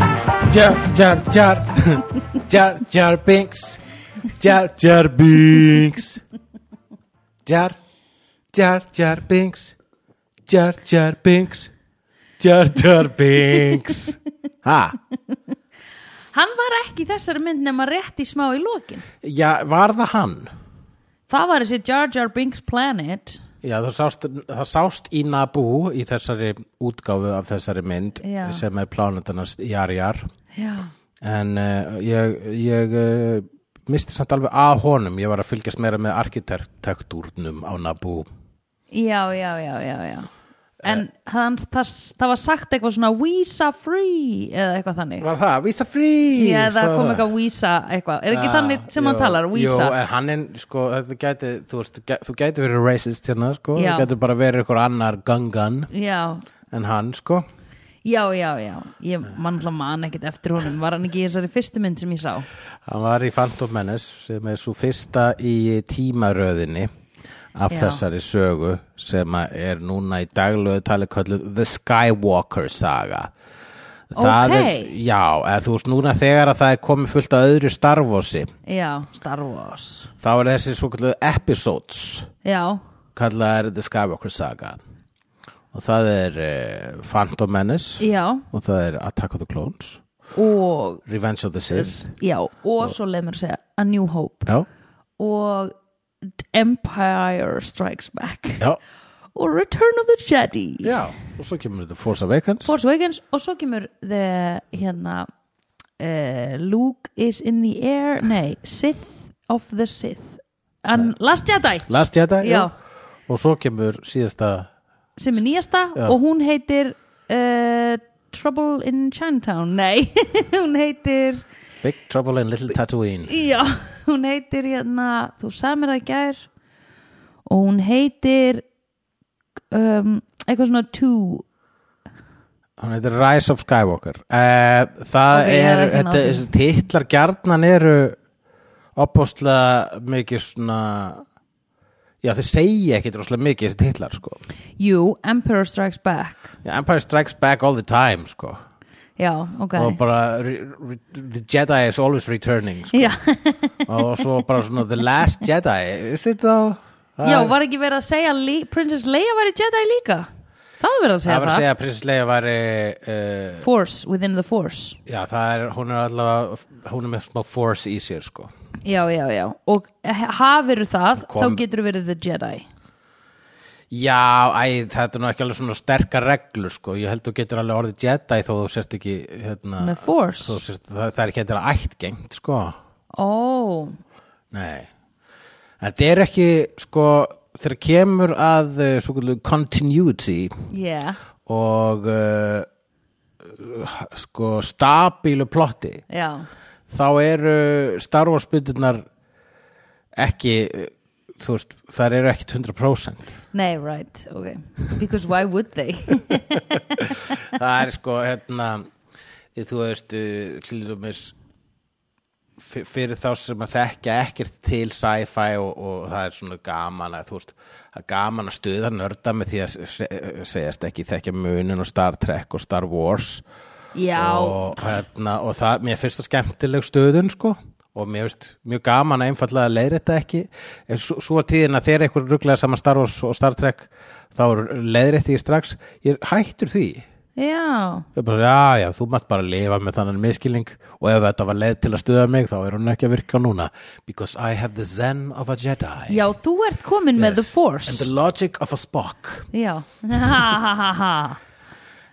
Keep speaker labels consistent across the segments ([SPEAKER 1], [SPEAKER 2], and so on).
[SPEAKER 1] Jar Jar Jar Jar Jar Binks Jar Jar Binks Jar Jar Jar Binks Jar Jar Binks Jar Jar Binks Ha?
[SPEAKER 2] Hann var ekki í þessari mynd nema rétt í smá í lokin.
[SPEAKER 1] Já, var það hann?
[SPEAKER 2] Það var þessi Jar Jar Binks Planet.
[SPEAKER 1] Já, það sást, það sást í Naboo í þessari útgáfu af þessari mynd
[SPEAKER 2] Já.
[SPEAKER 1] sem er plánetarnas Jar Jar
[SPEAKER 2] Já.
[SPEAKER 1] en uh, ég, ég uh, misti samt alveg að honum ég var að fylgjast meira með arkitektúrnum á Naboo
[SPEAKER 2] Já, já, já, já, já.
[SPEAKER 1] Eh.
[SPEAKER 2] En hann, það, það var sagt eitthvað svona Visa free eða eitthvað þannig.
[SPEAKER 1] Var það? Visa free!
[SPEAKER 2] Já, það
[SPEAKER 1] sagði
[SPEAKER 2] kom eitthvað Visa eitthvað. Er ekki
[SPEAKER 1] Ah, Já,
[SPEAKER 2] þannig sem hann
[SPEAKER 1] jú,
[SPEAKER 2] talar,
[SPEAKER 1] Jú,
[SPEAKER 2] Visa?
[SPEAKER 1] en hann er, sko, þetta gæti þú, veist, gæ- þú gæti verið racist hérna, sko
[SPEAKER 2] Já.
[SPEAKER 1] þú gæti bara verið eitthvað annar gangan
[SPEAKER 2] Já,
[SPEAKER 1] en hann, sko
[SPEAKER 2] já, já, já. Ég mannla man ekkit eftir honum. Var hann ekki í þessari fyrstu mynd sem ég sá?
[SPEAKER 1] Hann var í Phantom Menace sem er svo fyrsta í tímaröðinni af
[SPEAKER 2] Já.
[SPEAKER 1] þessari sögu sem að er núna í daglöðu tali kallið The Skywalker saga Það er,
[SPEAKER 2] Ókei.
[SPEAKER 1] já, eða þú veist núna þegar að það er komið fullt að öðru starfosi
[SPEAKER 2] Já, Star Wars.
[SPEAKER 1] þá er þessi svo kalluðu episodes
[SPEAKER 2] Já,
[SPEAKER 1] kallaðar The Skywalker saga og það er uh, Phantom Menace
[SPEAKER 2] já.
[SPEAKER 1] og það er Attack of the Clones
[SPEAKER 2] Og,
[SPEAKER 1] Revenge of the Sith
[SPEAKER 2] já, og svo leið mér að segja A New Hope.
[SPEAKER 1] Já,
[SPEAKER 2] Og Empire Strikes Back.
[SPEAKER 1] já,
[SPEAKER 2] Og Return of the Jedi.
[SPEAKER 1] já og svo kemur The Force Awakens
[SPEAKER 2] Force Awakens og svo kemur the, hérna uh, Luke is in the air nei, Sith of the Sith en Last Jedi
[SPEAKER 1] Last Jedi,
[SPEAKER 2] Já.
[SPEAKER 1] Og svo kemur síðasta
[SPEAKER 2] sem er nýjasta og hún heitir uh, Trouble in Chinatown nei, hún heitir
[SPEAKER 1] Big Trouble in Little Tatooine
[SPEAKER 2] já, hún heitir hérna þú sagði mér það í gær og hún heitir um, eitthvað svona two
[SPEAKER 1] Hann heitir Rise of Skywalker uh, Það
[SPEAKER 2] Ok, ég
[SPEAKER 1] er,
[SPEAKER 2] hafði ekki náð
[SPEAKER 1] þetta er
[SPEAKER 2] því.
[SPEAKER 1] titlar gjarnan eru opposlega mikið svona Já, þau segja ekkit rosalega mikið þessi titlar, sko
[SPEAKER 2] jú, Emperor Strikes Back
[SPEAKER 1] Já, Empire Strikes Back all the time, sko
[SPEAKER 2] já, ok
[SPEAKER 1] og bara re, re, The Jedi is always returning sko.
[SPEAKER 2] já
[SPEAKER 1] og svo bara svona The Last Jedi is it though? Það
[SPEAKER 2] Já,
[SPEAKER 1] er-
[SPEAKER 2] var ekki verið að segja Le Princess Leia væri Jedi líka? Það var verið að segja
[SPEAKER 1] Það
[SPEAKER 2] það.
[SPEAKER 1] var að segja að Prinsess Leia væri uh,
[SPEAKER 2] Force, within the force.
[SPEAKER 1] Já, það er, hún er allavega hún er með smá force í sér, sko
[SPEAKER 2] Já, já, já. Og he- hafiru það,
[SPEAKER 1] Kom-
[SPEAKER 2] þá getur verið the Jedi.
[SPEAKER 1] Já, æ, þetta er nú ekki alveg svona sterkar reglur, sko, ég held þú getur alveg orðið Jedi þó þú sért ekki hérna,
[SPEAKER 2] Með force.
[SPEAKER 1] þú sért, það, það er ekki þetta ættgengt, sko
[SPEAKER 2] Ó,
[SPEAKER 1] Nei, en þetta er ekki, sko þegar kemur að eh, svo kvöldu continuity
[SPEAKER 2] yeah.
[SPEAKER 1] og uh, sko stabílu plotti
[SPEAKER 2] Já,
[SPEAKER 1] þá eru Star Wars byrjurnar ekki uh, þú veist, þær eru ekkit 100%
[SPEAKER 2] nei, right, ok. Because why would they?
[SPEAKER 1] það er sko hérna þú veist, uh, til dæmis f- fyrir þá sem að þekka ekkert til sci-fi og, og það er svona gaman að þú veist, það er gaman að stuða nörda með því að se- se- segjast ekki þekka munin og Star Trek og Star Wars
[SPEAKER 2] Já,
[SPEAKER 1] og, hérna, og það, mér finnst það skemmtileg stöðun sko og mér finnst mjög gaman að einfallega að leiðrétta ekki en svo, svo var tíðin að þegar eitthvað rugglega saman Star Wars og Star Trek þá leiðrétti ég strax ég er hættur því ég
[SPEAKER 2] já,
[SPEAKER 1] er bara, já, já, þú mátt bara lifa með þannan miskilning og ef þetta var leið til að stöða mig þá er hún ekki að virka núna because I have the zen of a Jedi
[SPEAKER 2] já, þú ert komin með the
[SPEAKER 1] and
[SPEAKER 2] force.
[SPEAKER 1] the logic of a Spock
[SPEAKER 2] Já, ha, ha, ha, ha.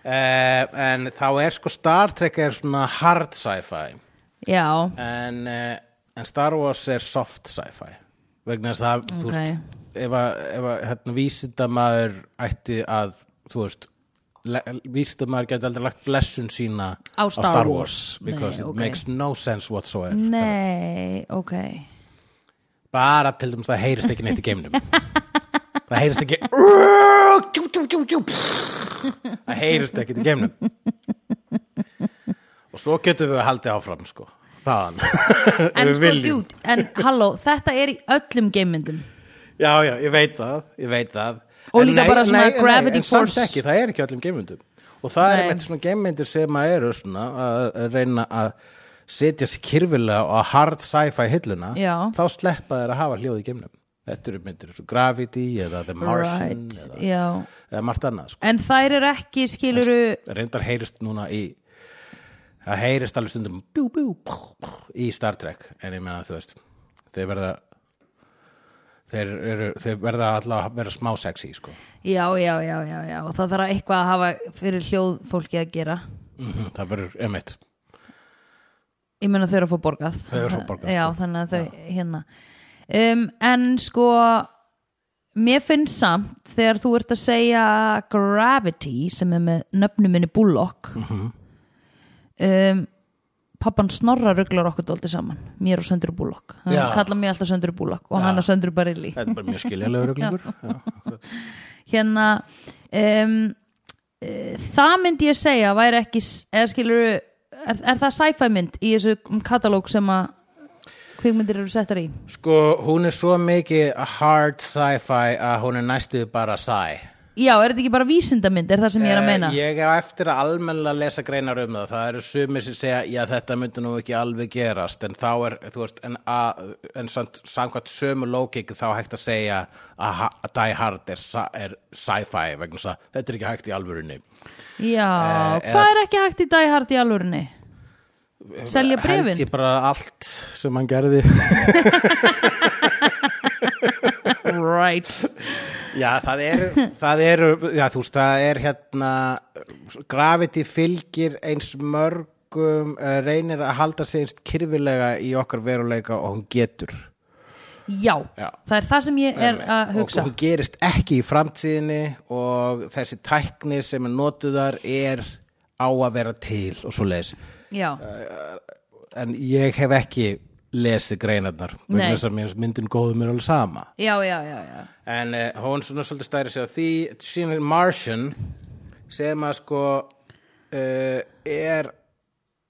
[SPEAKER 1] uh, en þá er sko Star Trek er svona hard sci-fi
[SPEAKER 2] Já,
[SPEAKER 1] en, uh, en Star Wars er soft sci-fi vegna þess að þú
[SPEAKER 2] Ok.
[SPEAKER 1] veist, ef að, ef að hérna, vísindamaður ætti að þú veist le- vísindamaður geti aldrei lagt blessun sína
[SPEAKER 2] Á Star Wars.
[SPEAKER 1] because
[SPEAKER 2] Nei,
[SPEAKER 1] it
[SPEAKER 2] ok.
[SPEAKER 1] makes no sense whatsoever
[SPEAKER 2] nei, ok.
[SPEAKER 1] bara til dæmis það heyrist ekki neitt í geimnum það heyrist ekki tjú, tjú, tjú, tjú, það heyrist ekki í geimnum og svo getum við haldið áfram sko þaðan
[SPEAKER 2] En
[SPEAKER 1] Ef við
[SPEAKER 2] sko,
[SPEAKER 1] viljum.
[SPEAKER 2] djút, en halló, þetta er í öllum geimmyndum.
[SPEAKER 1] Já, já, ég veit það, ég veit það
[SPEAKER 2] Og líka bara svona gravity
[SPEAKER 1] en
[SPEAKER 2] force.
[SPEAKER 1] samt ekki, það er ekki öllum geimundum og það er
[SPEAKER 2] Nei.
[SPEAKER 1] einmitt svona geimmyndir sem að eru svona að að reyna að setja sér kyrfilega á hard sci-fi hilluna
[SPEAKER 2] Já.
[SPEAKER 1] þá sleppa þeir að hafa hljóð í geimnum þetta eru myndir eins og Gravity eða The Martian
[SPEAKER 2] right,
[SPEAKER 1] eða,
[SPEAKER 2] já
[SPEAKER 1] eða margt annað sko.
[SPEAKER 2] En þær eru ekki, skiluru
[SPEAKER 1] reyndar heyrist núna í það heyrist alveg stundum bjú, bjú, bjú, í Star Trek en ég meina þú veist þeir verða þeir, eru, þeir verða allavega að vera smá sexy sko.
[SPEAKER 2] Já, já, já, já, já Og það þarf eitthvað að hafa fyrir hljóðfólki að gera
[SPEAKER 1] mm það verður emitt
[SPEAKER 2] Ég meina þau eru að fá borgað
[SPEAKER 1] Þau eru að fá borgað,
[SPEAKER 2] Já,
[SPEAKER 1] sko.
[SPEAKER 2] þannig að þau, hérna um, En sko Mér finnst samt þegar þú ert að segja Gravity sem er með nöfnum minni Bullock
[SPEAKER 1] Mhm.
[SPEAKER 2] um, Pappan Snorra ruglar okkur dóldi saman Mér og Söndru Bullock Hann
[SPEAKER 1] Já.
[SPEAKER 2] kallar mig alltaf Söndru Bullock og
[SPEAKER 1] Já.
[SPEAKER 2] hann að Söndru Barilli
[SPEAKER 1] þetta er bara mjög skiljalega ruglingur
[SPEAKER 2] hérna um, uh, það myndi ég segja væri ekki, s- eða skilur er, er það sci-fi mynd í þessu katalóg sem að kvikmyndir eru settar í
[SPEAKER 1] sko hún er svo mikið hard sci-fi að hún er næstuð bara sci
[SPEAKER 2] já, er þetta ekki bara vísindamynd, er það sem ég er að meina
[SPEAKER 1] Eh, Ég hef eftir að almennilega lesa greinar um það Það eru sumir sem segja, já þetta myndi nú ekki alveg gerast En þá er, þú veist, en, a, en samt, samkvæmt sömu lókik þá er hægt að segja að ha- að Die Hard er, sci- er sci-fi vegna þess að þetta er ekki hægt í alvörunni
[SPEAKER 2] já,
[SPEAKER 1] Eh, eða-
[SPEAKER 2] hvað er ekki hægt í Die Hard í alvörinni selja brefin
[SPEAKER 1] Held ég bara allt sem hann gerði
[SPEAKER 2] right
[SPEAKER 1] Já, það eru, það eru, já þú veist, það er hérna Gravity fylgir eins mörgum uh, reynir að halda sig eins kyrfilega í okkar veruleika og hún getur
[SPEAKER 2] já,
[SPEAKER 1] Já.
[SPEAKER 2] það er það sem ég er að hugsa
[SPEAKER 1] og hún gerist ekki í framtíðinni og þessi tækni sem er notuðar er á að vera til og svo leiðis
[SPEAKER 2] já,
[SPEAKER 1] Eh. en ég hef ekki lesið greinarnar
[SPEAKER 2] Nei.
[SPEAKER 1] vegna þess að mér finnst myndin góðu mér alveg sama
[SPEAKER 2] já, já, já, já.
[SPEAKER 1] en uh, hún svona svolítið stæri sig á því síðan er Martian sem að sko uh, er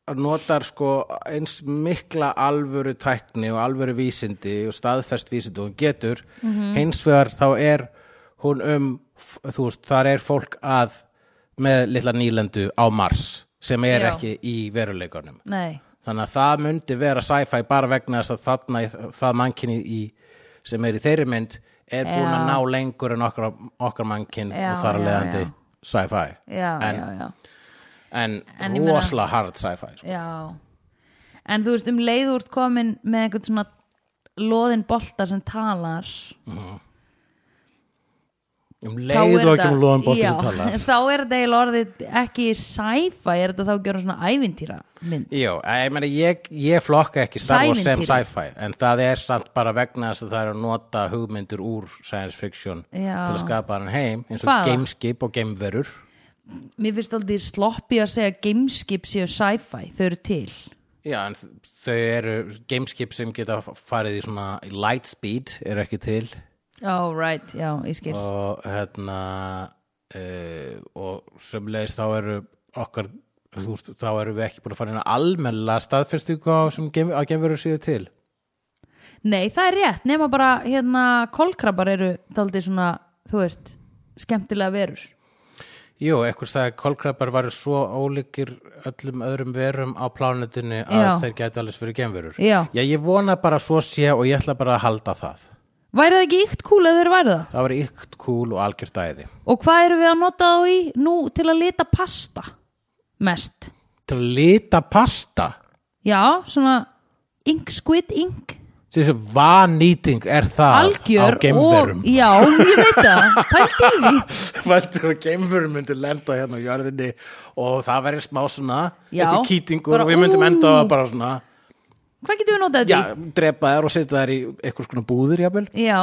[SPEAKER 1] að notar sko eins mikla alvöru tækni og alvöru vísindi og staðfest vísindi og hún getur hins vegar þá er hún um, f- þú veist, þar er fólk að með litla nýlendu á Mars sem er
[SPEAKER 2] Já.
[SPEAKER 1] ekki í veruleikunum
[SPEAKER 2] nei
[SPEAKER 1] þannig að það myndi vera sci-fi bara vegna þess að þarna í- það mannkynni í, sem er í þeirri mynd er búin að
[SPEAKER 2] Já.
[SPEAKER 1] ná lengur en okkar, okkar mannkinn
[SPEAKER 2] Já,
[SPEAKER 1] og þar
[SPEAKER 2] já,
[SPEAKER 1] að leiðandi
[SPEAKER 2] já.
[SPEAKER 1] sci-fi
[SPEAKER 2] já,
[SPEAKER 1] En-
[SPEAKER 2] já, já
[SPEAKER 1] en,
[SPEAKER 2] En ég meina-
[SPEAKER 1] rosalega hard sci-fi sko.
[SPEAKER 2] Já En þú veist um leið úr komin með einhvern svona loðin bolta sem talar
[SPEAKER 1] um
[SPEAKER 2] þá er
[SPEAKER 1] leiðu ekki
[SPEAKER 2] þetta-
[SPEAKER 1] um loðan bóttir
[SPEAKER 2] Já,
[SPEAKER 1] að tala
[SPEAKER 2] Þá er þetta eiginlega orðið ekki sci-fi er þetta þá að gera svona ævintýra mynd
[SPEAKER 1] Jú, ég, meni, ég, ég flokka ekki Star Wars sem
[SPEAKER 2] Sævintýri.
[SPEAKER 1] sci-fi en það er samt bara vegna þess að það er að nota hugmyndir úr science fiction
[SPEAKER 2] Já.
[SPEAKER 1] til að skapa hann heim eins og
[SPEAKER 2] Hvaða?
[SPEAKER 1] gameskip og gameverur
[SPEAKER 2] Mér finnst aldrei sloppi að segja að gameskip séu sci-fi, þau eru til
[SPEAKER 1] Já, en þ- þau eru gameskip sem geta f- farið í svona í light speed eru ekki til
[SPEAKER 2] Oh right, já, ég skil
[SPEAKER 1] og hérna uh, og sömulegis þá eru okkar þú veist, þá eru við ekki búin að fara inn að almennilega staðfestingu á sem gem, að gemveru séu til
[SPEAKER 2] Nei, það er rétt, nema bara hérna kolkrabbar eru daldið svona, þú veist skemmtilega verur
[SPEAKER 1] Jú, eitthvað sagði að kolkrabbar varu svo ólíkir öllum öðrum verum á plánutinu að
[SPEAKER 2] Já.
[SPEAKER 1] þeir gæti alveg verið gemverur
[SPEAKER 2] Já.
[SPEAKER 1] Já, ég vona bara svo sé og ég ætla bara að halda það
[SPEAKER 2] Væri það ekki ykt kúl að þeir væri það?
[SPEAKER 1] Það var ykt kúl og algjört æði
[SPEAKER 2] Og hvað erum við að nota þá í nú til að lita pasta mest?
[SPEAKER 1] Til að lita pasta
[SPEAKER 2] Já, svona ink, squid ink,
[SPEAKER 1] þessi vannýting er það
[SPEAKER 2] algjör
[SPEAKER 1] á geimverum
[SPEAKER 2] og, já, ég veit það, pælti í því.
[SPEAKER 1] Væltu að geimverum myndi lenda hérna á jörðinni og það verið smá svona
[SPEAKER 2] Já.
[SPEAKER 1] einhver kýtingur
[SPEAKER 2] Bara,
[SPEAKER 1] og við myndum
[SPEAKER 2] ú.
[SPEAKER 1] enda á bara svona
[SPEAKER 2] Hvað getum við notað
[SPEAKER 1] já,
[SPEAKER 2] þetta í?
[SPEAKER 1] drepa þær og setja þær í einhvers konar búðir jafnvel
[SPEAKER 2] Já,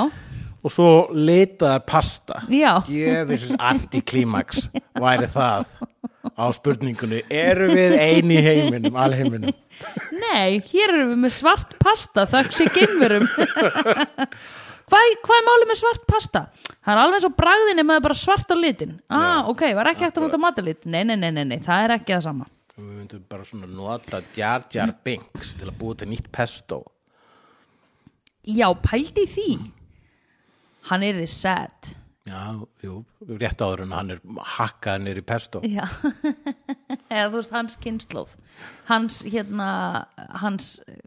[SPEAKER 1] og svo lita þær pasta
[SPEAKER 2] já,
[SPEAKER 1] Jöfisins antiklimax væri það á spurningunni eru við eini í heiminum, alheiminum
[SPEAKER 2] nei, hér erum við með svart pasta, þökk sé geimverum. hvað, hvað er málið með svart pasta? Það er alveg eins og bragðin er með bara svart á litin. Ah, ok, var ekki hægt að nota matalit? Nei, nei, nei, nei, nei, það er ekki það sama.
[SPEAKER 1] við myndum bara svona nota Jar Jar Binks til að búa til nýtt pesto
[SPEAKER 2] Já, pældi í því Hann er þið sad
[SPEAKER 1] Já, jú, rétt áður en hann er hakkað niður í pesto.
[SPEAKER 2] Já eða þú veist hans kynnslóð hans hérna hans eh,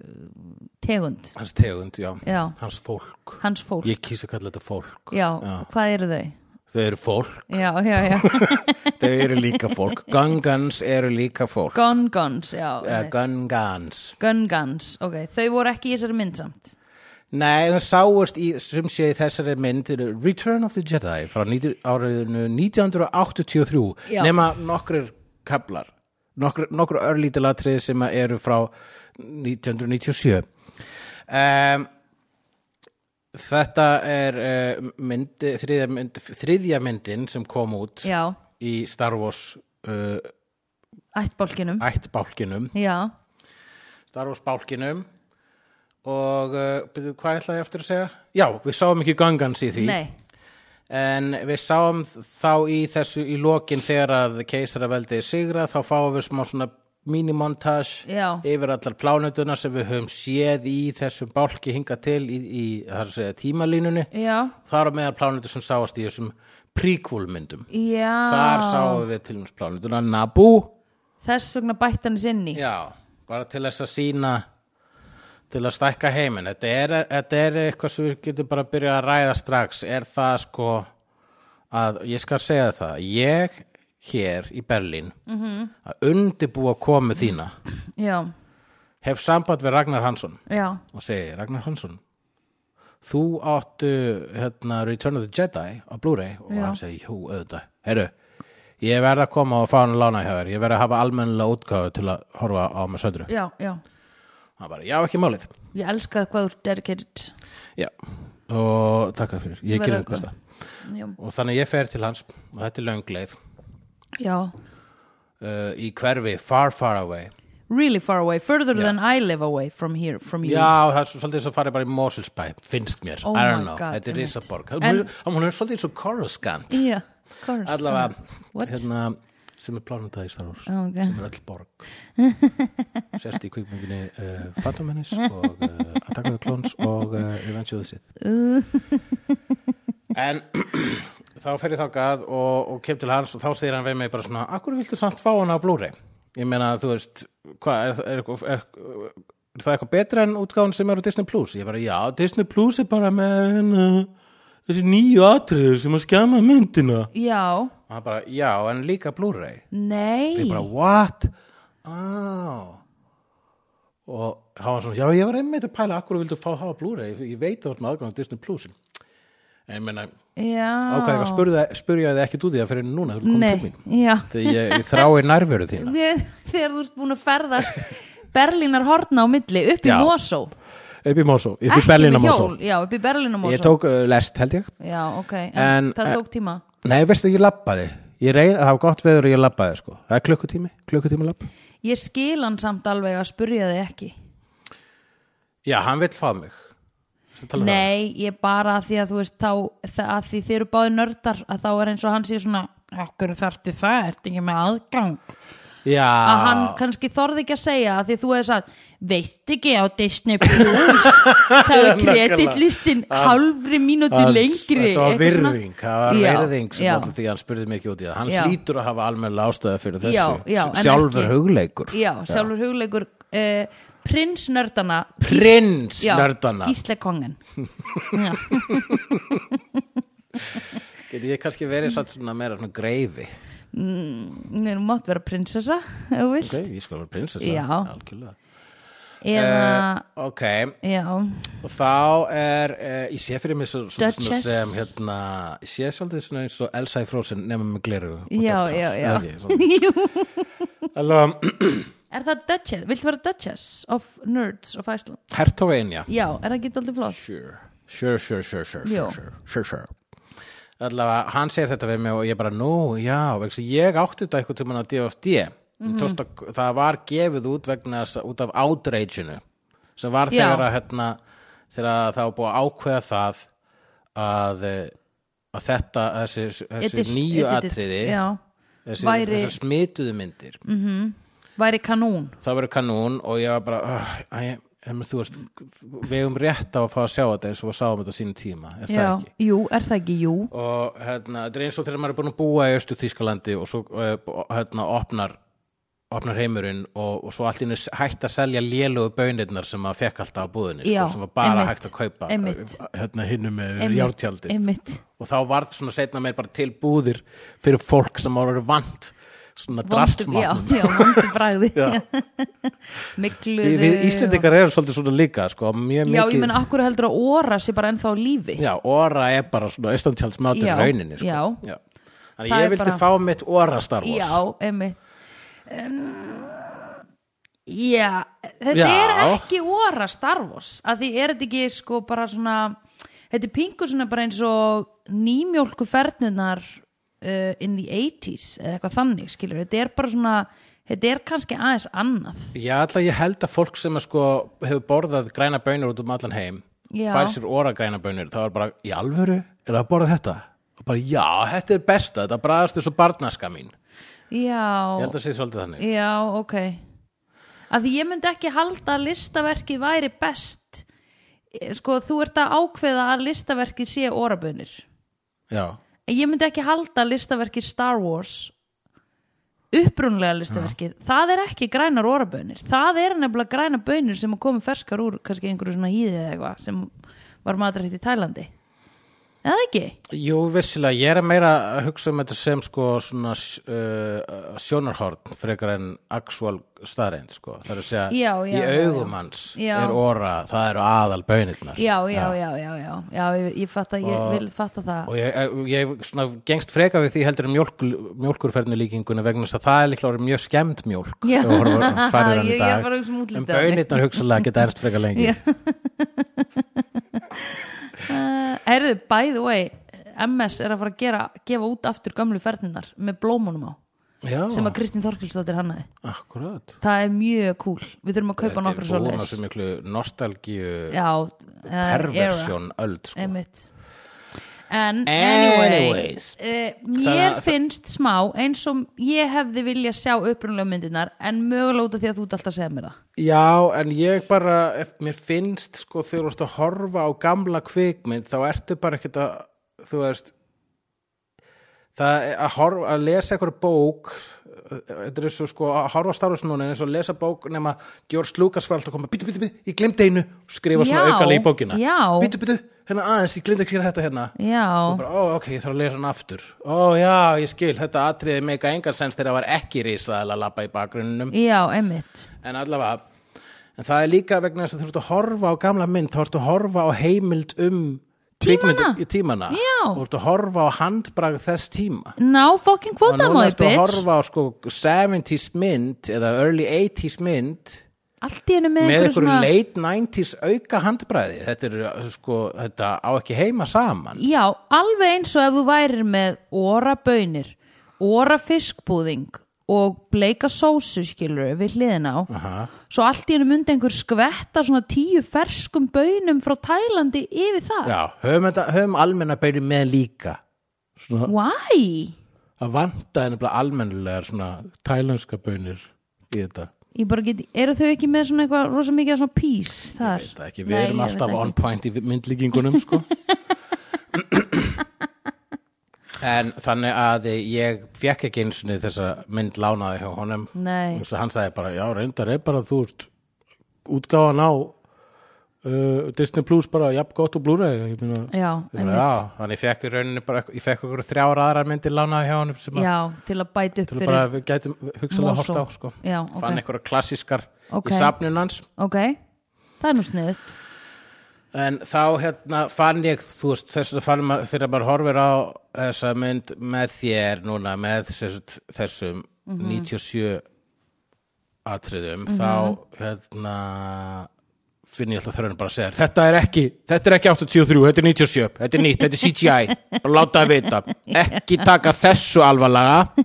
[SPEAKER 2] tegund
[SPEAKER 1] Hans tegund, já.
[SPEAKER 2] Já.
[SPEAKER 1] Hans fólk.
[SPEAKER 2] hans fólk
[SPEAKER 1] Ég kýsa að kalla þetta fólk.
[SPEAKER 2] já, hvað eru þau?
[SPEAKER 1] Þau eru fólk.
[SPEAKER 2] Já, já, já,
[SPEAKER 1] Þau eru líka fólk. Gungans eru líka fólk.
[SPEAKER 2] Gone Guns já,
[SPEAKER 1] Eh, Gungans.
[SPEAKER 2] Gun Guns, ok, þau voru ekki í þessari mynd samt
[SPEAKER 1] Nei, það sáust í, sem sé í þessari mynd eru Return of the Jedi frá 90, áriðinu 1983
[SPEAKER 2] Já.
[SPEAKER 1] nema nokkur kaplar nokkur, nokkur örlítelatrið sem að eru frá 1997 um, Þetta er uh, mynd, þriðja, mynd, þriðja myndin sem kom út
[SPEAKER 2] já,
[SPEAKER 1] í Star Wars uh,
[SPEAKER 2] ættbólkinum
[SPEAKER 1] ættbálkinum
[SPEAKER 2] já,
[SPEAKER 1] Star Wars bálkinum og uh, byrju, hvað ætlaði ég eftir að segja? Já, við sáum ekki gangans í því
[SPEAKER 2] nei
[SPEAKER 1] en við sáum þá í þessu í lokin þegar að keisaraveldi er sigra þá fáum við smá svona minimontage
[SPEAKER 2] Já.
[SPEAKER 1] yfir allar plánutuna sem við höfum séð í þessum bálki hinga til í, í þar að segja, tímalínunni
[SPEAKER 2] já,
[SPEAKER 1] þar á meðal plánutu sem sáast í þessum prequel myndum
[SPEAKER 2] já
[SPEAKER 1] þar sáum við til þessum plánutuna Naboo
[SPEAKER 2] þess vegna bætt hann sinni já,
[SPEAKER 1] Já, bara til þess að sína til að stækka heiminn þetta er, þetta er eitthvað sem við getum bara að byrja að ræða strax er það sko að ég skal segja það ég hér í Berlín -hmm. að undibúa komu þína
[SPEAKER 2] já,
[SPEAKER 1] hef samband við Ragnar Hansson
[SPEAKER 2] já,
[SPEAKER 1] og segi Ragnar Hansson þú áttu hérna, Return of the Jedi á Blu-ray og
[SPEAKER 2] Já.
[SPEAKER 1] hann segi, jú, auðvitað herru, ég verð að koma og fá hann lána hjá þér ég verð að hafa almennilega útgáfu til að horfa á með söndru
[SPEAKER 2] já,
[SPEAKER 1] hann bara, já ekki málið
[SPEAKER 2] ég elska hvað þú ert dedicated
[SPEAKER 1] já. og takk fyrir, ég
[SPEAKER 2] Verða
[SPEAKER 1] gerir þetta
[SPEAKER 2] góð.
[SPEAKER 1] besta
[SPEAKER 2] já,
[SPEAKER 1] og þannig að ég fer til hans og þetta er löngleið
[SPEAKER 2] já
[SPEAKER 1] uh, í hverfi, far far away
[SPEAKER 2] really far away, further than I live away from here, from you
[SPEAKER 1] já, það er svo- svolítið eins og farið bara í Moselsbæ finnst mér,
[SPEAKER 2] Oh
[SPEAKER 1] I don't know,
[SPEAKER 2] my God,
[SPEAKER 1] þetta er
[SPEAKER 2] einmitt.
[SPEAKER 1] Ísaborg
[SPEAKER 2] En-
[SPEAKER 1] en... hún er svolítið eins og Coruscant
[SPEAKER 2] já, of course
[SPEAKER 1] allavega,
[SPEAKER 2] What?
[SPEAKER 1] hérna sem er plánundað í Star Wars
[SPEAKER 2] Ok.
[SPEAKER 1] sem er öll borg sérst í kvikmyndinni uh, Phantom Menace og uh, Attack of the Clones og uh, Revenge of the Sith en þá fer ég þákað og, og kem til hans og þá segir hann við mig bara svona akkur viltu samt fá hana á Blu-ray ég meina þú veist hvað er, er, er, er, er það eitthvað betra en útgáðan sem er á Disney Plus ég bara já Disney Plus er bara með uh, þessi nýju atriður sem að skjama myndina
[SPEAKER 2] já,
[SPEAKER 1] og hann bara já en líka Blu-ray
[SPEAKER 2] nei
[SPEAKER 1] ég bara what oh. og hann var svona já ég var einmitt að pæla akkur vildu fá hafa Blu-ray ég, ég veit að þú ert með aðgang á Disney Plus en ég meina
[SPEAKER 2] já
[SPEAKER 1] ákvæði að spurja, spurja þið ekki út í það fyrir núna þegar þú komið til
[SPEAKER 2] nei,
[SPEAKER 1] mín
[SPEAKER 2] já
[SPEAKER 1] þegar ég, ég þrái nærveru þína
[SPEAKER 2] Þe- þegar þú ert búin að ferðast Berlínar horna á milli upp í
[SPEAKER 1] Já.
[SPEAKER 2] Mosó
[SPEAKER 1] upp í Mosó, upp í
[SPEAKER 2] ekki
[SPEAKER 1] Berlín
[SPEAKER 2] með
[SPEAKER 1] Mosó
[SPEAKER 2] hjól, já, upp í Berlínar Mosó
[SPEAKER 1] ég tók uh, lest held ég
[SPEAKER 2] já, ok, en,
[SPEAKER 1] En,
[SPEAKER 2] það
[SPEAKER 1] eh,
[SPEAKER 2] tók tíma
[SPEAKER 1] nei veistu ég labbaði ég reyna, það var gott veður og ég labbaði sko það er klukkutími, klukkutími labb
[SPEAKER 2] ég skil hann samt alveg að spurja þig ekki
[SPEAKER 1] já hann vill fá mig Ertu að tala um það?
[SPEAKER 2] nei, ég bara að því að þú veist þá, það, að því þið eru báði nördar að þá er eins og hann sé svona okkur þarftu það, ert ekki með aðgang
[SPEAKER 1] já,
[SPEAKER 2] að hann kannski þorði ekki að segja að því þú hefði sagt, veist ekki á Disney Plus það er
[SPEAKER 1] Nákvæmlega.
[SPEAKER 2] kreditlistin hálfri mínúti
[SPEAKER 1] Hann- þetta
[SPEAKER 2] lengri
[SPEAKER 1] var
[SPEAKER 2] eitthvað svona.
[SPEAKER 1] virðing, það var
[SPEAKER 2] Já,
[SPEAKER 1] virðing sem
[SPEAKER 2] já.
[SPEAKER 1] allir því að hann spurði mig ekki út í það hann
[SPEAKER 2] Já.
[SPEAKER 1] hlýtur að hafa almenna ástæða fyrir þessu
[SPEAKER 2] Já, já, en
[SPEAKER 1] sjálfur
[SPEAKER 2] ekki.
[SPEAKER 1] hugleikur
[SPEAKER 2] Já, sjálfur hugleikur uh, Prins nördana
[SPEAKER 1] prins
[SPEAKER 2] Já,
[SPEAKER 1] nördana
[SPEAKER 2] Gísle kongen Já,
[SPEAKER 1] geti ég kannski verið satt svona meira svona greifi
[SPEAKER 2] nú mátt vera prinsessa ef þú vilt
[SPEAKER 1] ok, ég skal vera prinsessa
[SPEAKER 2] Já.
[SPEAKER 1] algjörlega
[SPEAKER 2] Eða,
[SPEAKER 1] Eh, ok,
[SPEAKER 2] já,
[SPEAKER 1] og þá er uh, ég sé fyrir mig svo, svo, svona
[SPEAKER 2] Duchess.
[SPEAKER 1] sem hérna, ég sé svolítið svona eins og Elsa í Frozen nema með gleru
[SPEAKER 2] já, já, já Jú.
[SPEAKER 1] alveg
[SPEAKER 2] Er það Duchess? Viltu vera Duchess of Nerds of Iceland?
[SPEAKER 1] hertogainja
[SPEAKER 2] Já, er það ekki aldrei flott?
[SPEAKER 1] sure, sure, sure, sure, sure,
[SPEAKER 2] Jú.
[SPEAKER 1] sure, sure, sure, sure. Allavega, hann segir þetta við mig og ég bara, nú, já, vegna þess að ég átti þetta eitthvað tímann á DFD.
[SPEAKER 2] Mhm.
[SPEAKER 1] Mm -hmm. Það var gefið út vegna þess að- út af outrageinu sem var
[SPEAKER 2] Já.
[SPEAKER 1] þegar að, hérna, þegar að það var búið að ákveða það að, eh, að þetta, þessi, þessi
[SPEAKER 2] Edit-
[SPEAKER 1] nýju
[SPEAKER 2] edited,
[SPEAKER 1] atriði,
[SPEAKER 2] Já,
[SPEAKER 1] þessi,
[SPEAKER 2] væri-
[SPEAKER 1] þessi smituðu myndir,
[SPEAKER 2] væri kanún
[SPEAKER 1] það verið kanún og ég var bara, uh, æ, en þú veist, við eigum rétt á að fá að sjá þetta eins og við sáum þetta á sínum tíma er það
[SPEAKER 2] Já,
[SPEAKER 1] ekki?
[SPEAKER 2] jú, er það ekki, jú
[SPEAKER 1] og hérna, þetta er eins og þegar maður er búin að búa í Östu Þískalandi og svo eh, hérna, opnar, opnar heimurinn og, og svo allt í einu hægt að selja lélugu bönirnar sem maður fekk alltaf á búðinni
[SPEAKER 2] Já,
[SPEAKER 1] sko, sem var bara
[SPEAKER 2] einmitt,
[SPEAKER 1] hægt að kaupa
[SPEAKER 2] einmitt.
[SPEAKER 1] eh, hérna hinnum með
[SPEAKER 2] Einmitt,
[SPEAKER 1] jártjaldið
[SPEAKER 2] einmitt.
[SPEAKER 1] og þá varð svona setna meir bara til búðir fyrir fólk sem ára eru vant svona drastmannum
[SPEAKER 2] já, já, vondu bragði mikluðu
[SPEAKER 1] við Íslendingar eru svolítið svona líka sko, mjög
[SPEAKER 2] já, ég
[SPEAKER 1] mikið
[SPEAKER 2] meina, akkur heldur að óra sé bara ennþá á lífi
[SPEAKER 1] Já, óra er bara svona austantjáls mátur
[SPEAKER 2] Já,
[SPEAKER 1] rauninni sko.
[SPEAKER 2] já.
[SPEAKER 1] Þannig
[SPEAKER 2] Það
[SPEAKER 1] ég
[SPEAKER 2] er
[SPEAKER 1] vildi
[SPEAKER 2] bara-
[SPEAKER 1] fá mitt óra Star Wars
[SPEAKER 2] já einmitt um, já, þetta
[SPEAKER 1] Já.
[SPEAKER 2] er ekki óra Star Wars að því er þetta ekki sko bara svona þetta er pingu svona bara eins og nýmjólku fernunar uh, in the 80s eða eitthvað þannig skilur, þetta er bara svona þetta er kannski aðeins annað
[SPEAKER 1] Já, alltaf ég held að fólk sem að sko hefur borðað græna bönur út um allan heim
[SPEAKER 2] Já.
[SPEAKER 1] fær sér óra græna bönur þá er bara, í alvöru, er það að borða þetta? og bara, já, þetta er besta, þetta bræðast þessu barnaska mín ég
[SPEAKER 2] já,
[SPEAKER 1] held að sé svolítið þannig
[SPEAKER 2] Já, ok að því ég myndi ekki halda að listaverkið væri best Eh, sko þú ert að ákveða að listaverkið sé orabunir
[SPEAKER 1] Já,
[SPEAKER 2] ég myndi ekki halda að listaverkið Star Wars upprunlega listaverkið, það er ekki grænar orabunir, það er nefnilega græna bönir sem að koma ferskar úr kannski einhverju svona hýði eða eitthvað sem var matrætt í Tælandi eða ekki?
[SPEAKER 1] jú, vissilega ég er meira að hugsa um þetta sem sko svona uh, sjónarhorn frekar en actual staðreind sko, það er að segja
[SPEAKER 2] Já, já, já,
[SPEAKER 1] í
[SPEAKER 2] já.
[SPEAKER 1] augum hans
[SPEAKER 2] Já.
[SPEAKER 1] er óra, það eru aðal bönirnar
[SPEAKER 2] Já, já, já, já, já, já ég, ég, fatta, ég
[SPEAKER 1] Og-
[SPEAKER 2] vil fatta það
[SPEAKER 1] og ég, eh, ég- ég svona, gengst freka við því heldur um mjólk, mjólkurferðinu líkinguna vegna þess að það er líklega orðið mjög skemmt mjólk
[SPEAKER 2] Já.
[SPEAKER 1] ef við horfum á færðina í
[SPEAKER 2] Ég- ég
[SPEAKER 1] dag.
[SPEAKER 2] er bara að hugsa um útlitið
[SPEAKER 1] en
[SPEAKER 2] á henni.
[SPEAKER 1] bönirnar hugsalega geta ernst freka lengi
[SPEAKER 2] Já. Uh, Herðu, by the way MS er að fara að gera, gefa út aftur gamlu ferninar með blómunum á
[SPEAKER 1] já,
[SPEAKER 2] sem að Kristín Þorkilsdóttir hannaði
[SPEAKER 1] akkurat
[SPEAKER 2] það er mjög cool, við þurfum að kaupa nokkra svo
[SPEAKER 1] búin á svo miklu nostalgíu
[SPEAKER 2] já, eða era,
[SPEAKER 1] perversjón öld sko.
[SPEAKER 2] einmitt en anyway
[SPEAKER 1] Anyways.
[SPEAKER 2] uh,
[SPEAKER 1] Þannig
[SPEAKER 2] mér
[SPEAKER 1] að-
[SPEAKER 2] finnst smá eins og ég hefði vilja sjá upprunlega myndirnar en mögulega út af því að þú ert alltaf að segja mér það
[SPEAKER 1] Já, en ég bara, ef mér finnst sko þegar þú ert að horfa á gamla kvikmynd þá ertu bara ekkert að, þú veist, það er að, horfa, að lesa eitthvað bók, þetta er svo sko að horfa á starfis núna eins og að lesa bók nema George Lucas var alltaf að koma, bítu, bítu, bítu, ég glemdi einu, skrifa svona
[SPEAKER 2] Já,
[SPEAKER 1] aukali í bókina,
[SPEAKER 2] já.
[SPEAKER 1] bítu, bítu, hérna aðeins, ég glemdi að gera þetta hérna og
[SPEAKER 2] já,
[SPEAKER 1] bara, ó, ok, ég þarf að lesa hann aftur ó, já, ég skil, þetta atriði meika engan sens þegar það var ekki risaðal að labba í bakgrunnum
[SPEAKER 2] já, einmitt
[SPEAKER 1] en allavega en það er líka vegna þess að þú ert að horfa á gamla mynd þá ert að horfa á heimild um
[SPEAKER 2] Tímana.
[SPEAKER 1] kvikmyndir- í tímana
[SPEAKER 2] Já.
[SPEAKER 1] og ert að horfa á handbrag þess tíma
[SPEAKER 2] ná
[SPEAKER 1] og núna
[SPEAKER 2] fokkin kvótamóði,
[SPEAKER 1] ertu að
[SPEAKER 2] bitch
[SPEAKER 1] horfa á sko 70s mynd eða early 80s mynd
[SPEAKER 2] allt í hennu með,
[SPEAKER 1] með
[SPEAKER 2] einhverju
[SPEAKER 1] einhverju late 90s auka handbræði þetta er sko, þetta á ekki heima saman
[SPEAKER 2] Já, alveg eins og ef þú værir með óra bönir, óra fiskbúðing og bleika sósu skilur við hliðin á
[SPEAKER 1] Aha.
[SPEAKER 2] svo allt í hennu myndi einhver skvetta svona tíu ferskum bönum frá Tælandi yfir það.
[SPEAKER 1] já, höfum, þetta- höfum almenna beiri með líka svona,
[SPEAKER 2] Why?
[SPEAKER 1] að vanta en almennilegar svona tælenska bönir í þetta
[SPEAKER 2] Ég bara get, eru þau ekki með svona eitthvað rosa mikið af svona pís þar?
[SPEAKER 1] Ég veit það ekki,
[SPEAKER 2] Nei,
[SPEAKER 1] við erum
[SPEAKER 2] ég
[SPEAKER 1] alltaf
[SPEAKER 2] veit
[SPEAKER 1] on
[SPEAKER 2] ekki.
[SPEAKER 1] point í myndlíkingunum sko. en þannig að ég fekk ekki eins og þessa mynd lánaði hjá honum
[SPEAKER 2] Nei,
[SPEAKER 1] og hann sagði bara, já reyndar er bara þú veist, útgáfan á uh, Disney Plus bara jafn gott og Blu-ray ég meina, ég
[SPEAKER 2] já,
[SPEAKER 1] bara,
[SPEAKER 2] einmitt.
[SPEAKER 1] já, þannig ég fekk í rauninni bara, ég fekk okkur þrjár aðrar myndir lánaði hjá honum sem að
[SPEAKER 2] Já, til að bæta upp
[SPEAKER 1] til að
[SPEAKER 2] fyrir.
[SPEAKER 1] bara við gætum hugsalega
[SPEAKER 2] Mosó.
[SPEAKER 1] hort á sko.
[SPEAKER 2] Já, ok.
[SPEAKER 1] fann einhverja klassískar
[SPEAKER 2] Ok.
[SPEAKER 1] í safnun hans
[SPEAKER 2] Ok, það er nú sniðut.
[SPEAKER 1] En þá hérna fann ég, þú veist, þess að fann maður, þegar maður horfir á þessa mynd með þér núna, með þess, þessum 97 atriðum, þá hérna finn ég alltaf þörfinn bara að segja þér, þetta er ekki, þetta er ekki 83, þetta er 97, þetta er nýtt, þetta er CGI, bara láta það vita, ekki taka þessu alvarlega,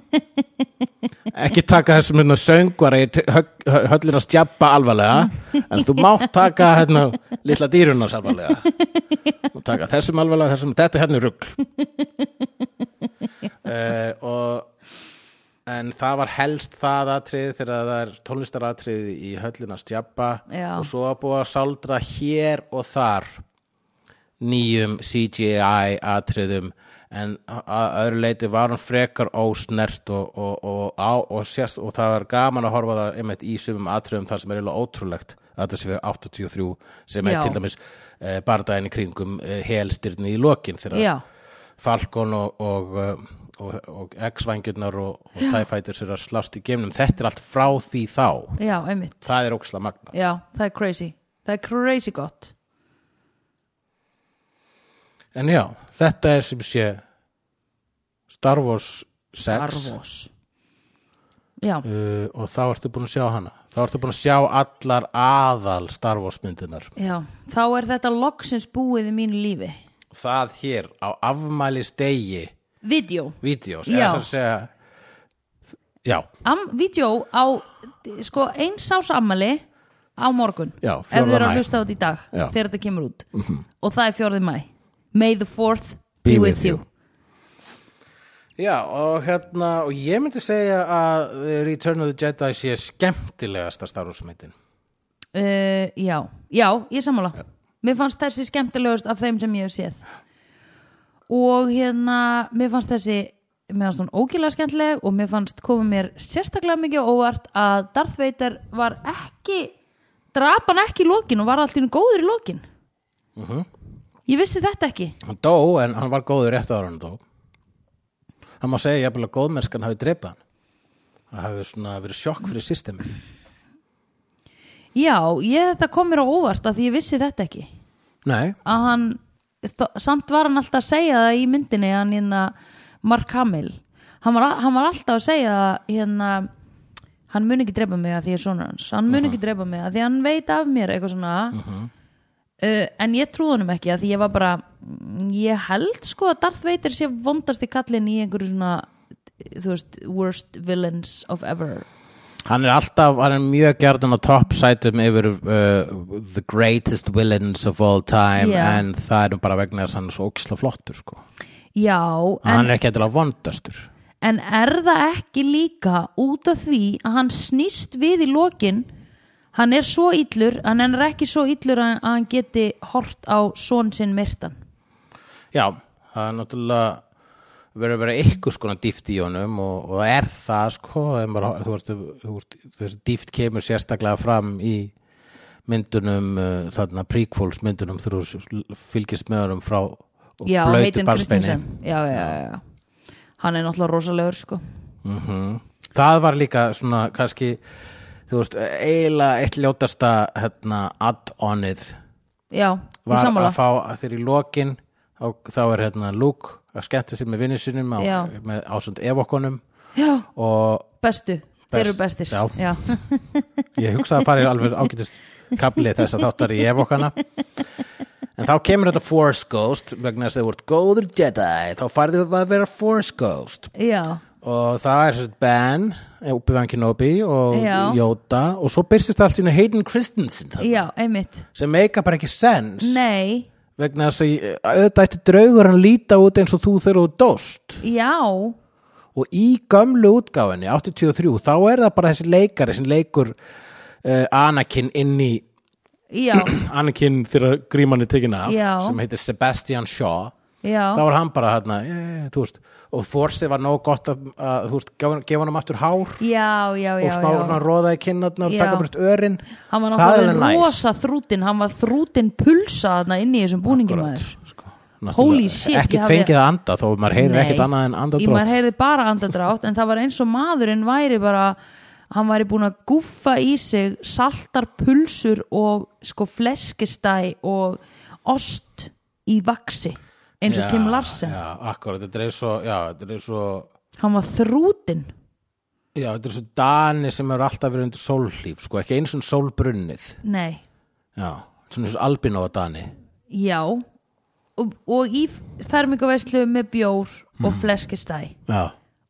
[SPEAKER 1] ekki taka þessu mynda söngvari, t- högg- hö- höllina stjabba alvarlega, en þú mátt taka hérna litla dýrunas alvarlega og taka þessum alvarlega þessum, þetta hérna er rugl uh, og Eh, en það var helst það atrið þegar það er tónlistaratrið í höllina stjabba
[SPEAKER 2] Já.
[SPEAKER 1] og svo að búa að sáldra hér og þar nýjum CGI atriðum en að öðru leiti var hún frekar ósnert og, og, og, og, og, sérst, og það var gaman að horfa á það einmitt í sumum atriðum þar sem er eiginlega ótrúlegt að þetta sé við 83 sem er
[SPEAKER 2] Já.
[SPEAKER 1] til dæmis e, bardaðin í kringum e, helstyrni í lokin þegar
[SPEAKER 2] Já.
[SPEAKER 1] Falcon og, og, uh, og, og X-vængirnar og, og TIE Fighters eru að slást í geimnum þetta er allt frá því þá
[SPEAKER 2] já, einmitt
[SPEAKER 1] það er óksla magna
[SPEAKER 2] já, það er crazy, það er crazy gott
[SPEAKER 1] en já, þetta er sem sé Star Wars 6
[SPEAKER 2] Arvos já,
[SPEAKER 1] Uh, og þá ertu búin að sjá hana þá ertu búin að sjá allar aðal Star Wars myndinar
[SPEAKER 2] já, þá er þetta loksins búið í mínu lífi
[SPEAKER 1] það hér á afmælistegi
[SPEAKER 2] Vídeó
[SPEAKER 1] vídeos
[SPEAKER 2] Já.
[SPEAKER 1] eða þess að segja já,
[SPEAKER 2] Am, vídeó á sko eins ás ammali á morgun
[SPEAKER 1] Já,
[SPEAKER 2] ef þið
[SPEAKER 1] 4.
[SPEAKER 2] eru að
[SPEAKER 1] maí.
[SPEAKER 2] hlusta á þetta í dag
[SPEAKER 1] Já.
[SPEAKER 2] þegar þetta kemur út og það er fjórði mæ May the 4th
[SPEAKER 1] Be
[SPEAKER 2] be, with
[SPEAKER 1] with
[SPEAKER 2] you,
[SPEAKER 1] you. já og hérna og ég myndi segja að uh, Return of the Jedi sé skemmtilegasta Star Wars myndin
[SPEAKER 2] Uh, já. já, ég er sammála mér fannst þessi skemmtilegust af þeim sem ég hef séð og hérna mér fannst þessi mér fannst hún ógilega skemmtileg og mér fannst koma mér sérstaklega mikið á óvart að Darth Vader var ekki drap hann ekki í lokin og var allt í einu góður í lokin ég vissi þetta ekki
[SPEAKER 1] hann dó en hann var góður rétt ára hann dó hann má segja jafnvel að góðmennskan hafi dreipað hann það hafi svona verið sjokk fyrir systemið
[SPEAKER 2] Já, ég þetta kom mér á óvart að því ég vissi þetta ekki
[SPEAKER 1] nei,
[SPEAKER 2] að hann, þó- samt var hann alltaf að segja það í myndinni hann hérna Mark Hamill hann var, hann var alltaf að segja það hérna, hann mun ekki drepa mig að því ég er sonur hans hann mun ekki drepa mig að því hann veit af mér eitthvað svona uh, en ég trúði honum ekki að því ég var bara mm, ég held sko að Darth Vader sé vondast í kallin í einhverju svona þú veist, worst villains of ever
[SPEAKER 1] hann er alltaf hann er mjög gerðan á topp sætum yfir uh, the greatest villains of all time
[SPEAKER 2] Já.
[SPEAKER 1] en það er nú bara vegna þess að hann er svo ógisla flottur sko.
[SPEAKER 2] Já, en
[SPEAKER 1] hann er ekki eitthvað vondastur
[SPEAKER 2] En er það ekki líka út af því að hann snýst við í lokin hann er svo illur en hann er ekki svo illur að, að hann geti hort á són sinn myrtan
[SPEAKER 1] já, það er náttúrulega verið að vera ykkur skona dýft í honum og, og það er það sko ef maður, þú veist, þú veist, þú veist dýft kemur sérstaklega fram í myndunum uh, þarna prequels myndunum þú veist, fylgist með honum frá og
[SPEAKER 2] Já,
[SPEAKER 1] blautu
[SPEAKER 2] heitin
[SPEAKER 1] barnsbeini.
[SPEAKER 2] Kristinsen já, já, já, já Hann er náttúrulega rosalegur sko
[SPEAKER 1] Mhm. það var líka svona kannski þú veist, eiginlega eitt ljótasta hérna, add-onið
[SPEAKER 2] Já, ég
[SPEAKER 1] var
[SPEAKER 2] sammála
[SPEAKER 1] að fá að þeir í lokin þá, þá er hérna Luke að skemmta sér með vinnu sinum á,
[SPEAKER 2] Já.
[SPEAKER 1] með ásönd evokonum
[SPEAKER 2] Já,
[SPEAKER 1] og
[SPEAKER 2] bestu, þeir eru
[SPEAKER 1] Best-
[SPEAKER 2] bestir
[SPEAKER 1] já.
[SPEAKER 2] já.
[SPEAKER 1] ég hugsaði að fara í alveg ágætist kapli þess að þáttar í evokana en þá kemur þetta Force Ghost vegna þess að þau voru góður Jedi þá farðu að vera Force Ghost
[SPEAKER 2] já,
[SPEAKER 1] og það er sérst Ben eh, Obi-Wan Kenobi og
[SPEAKER 2] Já.
[SPEAKER 1] Yoda og svo byrstist allt í hennu Hayden Christensen þarna,
[SPEAKER 2] já, einmitt
[SPEAKER 1] sem meika bara ekki sens
[SPEAKER 2] Nei,
[SPEAKER 1] vegna þess að ég- auðvitað ætti draugur hann líta út eins og þú þegar þú dóst
[SPEAKER 2] já
[SPEAKER 1] og í gömlu útgáfinni 83 þá er það bara þessi leikari sem leikur uh, Anakin inn í
[SPEAKER 2] Já,
[SPEAKER 1] Anakin þegar gríman er tekin af
[SPEAKER 2] Já.
[SPEAKER 1] sem heitir Sebastian Shaw
[SPEAKER 2] já
[SPEAKER 1] þá var hann bara hérna eh, þú veist, og Force var nóg gott að, að þú veist, gefa gefa honum aftur hár
[SPEAKER 2] Já, já, já,
[SPEAKER 1] og smá
[SPEAKER 2] já.
[SPEAKER 1] svona róða í kinnarnar og
[SPEAKER 2] Já.
[SPEAKER 1] taka bara eitt örin
[SPEAKER 2] hann var
[SPEAKER 1] það er
[SPEAKER 2] náttúrulega
[SPEAKER 1] alveg næs
[SPEAKER 2] rosa þrútin hann var þrútin pulsa þarna inn í þessum búningum
[SPEAKER 1] Akkurat,
[SPEAKER 2] aður
[SPEAKER 1] sko.
[SPEAKER 2] Holy
[SPEAKER 1] Náttúrulega
[SPEAKER 2] shit, ég
[SPEAKER 1] ekkert
[SPEAKER 2] hafði-
[SPEAKER 1] fengið að anda þó maður heyrir ekkert annað en
[SPEAKER 2] í maður
[SPEAKER 1] andadrótt
[SPEAKER 2] heyrði bara andadrátt en það var eins og maðurinn væri bara hann væri búin að guffa í sig saltar pulsur og sko fleskistæ og ost í vaksi eins og
[SPEAKER 1] Já,
[SPEAKER 2] Kim Larsen
[SPEAKER 1] já, akkurat, þetta er svo, já, þetta er svo
[SPEAKER 2] hann var þrútin
[SPEAKER 1] já, þetta er svo dani sem eru alltaf verið undir sólhlíf, sko, ekki eins og sólbrunnið
[SPEAKER 2] nei,
[SPEAKER 1] já, svona eins og albinóa dani
[SPEAKER 2] já og, og í fermingaveislu með bjór
[SPEAKER 1] Mm.
[SPEAKER 2] og fleskistæ
[SPEAKER 1] já,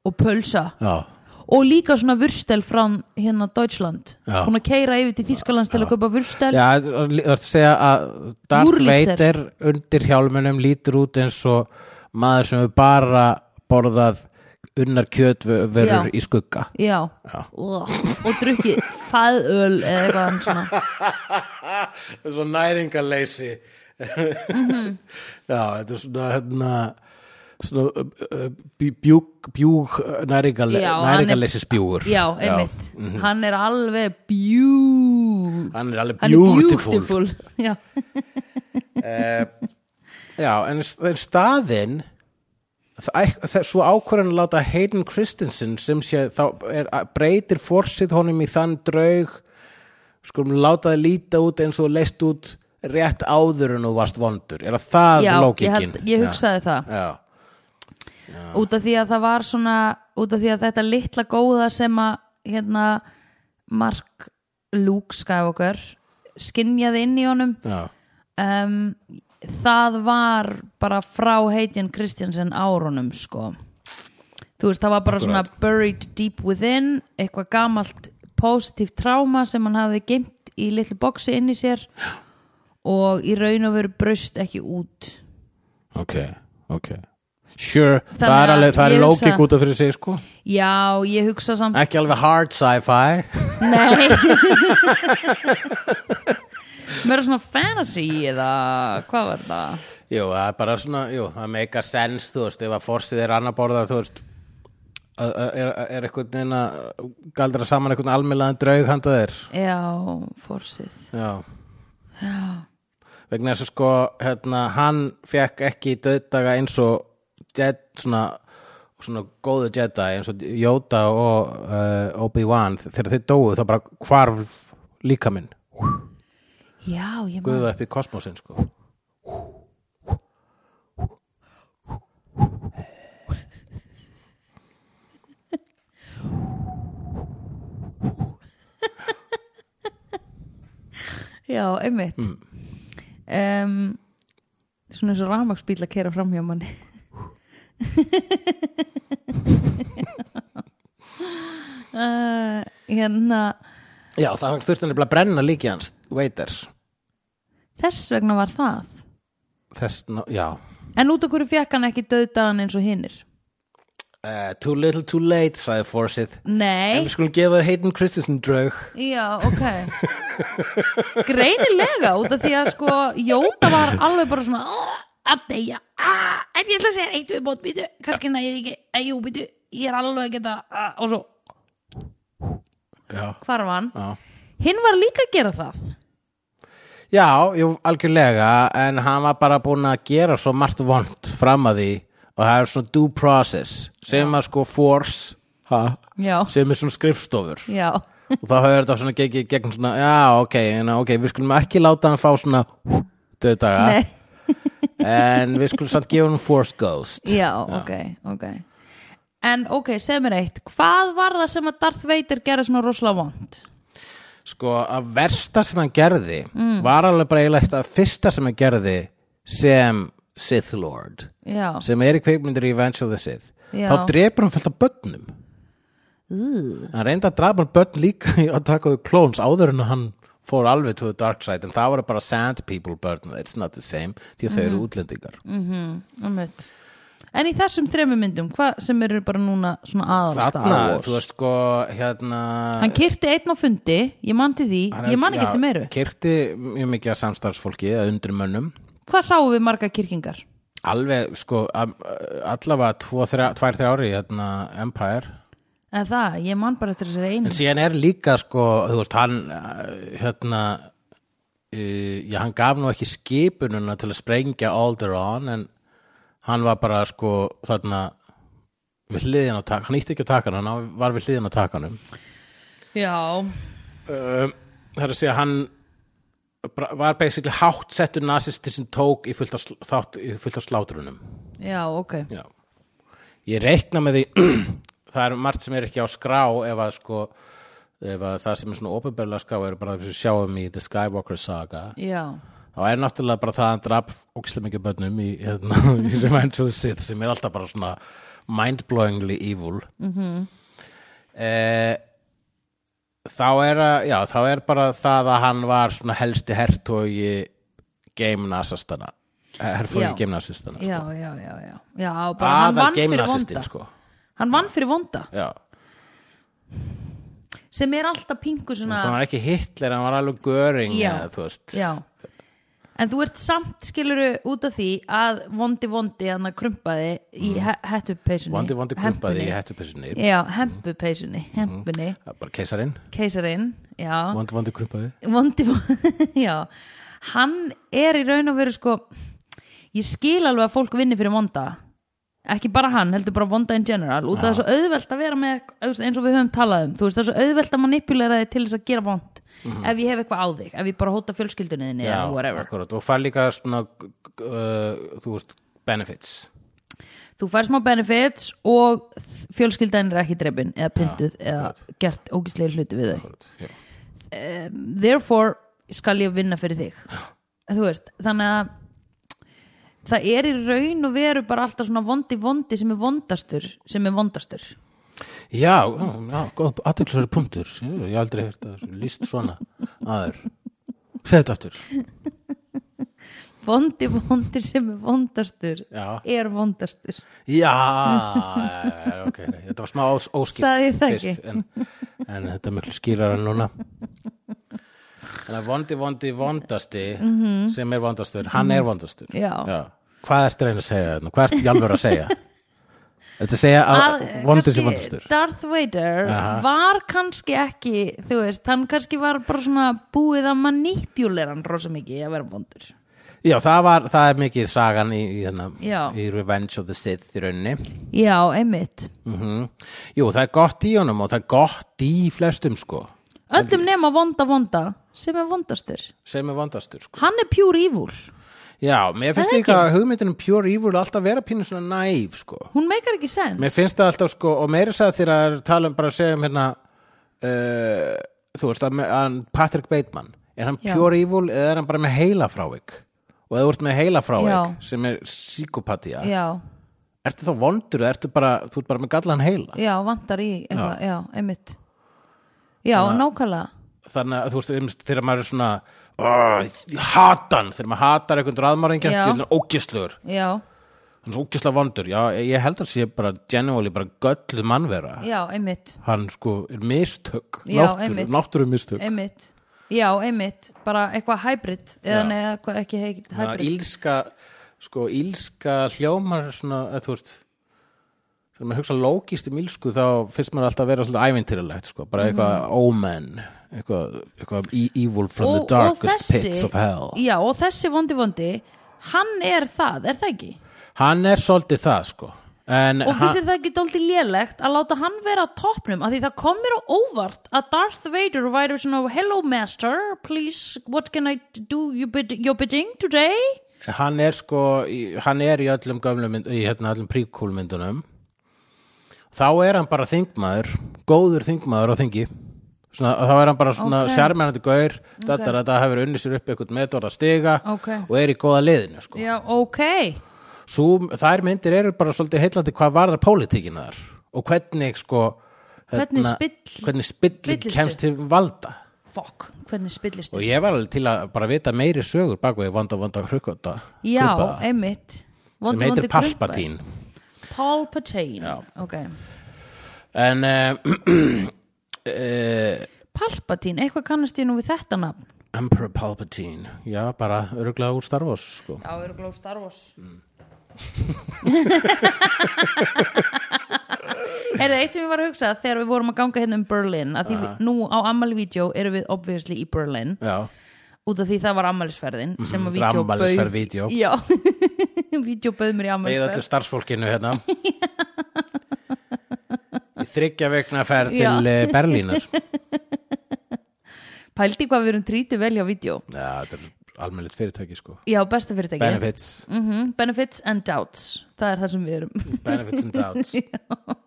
[SPEAKER 2] og pulsa
[SPEAKER 1] já
[SPEAKER 2] og líka svona vurstel frá hérna Deutschland
[SPEAKER 1] Já.
[SPEAKER 2] hún að keira yfir til Þískalands til að kaupa vurstel
[SPEAKER 1] Já, þú ert að segja að Darth
[SPEAKER 2] Úrlitsær.
[SPEAKER 1] Vader undir hjálmunum lítur út eins og maður sem er bara borðað unnar kjötverur
[SPEAKER 2] Já.
[SPEAKER 1] í skugga
[SPEAKER 2] já, já. og, og drukkið fæðöl eða eitthvað annað svona
[SPEAKER 1] það er svo næringarleysi
[SPEAKER 2] Mhm.
[SPEAKER 1] já, þetta er svona hérna svona uh, uh, bjú- bjúg, bjúg uh, næringarle,
[SPEAKER 2] Já, hann er-
[SPEAKER 1] næringarleysis bjúgur
[SPEAKER 2] já, einmitt,
[SPEAKER 1] Mhm.
[SPEAKER 2] hann er alveg bjú
[SPEAKER 1] hann er alveg
[SPEAKER 2] hann er
[SPEAKER 1] beautiful,
[SPEAKER 2] beautiful já,
[SPEAKER 1] já, en s- en staðinn það, það, svo ákvörðan að láta Hayden Christensen sem sé þá er, að- breytir forsið honum í þann draug skulum láta það líta út eins og þú leist út rétt áður en þú varst vondur er það það
[SPEAKER 2] já ég,
[SPEAKER 1] lókikin
[SPEAKER 2] held, ég hugsaði það
[SPEAKER 1] já, já.
[SPEAKER 2] út af því að það var svona út af því að þetta litla góða sem að hérna Mark Luke Skywalker skinjaði inn í honum
[SPEAKER 1] Já,
[SPEAKER 2] um, það var bara frá heitin Kristjansen árunum sko þú veist það var bara
[SPEAKER 1] Akkurat.
[SPEAKER 2] svona buried deep within eitthvað gamalt positive trauma sem hann hafði geimt í litlu boksi inn í sér og í raun og veru braust ekki út
[SPEAKER 1] ok, ok Sure, það er
[SPEAKER 2] að
[SPEAKER 1] alveg, það
[SPEAKER 2] ég
[SPEAKER 1] er
[SPEAKER 2] hugsa-
[SPEAKER 1] lókik út af fyrir sig sko
[SPEAKER 2] já ég hugsa samt
[SPEAKER 1] Ekki alveg hard sci-fi
[SPEAKER 2] Nei Mér er svona fantasy eða hvað var það?
[SPEAKER 1] Jú, það er bara svona, jú, það meika sens, þú veist, ef að forsið er annað borða, þú veist að- að- er, er eitthvað neina galdra saman eitthvað almennlaðan draug handa þér
[SPEAKER 2] Já, forsið
[SPEAKER 1] Já Vegna þess að sko, hérna, hann fekk ekki döðdaga eins og jet, svona, svona góðu Jedi eins og Yoda og uh, Obi-Wan þegar þeir dóu þá bara hvarf líka minn
[SPEAKER 2] Já, ég maður
[SPEAKER 1] guða upp í kosmosin sko.
[SPEAKER 2] Já, einmitt um, Svona eins og rafmaksbíl að kera framhjá manni uh, Hérna
[SPEAKER 1] Já, það þurfti hann að brenna líki hans Waiters
[SPEAKER 2] Þess vegna var það
[SPEAKER 1] Þess, no, já
[SPEAKER 2] En út okkur fekk hann ekki döðdagan eins og hinnir
[SPEAKER 1] uh, Too little too late, sagði Forsyth
[SPEAKER 2] Nei
[SPEAKER 1] En við skulum gefa Hayden Christensen draug
[SPEAKER 2] Já, ok Greinilega, út af því að sko Jóta var alveg bara svona "Ah, að deyja, ah, en ég ætla að segja eitt við bótt býtu, kannski næði ekki að jú býtu, ég er alveg að geta ah, og svo,
[SPEAKER 1] Já,
[SPEAKER 2] hvar var hann?
[SPEAKER 1] já
[SPEAKER 2] Hinn var líka að gera það
[SPEAKER 1] Já, jú, algjörlega, en hann var bara búin að gera svo margt vond fram að því og það er svona due process sem að sko force ha,
[SPEAKER 2] Já,
[SPEAKER 1] sem er svona skrifstofur
[SPEAKER 2] já,
[SPEAKER 1] og þá höfður þetta svona gegn, gegn svona, já, ok, en, ok, við skulum ekki láta hann fá svona döðdaga,
[SPEAKER 2] nei
[SPEAKER 1] en við skulum samt gefa hann forced ghost.
[SPEAKER 2] Já, ok, ok En ok, segð mér eitt, hvað var það sem að Darth Vader gera svona rosalega vond?
[SPEAKER 1] Sko, að versta sem hann gerði
[SPEAKER 2] Mm.
[SPEAKER 1] var alveg bara eiginlegt að fyrsta sem hann gerði sem Sith Lord,
[SPEAKER 2] Já,
[SPEAKER 1] sem er í kveikmyndir í Revenge of the Sith.
[SPEAKER 2] Já.
[SPEAKER 1] Þá drepur hann fullt af börnum.
[SPEAKER 2] Ú,
[SPEAKER 1] hann reyndi að drapa hann börn líka í að taka við klóns áður en hann fór alveg to the dark side en það voru bara sand people börn it's not the same því að þau
[SPEAKER 2] Mhm.
[SPEAKER 1] eru útlendingar
[SPEAKER 2] Mm. einmitt. En í þessum þremur myndum, hvað sem eru bara núna svona aðal Star
[SPEAKER 1] þarna,
[SPEAKER 2] Wars?
[SPEAKER 1] þú veist sko hérna
[SPEAKER 2] Hann kyrti einn á fundi, ég man til því,
[SPEAKER 1] hann er-
[SPEAKER 2] ég man ekki
[SPEAKER 1] já,
[SPEAKER 2] eftir meiru.
[SPEAKER 1] kyrkti mjög mikið að samstarfsfólki eða undir mönnum
[SPEAKER 2] Hvað sáum við marga kyrkingar?
[SPEAKER 1] alveg sko að- allavega tvo, þrjá, tvær, þrjá ári hérna Empire
[SPEAKER 2] Eða það, ég man bara eftir þessari
[SPEAKER 1] en
[SPEAKER 2] einu.
[SPEAKER 1] síðan er líka sko þú veist hann uh, hérna uh, já hann gaf nú ekki skipununa til að sprengja Alderaan en hann var bara sko þarna við hliðin á tak hann ítti ekki á takanum, hann var við hliðin á takanum
[SPEAKER 2] Já,
[SPEAKER 1] um, það er að segja hann bara- var basically hátt settur nasisti sem tók í fullt af sl- þátt- í fullt af slátrunum
[SPEAKER 2] já, ok.
[SPEAKER 1] Já. Ég reikna með því það er margt sem er ekki á skrá ef að sko ef að það sem er svona opinberlega skrá er bara þess að sjáum í The Skywalker saga
[SPEAKER 2] Já,
[SPEAKER 1] þá er náttúrulega bara það að hann drap ógislega mikið bönnum í, hérna, í Revenge of the Sith sem er alltaf bara svona mindblowingly evil mm
[SPEAKER 2] Mhm.
[SPEAKER 1] þá er að, já, þá er bara það að hann var svona helsti hertogi game nasastana herfogi
[SPEAKER 2] Já.
[SPEAKER 1] game nasistana
[SPEAKER 2] já, já, já, já. Já, bara hann
[SPEAKER 1] aðal
[SPEAKER 2] vann
[SPEAKER 1] game
[SPEAKER 2] fyrir
[SPEAKER 1] nasistin
[SPEAKER 2] vonda.
[SPEAKER 1] sko
[SPEAKER 2] hann vann fyrir vonda
[SPEAKER 1] já
[SPEAKER 2] sem er alltaf pingu
[SPEAKER 1] Þú
[SPEAKER 2] svona
[SPEAKER 1] veist, hann var ekki Hitler, hann var alveg göring
[SPEAKER 2] Já.
[SPEAKER 1] eða, þú veist
[SPEAKER 2] já. en þú ert samt skiluru út af því að vondi vondi hann að krumpaði í he hettupeysunni
[SPEAKER 1] Mm. vondi vondi krumpaði í Mm-hmm.
[SPEAKER 2] hempunni.
[SPEAKER 1] hættupessunni
[SPEAKER 2] já, hempupeysunni, hempunni
[SPEAKER 1] bara keisarin,
[SPEAKER 2] keisarinn, já
[SPEAKER 1] vondi vondi krumpaði
[SPEAKER 2] vondi já, hann er í raun og veru sko ég skil alveg að fólk vinni fyrir vonda ekki bara hann, heldur bara vonda in general út af það er svo auðvelt að vera með þú veist, eins og við höfum talað um, þú veist það er svo auðvelt að manipulera þig til þess að gera vond ef ég hef eitthvað á þig, ef ég bara hóta fjölskyldunni þinni eða whatever,
[SPEAKER 1] akkurat, og fær líka svona uh, þú veist, benefits
[SPEAKER 2] þú fær smá benefits og þ- fjölskyldan er ekki drefin eða pyntuð eða gert ógislega hluti við þau
[SPEAKER 1] Akkurat, já.
[SPEAKER 2] therefore skal ég vinna fyrir þig þú veist, þannig að það er í raun og veru bara alltaf svona vondi vondi sem er vondastur sem er vondastur
[SPEAKER 1] já, já, já, góð, aðeinslega punktur ég ég hef aldrei heyrt að líst svona aður, segðu þetta aftur
[SPEAKER 2] vondi vondi sem er vondastur
[SPEAKER 1] Já.
[SPEAKER 2] er vondastur
[SPEAKER 1] já, eh, ok nei, þetta var smá ós, óskipt
[SPEAKER 2] Sagði ég það ekki?
[SPEAKER 1] fyrst, en, en þetta er miklu skýrar en núna en að vondi vondi vondasti sem er vondastur, hann er vondastur
[SPEAKER 2] Mhm. Já.
[SPEAKER 1] hvað ertu reyna að segja þarna, hvað ertu jálfur að segja ertu að segja að, að Ah, vondi sem vondastur
[SPEAKER 2] eh, Darth Vader
[SPEAKER 1] Aha.
[SPEAKER 2] var kannski ekki þú veist, hann kannski var bara svona búið að manipulera hann rosa mikið að vera vondur
[SPEAKER 1] Já, það, var, það er mikið sagan í, í, hana,
[SPEAKER 2] Já.
[SPEAKER 1] í Revenge of the Sith í rauninni.
[SPEAKER 2] já, einmitt
[SPEAKER 1] Mm Jú, það er gott í honum og það er gott í flestum sko,
[SPEAKER 2] öllum nema vonda vonda sem er vondastur
[SPEAKER 1] sem er vandastur sko.
[SPEAKER 2] hann er pure evil
[SPEAKER 1] Já, mér finnst
[SPEAKER 2] Það er
[SPEAKER 1] líka að hugmyndin um Pure Evil alltaf vera pínu svona næf sko.
[SPEAKER 2] hún meikar ekki sens
[SPEAKER 1] Mér finnst það alltaf sko, og meira sagði þegar að tala um bara að segja um hérna, uh, þú veist, að, me- að Patrick Bateman, er hann
[SPEAKER 2] Já.
[SPEAKER 1] Pure Evil eða er hann bara með heila frávik? Og ef þú ert með heila
[SPEAKER 2] Já.
[SPEAKER 1] frávik sem er psykopatía,
[SPEAKER 2] já,
[SPEAKER 1] ertu þá vondur eða ertu bara, þú ert bara með gallan heila?
[SPEAKER 2] já, vantar í eitthvað, já, einmitt já, nákvæmlega
[SPEAKER 1] þannig að þú veist, einmitt þegar maður er svona "Ugh, ég hata hann, þegar maður hatar einhvern raðmæringja,
[SPEAKER 2] Já.
[SPEAKER 1] þannig ógislegur
[SPEAKER 2] já,
[SPEAKER 1] hann er svo ógislega vondur, já, ég held að sé bara genuinely bara gölluð mannvera
[SPEAKER 2] já, einmitt
[SPEAKER 1] hann sko er mistök
[SPEAKER 2] Já,
[SPEAKER 1] náttúru,
[SPEAKER 2] einmitt.
[SPEAKER 1] náttúru mistök
[SPEAKER 2] einmitt, já, einmitt bara eitthvað hybrid eða
[SPEAKER 1] Já.
[SPEAKER 2] nei, eitthvað ekki hybrid
[SPEAKER 1] þannig að ílska sko, ílska hljómar svona, eða, þú veist þegar maður hugsa lógist um ílsku þá finnst maður alltaf að vera svolítið ævintýrulegt sko, bara
[SPEAKER 2] Mhm.
[SPEAKER 1] eitthvað omen eitthvað, eitthvað e- evil from the darkest pits of hell
[SPEAKER 2] já, og þessi vondi vondi hann er það, er það ekki
[SPEAKER 1] hann er svolítið það sko en
[SPEAKER 2] og
[SPEAKER 1] hann,
[SPEAKER 2] finnst þér það ekki dóldi lélegt að láta hann vera á toppnum af því það kom mér á óvart að Darth Vader væri svona hello master, please, what can I do your, bid your bidding today
[SPEAKER 1] hann er sko í- hann er í öllum gömlum mynd, í hérna öllum príkúlmyndunum þá er hann bara þingmaður góður þingmaður á þingi svona, þá er hann bara svona
[SPEAKER 2] Ok.
[SPEAKER 1] okay. sjarmennandi gaur þetta er að það hefur unnið sér upp eitthvað meðdóra stiga
[SPEAKER 2] Ok.
[SPEAKER 1] og er í góða liðinu sko.
[SPEAKER 2] já, ok
[SPEAKER 1] Sú, þær myndir eru bara svolítið heillandi hvað varðar pólitíkina þar og hvernig sko
[SPEAKER 2] Hvernig spill-
[SPEAKER 1] hvernig spilli
[SPEAKER 2] spillistu.
[SPEAKER 1] kemst til valda
[SPEAKER 2] fokk, hvernig spillist
[SPEAKER 1] og
[SPEAKER 2] þú?
[SPEAKER 1] ég var alveg til að bara vita meiri sögur bakveg vonda vonda hrukkonda
[SPEAKER 2] Já, einmitt
[SPEAKER 1] sem
[SPEAKER 2] Vondi,
[SPEAKER 1] heitir
[SPEAKER 2] vondi krumpa.
[SPEAKER 1] Palpatín
[SPEAKER 2] Palpatine, ok
[SPEAKER 1] en uh, uh,
[SPEAKER 2] Palpatine, eitthvað kannast ég nú við þetta nafn
[SPEAKER 1] Emperor Palpatine já, bara öruglega úr Star Wars sko.
[SPEAKER 2] Já, eru glóð Star Wars
[SPEAKER 1] Mm.
[SPEAKER 2] Er það eitt sem ég var að hugsa þegar við vorum að ganga hérna um Berlin að því við, nú á ammælivídeó erum við obviously í Berlin
[SPEAKER 1] já,
[SPEAKER 2] út af því það var ammælisferðin
[SPEAKER 1] Mhm,
[SPEAKER 2] sem að vídeó
[SPEAKER 1] rammalistar vídeo
[SPEAKER 2] Já, vídeó bauð mér í
[SPEAKER 1] beigð
[SPEAKER 2] ammælisferð
[SPEAKER 1] öllu starfsfólkinu hérna í þryggja vegna ferð
[SPEAKER 2] Já.
[SPEAKER 1] til eh, Berlínar já,
[SPEAKER 2] Pældi hvað við erum trítið vel hjá vídeó
[SPEAKER 1] þetta er almennilegt fyrirtæki sko
[SPEAKER 2] Já, besta fyrirtæki
[SPEAKER 1] benefits,
[SPEAKER 2] mm benefits and doubts það er það sem við erum
[SPEAKER 1] benefits and doubts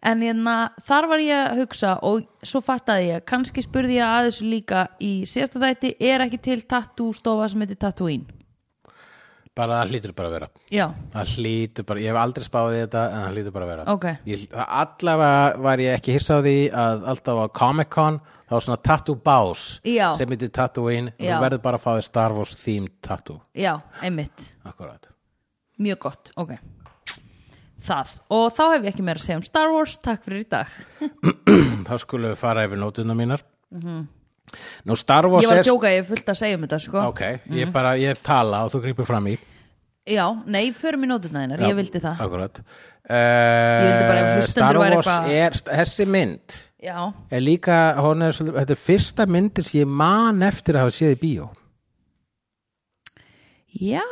[SPEAKER 2] en hérna, þar var ég að hugsa og svo fattaði ég, kannski spurði ég að þessu líka í síðasta þætti er ekki til tattoo stofa sem heitir Tatooine
[SPEAKER 1] bara það hlýtur bara að vera
[SPEAKER 2] já,
[SPEAKER 1] Það hlýtur bara, ég hef aldrei spáðið í þetta en það hlýtur bara að vera
[SPEAKER 2] Ok.
[SPEAKER 1] ég, það- Allavega var ég ekki hissa á því að alltaf á Comic Con þá var svona tattoo bás
[SPEAKER 2] Já.
[SPEAKER 1] sem heitir Tatooine og
[SPEAKER 2] Já.
[SPEAKER 1] þú verður bara að fá þér Star Wars themed tattoo
[SPEAKER 2] já, einmitt
[SPEAKER 1] Akkurat
[SPEAKER 2] mjög gott, ok það og þá hef ég ekki meira að segja um Star Wars takk fyrir í dag
[SPEAKER 1] þá skulum við fara yfir nótuna mínar nú Star Wars
[SPEAKER 2] Mhm. ég var
[SPEAKER 1] er
[SPEAKER 2] að djóka, ég er fullt að segja um þetta sko.
[SPEAKER 1] ok, ég bara, ég tala og þú grýpur fram í
[SPEAKER 2] já, nei, förum í nótunæðinar, ég vildi það
[SPEAKER 1] akkurat
[SPEAKER 2] vildi bara að
[SPEAKER 1] uh,
[SPEAKER 2] hlustendur
[SPEAKER 1] Star
[SPEAKER 2] væru
[SPEAKER 1] Wars
[SPEAKER 2] eitthvað-
[SPEAKER 1] er, þessi mynd
[SPEAKER 2] já,
[SPEAKER 1] er líka, hún er, svolítið- þetta er fyrsta myndin sem ég man eftir að hafa séð í bíó
[SPEAKER 2] já,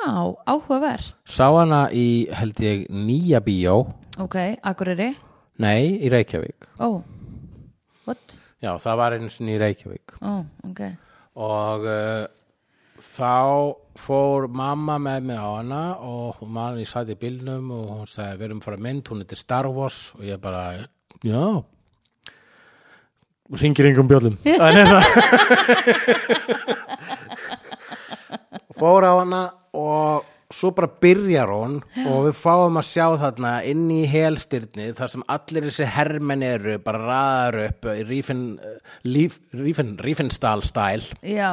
[SPEAKER 2] áhugavert
[SPEAKER 1] sá hana í, held ég, nýja bíó
[SPEAKER 2] ok, Akureyri
[SPEAKER 1] nei, í Reykjavík
[SPEAKER 2] ó, what?
[SPEAKER 1] já, það var einu sinni í Reykjavík
[SPEAKER 2] ó, ok
[SPEAKER 1] og uh, þá fór mamma með mig á hana og hún man, ég satt í bílnum og hún sagði, við erum að fara í mynd, hún heitir Star Wars og ég bara, já ringir engum bjöllum það er það fór á hana og svo bara byrjar hún og við fáum að sjá þarna inn í helstyrni þar sem allir þessi hermenn eru bara raðar upp í eh, rífin, líf, rífin, rífinstall stæl
[SPEAKER 2] já,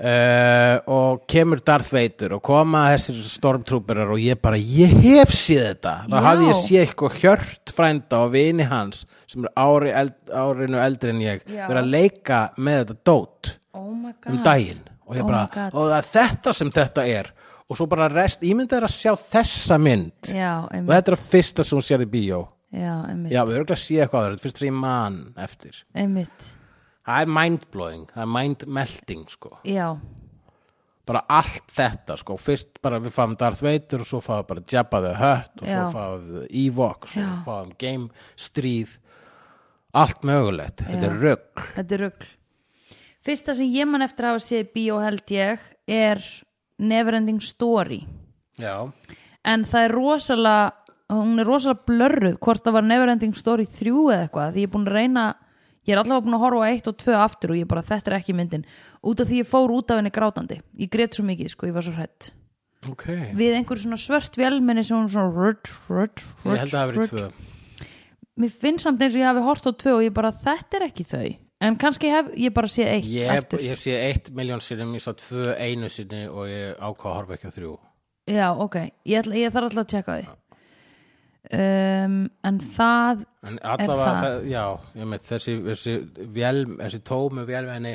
[SPEAKER 1] uh, og kemur Darth Vader og koma þessir stormtrooperar og ég bara, ég hef séð þetta þá
[SPEAKER 2] Já.
[SPEAKER 1] hafði ég séð eitthvað hjört frænda og vini hans sem er ári, eld, árinu eldri en ég
[SPEAKER 2] Já.
[SPEAKER 1] vera að leika með þetta dót
[SPEAKER 2] oh my god
[SPEAKER 1] um daginn og ég
[SPEAKER 2] Oh
[SPEAKER 1] bara,
[SPEAKER 2] my God.
[SPEAKER 1] og það er þetta sem þetta er og svo bara rest, ímyndað er að sjá þessa mynd
[SPEAKER 2] já,
[SPEAKER 1] og
[SPEAKER 2] einmitt,
[SPEAKER 1] þetta er að fyrsta sem hún sér í bíó
[SPEAKER 2] já, einmitt.
[SPEAKER 1] já, við erum ekki að sé eitthvað aður, þetta er fyrst sem ég man eftir
[SPEAKER 2] einmitt.
[SPEAKER 1] það er mindblowing, það er mindmelting sko
[SPEAKER 2] já,
[SPEAKER 1] bara allt þetta sko, fyrst bara við fáum Darth Vader og svo fáum við bara Jabba the Hutt og svo
[SPEAKER 2] Já.
[SPEAKER 1] fáum við Ewok svo
[SPEAKER 2] Já.
[SPEAKER 1] fáum við Game Stríð allt mögulegt, þetta er rögg
[SPEAKER 2] þetta er rugl fyrsta sem ég man eftir að hafa séð í bíó held ég er Neverending Story
[SPEAKER 1] já,
[SPEAKER 2] en það er rosalega hún er rosalega blörruð hvort það var Neverending Story 3 eða eitthvað því ég er búin að reyna ég er allavega búin að horfa á eitt og tvö aftur og ég bara þetta er ekki myndin út af því ég fór út af henni grátandi ég grét svo mikið sko, ég var svo hrætt
[SPEAKER 1] ok
[SPEAKER 2] við einhver svona svört vélmenni sem hún svona rödd, rödd,
[SPEAKER 1] ég
[SPEAKER 2] rödd,
[SPEAKER 1] held að það hafi verið
[SPEAKER 2] rödd.
[SPEAKER 1] tvö
[SPEAKER 2] mér finnst samt eins og ég hafi hort á tvö og ég bara þetta er ekki þau en kannski hef ég bara séð eitt
[SPEAKER 1] ég hef,
[SPEAKER 2] aftur
[SPEAKER 1] ég hef séð eitt miljón sinnum, ég sá tvö einu sinni og ég ákvað að horfa ekki á þrjú
[SPEAKER 2] Já, ok, ég, ætla, ég þarf alltaf að tjekka á því um, En það
[SPEAKER 1] en allavega,
[SPEAKER 2] það?
[SPEAKER 1] það, já, ég með þessi, þessi vél, þessi tómu vélvenni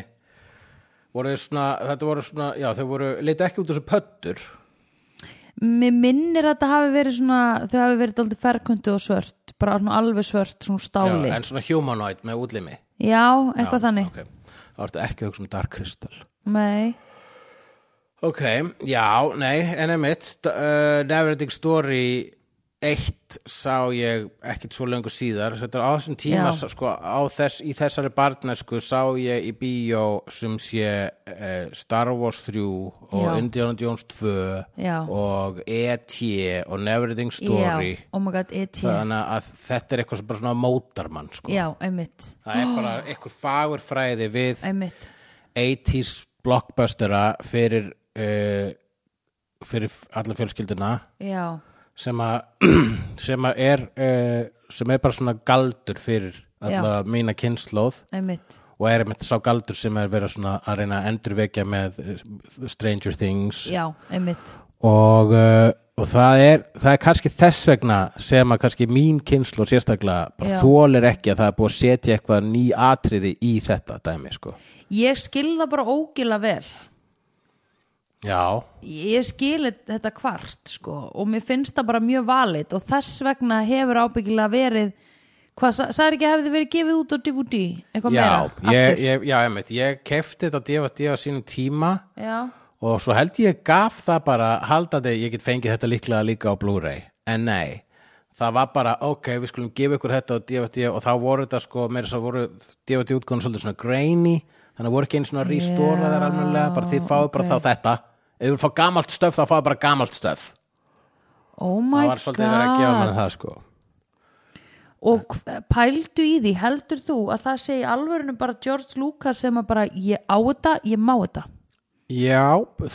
[SPEAKER 1] voru svona, þetta voru svona, já, þau voru leita ekki út þessu pöttur
[SPEAKER 2] Mér minnir að það hafi verið svona Þau hafi verið daldið ferkundu og svört Bara svona alveg svört, svona
[SPEAKER 1] já,
[SPEAKER 2] stáli Já,
[SPEAKER 1] en svona humanoid með útlimi
[SPEAKER 2] eitthvað þannig
[SPEAKER 1] okay. Það ertu ekki að hugsa um Dark Crystal
[SPEAKER 2] Nei,
[SPEAKER 1] Ok, já, nei, en emitt uh, Neverending Story eitt sá ég ekkit svo löngu síðar þetta er á þessum tíma
[SPEAKER 2] Já.
[SPEAKER 1] sko, á þess, í þessari barnesku sá ég í bíó sem sé uh, Star Wars 3 og
[SPEAKER 2] Já.
[SPEAKER 1] Indiana Jones 2
[SPEAKER 2] Já.
[SPEAKER 1] og E.T. og Neverending Story
[SPEAKER 2] já, oh my god, E.T.
[SPEAKER 1] þannig að þetta er eitthvað sem bara svona mótar mann sko.
[SPEAKER 2] Já, einmitt,
[SPEAKER 1] það er bara eitthvað fagur fræði við
[SPEAKER 2] einmitt
[SPEAKER 1] 80s blockbustera fyrir uh, fyrir alla fjölskylduna
[SPEAKER 2] Já,
[SPEAKER 1] sem að sem að er uh, sem er bara svona galdur fyrir alla mína kynnslóð
[SPEAKER 2] einmitt
[SPEAKER 1] og er einmitt sá galdur sem er verið svona að reyna að endurvekja með eh, Stranger Things
[SPEAKER 2] Já, einmitt
[SPEAKER 1] og, uh, og það er það er kannski þess vegna sem að kannski mín kynnslóð sérstaklega bara
[SPEAKER 2] Já.
[SPEAKER 1] þólir ekki að það er búið að setja eitthvað ný atriði í þetta dæmi sko.
[SPEAKER 2] Ég skil það bara ógila vel
[SPEAKER 1] Já,
[SPEAKER 2] ég skil þetta kvart sko, og mér finnst það bara mjög valit og þess vegna hefur ábyggilega verið hvað, sa- sagði ekki að hefði verið gefið út á DVD, eitthvað
[SPEAKER 1] já,
[SPEAKER 2] meira
[SPEAKER 1] ég,
[SPEAKER 2] aftur?
[SPEAKER 1] ég, já, einmitt, ég kefti þetta DVD á sínum tíma
[SPEAKER 2] já,
[SPEAKER 1] og svo held ég gaf það bara haldandi, ég get fengið þetta líklega líka á Blu-ray, en nei það var bara, ok, við skulum gefa ykkur þetta á DVD og þá voru þetta sko meira svo voru DVD útgóðan svolítið svona grainy þannig voru ekki einu svona restore
[SPEAKER 2] Já,
[SPEAKER 1] þær almennilega, bara þið fáið bara þá þetta ef við fá gamalt stöf, þá fáið bara gamalt stöf
[SPEAKER 2] oh
[SPEAKER 1] það
[SPEAKER 2] my
[SPEAKER 1] var svolítið verið að gefa
[SPEAKER 2] god
[SPEAKER 1] mann það sko
[SPEAKER 2] og hv- pældu í því, heldur þú að það segi alvörinu bara George Lucas sem að bara ég á þetta, ég má þetta
[SPEAKER 1] Já,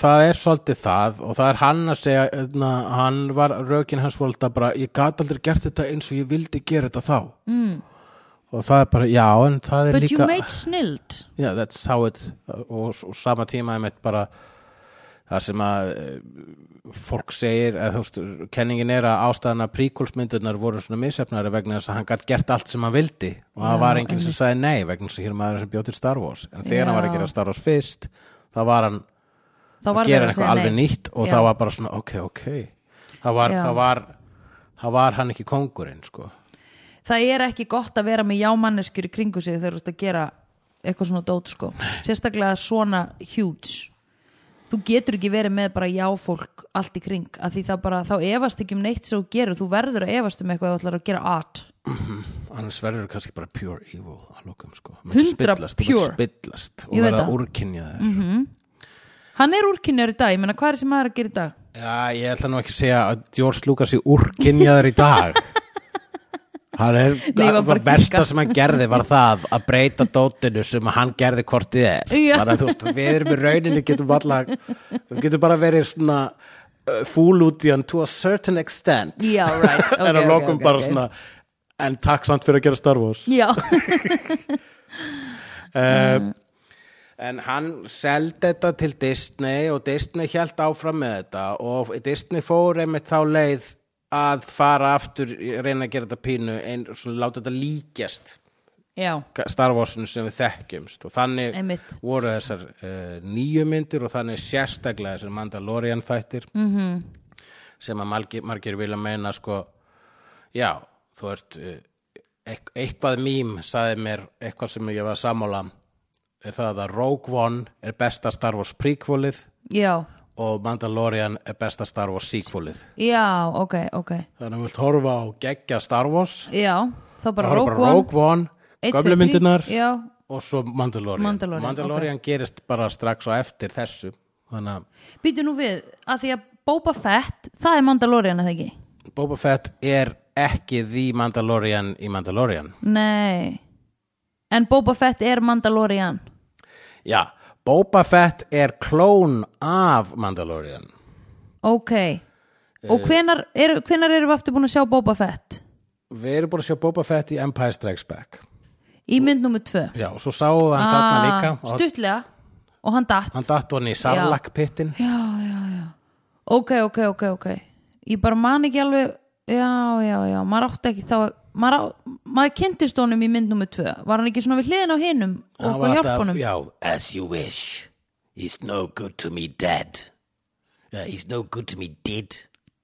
[SPEAKER 1] það er svolítið það og það er hann að segja na, hann var, rökin hans var alltaf bara ég gat aldrei gert þetta eins og ég vildi gera þetta þá mm. og það er bara, já, en það er
[SPEAKER 2] but you
[SPEAKER 1] líka
[SPEAKER 2] made snild
[SPEAKER 1] yeah, that's how it og, og sama tíma einmitt bara það sem að eh, fólk segir að, þú veist, kenningin er að ástæðan að príkulsmyndunar voru svona misefnari vegna þess að hann gætt gert allt sem hann vildi og það
[SPEAKER 2] Já,
[SPEAKER 1] var enginn sem sagði nei vegna þess að hér er maður sem bjóð til Star Wars en þegar hann var
[SPEAKER 2] Já.
[SPEAKER 1] að gera Star Wars fyrst þá var hann
[SPEAKER 2] þá
[SPEAKER 1] að
[SPEAKER 2] var
[SPEAKER 1] gera
[SPEAKER 2] verið að
[SPEAKER 1] eitthvað
[SPEAKER 2] segja
[SPEAKER 1] alveg
[SPEAKER 2] nei.
[SPEAKER 1] nýtt og
[SPEAKER 2] Já.
[SPEAKER 1] það var bara svona ok, ok það var,
[SPEAKER 2] Já.
[SPEAKER 1] það var, það var hann ekki kongurinn sko.
[SPEAKER 2] það er ekki gott að vera með jámanneskjur í kringu sig þegar þú ert að gera eitthvað svona dót sko sérstaklega svona huge þú getur ekki verið með bara jáfólk allt í kring, af því það bara þá efast ekki um neitt sem þú gerur, þú verður að efast um eitthvað ef þú ætlar að gera art
[SPEAKER 1] annars verður þú kannski bara pure evil að lókum sko, Þú myndir
[SPEAKER 2] 100
[SPEAKER 1] spillast, þú myndir
[SPEAKER 2] pure.
[SPEAKER 1] spillast og
[SPEAKER 2] Ég veit
[SPEAKER 1] verða
[SPEAKER 2] það. Mhm.
[SPEAKER 1] úrkynja þér mm -hmm.
[SPEAKER 2] hann er úrkynjar í dag, ég meina hvað er sem maður er að gera í dag
[SPEAKER 1] Já, ég ætla nú ekki að segja að George Lucas sé úrkynjaður í dag Hann er
[SPEAKER 2] Nei, ég var bara
[SPEAKER 1] það
[SPEAKER 2] að
[SPEAKER 1] versta
[SPEAKER 2] giska.
[SPEAKER 1] sem hann gerði var það að breyta dótinu sem hann gerði hvort þið er
[SPEAKER 2] Já.
[SPEAKER 1] Bara, þú veist, við erum í rauninni getum alla við getum bara verið svona uh, fúl út í hann to a certain extent
[SPEAKER 2] já, right, ok,
[SPEAKER 1] en að
[SPEAKER 2] ok,
[SPEAKER 1] lokum
[SPEAKER 2] ok,
[SPEAKER 1] bara
[SPEAKER 2] ok.
[SPEAKER 1] svona en takk samt fyrir að gera Star Wars
[SPEAKER 2] já,
[SPEAKER 1] uh, en hann seldi þetta til Disney og Disney hjælt áfram með þetta og Disney fór einmitt þá leið að fara aftur reyna að gera þetta pínu en svona láta þetta líkjast
[SPEAKER 2] já,
[SPEAKER 1] Star Warsinu sem við þekkjumst og þannig
[SPEAKER 2] Einmitt.
[SPEAKER 1] voru þessar uh, nýju myndir og þannig sérstaklega þessar Mandalorian þættir -hmm.
[SPEAKER 2] Mhm.
[SPEAKER 1] sem að margir, margir vilja meina sko, já, þú veist uh, eit- eitthvað mím sagði mér eitthvað sem ég var að sammála um. er það að Rogue One er besta Star Wars prequelið
[SPEAKER 2] já
[SPEAKER 1] og Mandalorian er besta Star Wars sequelið
[SPEAKER 2] já, ok, ok
[SPEAKER 1] þannig að vilt horfa á geggja Star Wars
[SPEAKER 2] já, þá bara
[SPEAKER 1] horfa
[SPEAKER 2] Rogue
[SPEAKER 1] bara
[SPEAKER 2] One
[SPEAKER 1] Rogue One
[SPEAKER 2] einn,
[SPEAKER 1] gömlu
[SPEAKER 2] tveir, þrír.
[SPEAKER 1] myndirnar
[SPEAKER 2] já,
[SPEAKER 1] og svo Mandalorian
[SPEAKER 2] Mandalorian,
[SPEAKER 1] gerist bara strax á eftir þessu þannig að
[SPEAKER 2] býtu nú við að því að Boba Fett, það er Mandalorian að það ekki
[SPEAKER 1] Boba Fett er ekki því Mandalorian í Mandalorian
[SPEAKER 2] Nei En Boba Fett er Mandalorian
[SPEAKER 1] já, Boba Fett er klón af Mandalorian
[SPEAKER 2] Ok Og
[SPEAKER 1] Eh.
[SPEAKER 2] hvenar, er, hvenar erum við aftur búin að sjá Boba Fett?
[SPEAKER 1] við erum búin að sjá Boba Fett í Empire Strikes Back
[SPEAKER 2] Í mynd nummer tvö
[SPEAKER 1] já, og svo sáum við hann
[SPEAKER 2] Ah,
[SPEAKER 1] þarna líka og
[SPEAKER 2] Stuttlega Og hann datt
[SPEAKER 1] hann datt hann í Sarlacc pittin
[SPEAKER 2] Já, já, já Ok, ok, ok, ok Ég bara man ekki alveg Já, já, já, maður átti ekki þá maður, á, maður kynntist honum í mynd nummer tvö Var hann ekki svona við hliðin á hinum
[SPEAKER 1] hann
[SPEAKER 2] og hvað hjálp honum?
[SPEAKER 1] já, as you wish he's no good to me dead uh, he's no good to me dead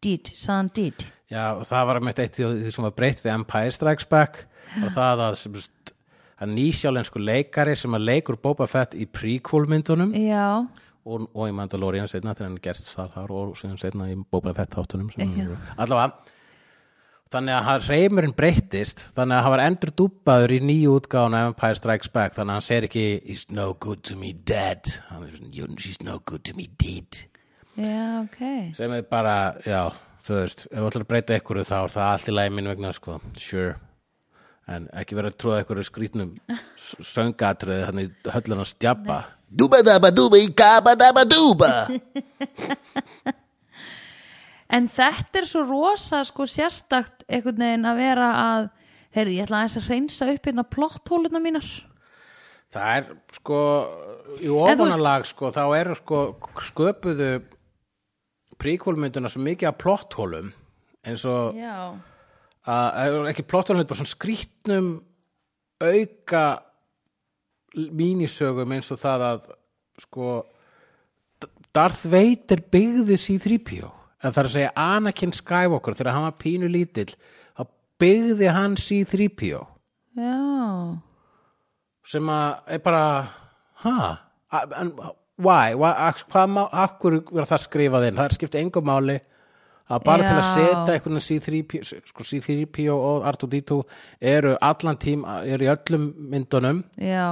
[SPEAKER 2] Did, sagðan did
[SPEAKER 1] Já, og það var meitt eitt í því sem var breytt við Empire Strikes Back og það að, sem, sagt, að nýsjálensku leikari sem að leikur Boba Fett í prequel myndunum
[SPEAKER 2] Já,
[SPEAKER 1] og, og í Mandalorian setna þegar hann gerst það þar og síðan setna í Boba Fett þáttunum sem hann allavega þannig að hann reymurinn breyttist þannig að hann var endur dúpaður í nýju útgáðan Empire Strikes Back þannig að hann segir ekki He's no good to me dead Hann er svona, "You- She's no good to me dead
[SPEAKER 2] já, ok
[SPEAKER 1] sem er bara, já, þú veist ef þú ætlar að breyta ykkur þá er það allt í lagi mín vegna sko, sure en ekki vera að tróða ykkur í skrýtnum söngatriði, þannig höllun að stjabba
[SPEAKER 3] Duba daba duba e caba daba duba.
[SPEAKER 2] En þetta er svo rosa sko sérstakt einhvern veginn að vera að heyrðu, ég ætla aðeins að reynsa upp hérna plotthóluna mínar.
[SPEAKER 1] það er sko í
[SPEAKER 2] En þú veist-
[SPEAKER 1] ofanalag sko, þá eru sko sköpuðu príkvólmynduna svo mikið af plotthólum eins og
[SPEAKER 2] Já.
[SPEAKER 1] að, að- ekki plotthólum, heldur bara svona skrýtnum auka mínisögum eins og það að sko D- Darth Vader byggði C-3PO en það er að segja Anakin Skywalker þegar hann var pínu lítill þá byggði hann C-3PO
[SPEAKER 2] Já.
[SPEAKER 1] sem að er bara ha, A- en why, why af- hvað má, af hverju var það skrifað inn, það er skipt engum máli það er bara til að
[SPEAKER 2] Já.
[SPEAKER 1] setja einhvern veginn C-3PO, sko, C-3PO og R2-D2 eru allan tím eru í öllum myndunum
[SPEAKER 2] Já.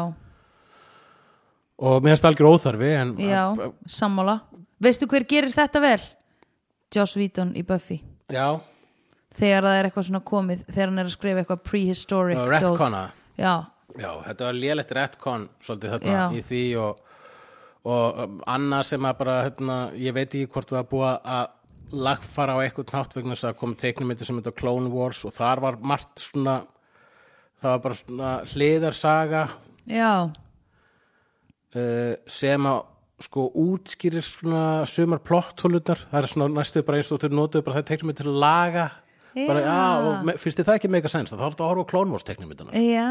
[SPEAKER 1] og mér finnst það algjör óþarfi en
[SPEAKER 2] Já. Sammála. Veistu hver gerir þetta vel? Joss Whedon í Buffy.
[SPEAKER 1] já,
[SPEAKER 2] Þegar það er eitthvað svona komið, þegar hann er að skrifa eitthvað prehistoric.
[SPEAKER 1] og
[SPEAKER 2] dót.
[SPEAKER 1] retcona
[SPEAKER 2] Já.
[SPEAKER 1] Já, þetta var lélegt retcon svolítið þarna
[SPEAKER 2] Já.
[SPEAKER 1] í því og, og um, annað sem að bara hérna, ég veit ekki hvort það var búið að lagfara á eitthvað nátt vegna þess að kom teiknumyndir sem þetta Clone Wars og þar var margt svona það var bara svona hliðarsaga
[SPEAKER 2] Já.
[SPEAKER 1] uh, eh, sem að sko útskýrir svona sumar plotthólunar það er svona næstu bara eins og þau notuðu bara það teiknum til að laga bara,
[SPEAKER 2] Já.
[SPEAKER 1] já, og me- finnst þið það ekki mega sens þá er þetta að horfa á Clone Wars teiknum
[SPEAKER 2] já,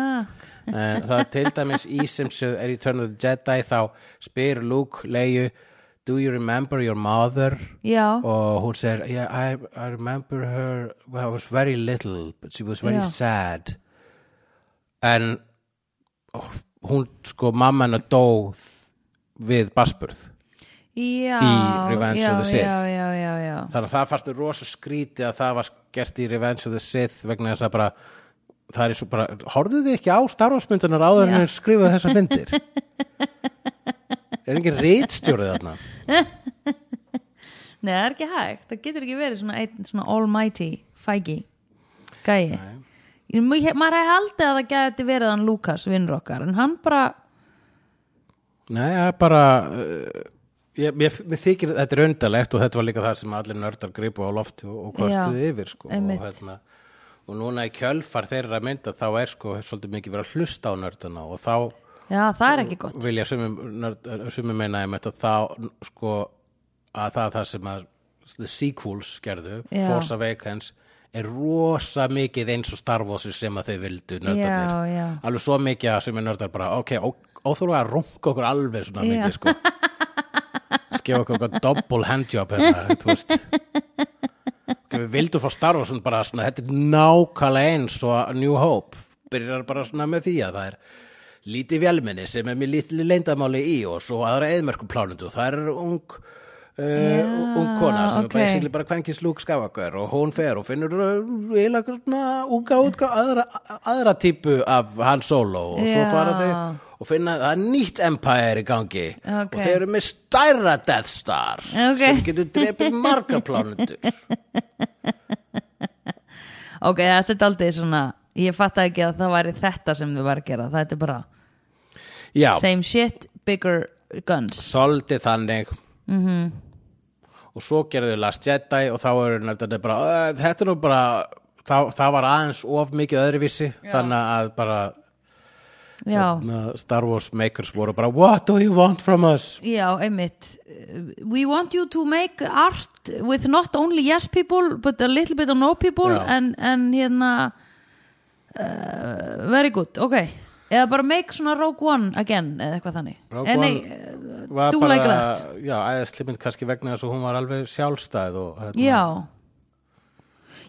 [SPEAKER 1] Eh, það er til dæmis í sem sé- er í Turn of the Jedi þá spyr Luke Leju Do you remember your mother?
[SPEAKER 2] já,
[SPEAKER 1] og hún segir yeah, I, I remember her when I was very little but she was very
[SPEAKER 2] Já.
[SPEAKER 1] sad en oh, hún sko mamma hennar dó við basburð
[SPEAKER 2] já
[SPEAKER 1] í Revenge
[SPEAKER 2] já,
[SPEAKER 1] of the Sith.
[SPEAKER 2] já, já, já, já,
[SPEAKER 1] þannig að það fannst mér rosa skrítið að það var gert í Revenge of the Sith vegna þess að bara það er svo bara, horfðu þið ekki á starfsmyndunar áður en
[SPEAKER 2] Já.
[SPEAKER 1] þeir skrifaðu þessar myndir er engin rítstjórið þarna
[SPEAKER 2] Nei, það er ekki hægt, það getur ekki verið svona, einn, svona almighty fæki gæi Ég- mjög- maður hefði haldið að það gæti verið hann Lukas vinnur okkar, en hann bara
[SPEAKER 1] nei, það er bara uh, ég, mér, mér þykir þetta er undalegt og þetta var líka það sem allir nördar gripu á lofti og, og kvörtuð
[SPEAKER 2] Já,
[SPEAKER 1] yfir sko,
[SPEAKER 2] einmitt.
[SPEAKER 1] og, hérna, og núna í kjölfar þeirra mynda þá er sko svolítið mikið verið að hlusta á nördana og þá
[SPEAKER 2] já, það er ekki gott
[SPEAKER 1] vilja sumum, nörd- sumum meina um þetta þá sko að það, það sem að the sequels gerðu,
[SPEAKER 2] Já.
[SPEAKER 1] Force Awakens er rosa mikið eins og Star Wars sem að þau vildu nördarnir
[SPEAKER 2] Já, já.
[SPEAKER 1] alveg svo mikið að sem er nördar bara ok, ó- óþurfa að runga okkur alveg svona
[SPEAKER 2] Já.
[SPEAKER 1] mikið sko skefa okkur okkur double handjob hérna, þú veist Ok, við vildum fá Star Wars svona bara svona, þetta er nákvæmlega eins og New Hope byrjar bara svona með því að það er lítið vélmenni sem er með lítið leindamáli í og svo aðra eðmerku plánundu og það er ung uh, ung kona sem
[SPEAKER 2] ok.
[SPEAKER 1] er basically bara kvenkins lúk skafakur og hún fer og finnur eila svona unga útga aðra, aðra típu af hann solo og svo
[SPEAKER 2] Já.
[SPEAKER 1] fara þau og finna það er nýtt empire í gangi
[SPEAKER 2] Ok.
[SPEAKER 1] og þeir eru með stærra Death Star
[SPEAKER 2] Ok.
[SPEAKER 1] sem getur drepið margar plánundur
[SPEAKER 2] ok, þetta er aldrei svona ég fatta ekki að það væri þetta sem þau var að gera þetta er bara
[SPEAKER 1] Já,
[SPEAKER 2] same shit, bigger guns
[SPEAKER 1] soldið þannig -hmm.
[SPEAKER 2] Mhm.
[SPEAKER 1] og svo gerðu Last Jedi og þá eru nördarnir bara "Ö, þetta er nú bara það, það var aðeins of mikið öðruvísi þannig að bara
[SPEAKER 2] já,
[SPEAKER 1] na, Star Wars makers voru bara what do you want from us
[SPEAKER 2] já, einmitt we want you to make art with not only yes people but a little bit of no people
[SPEAKER 1] Já.
[SPEAKER 2] en, en hérna uh, very good, ok eða bara make svona Rogue One again eða eitthvað þannig
[SPEAKER 1] Rogue
[SPEAKER 2] Eh,
[SPEAKER 1] One
[SPEAKER 2] nei,
[SPEAKER 1] Var
[SPEAKER 2] Do
[SPEAKER 1] bara,
[SPEAKER 2] like that.
[SPEAKER 1] já, aðeins slimmint kannski vegna þess að hún var alveg sjálfstæð og hérna,
[SPEAKER 2] Já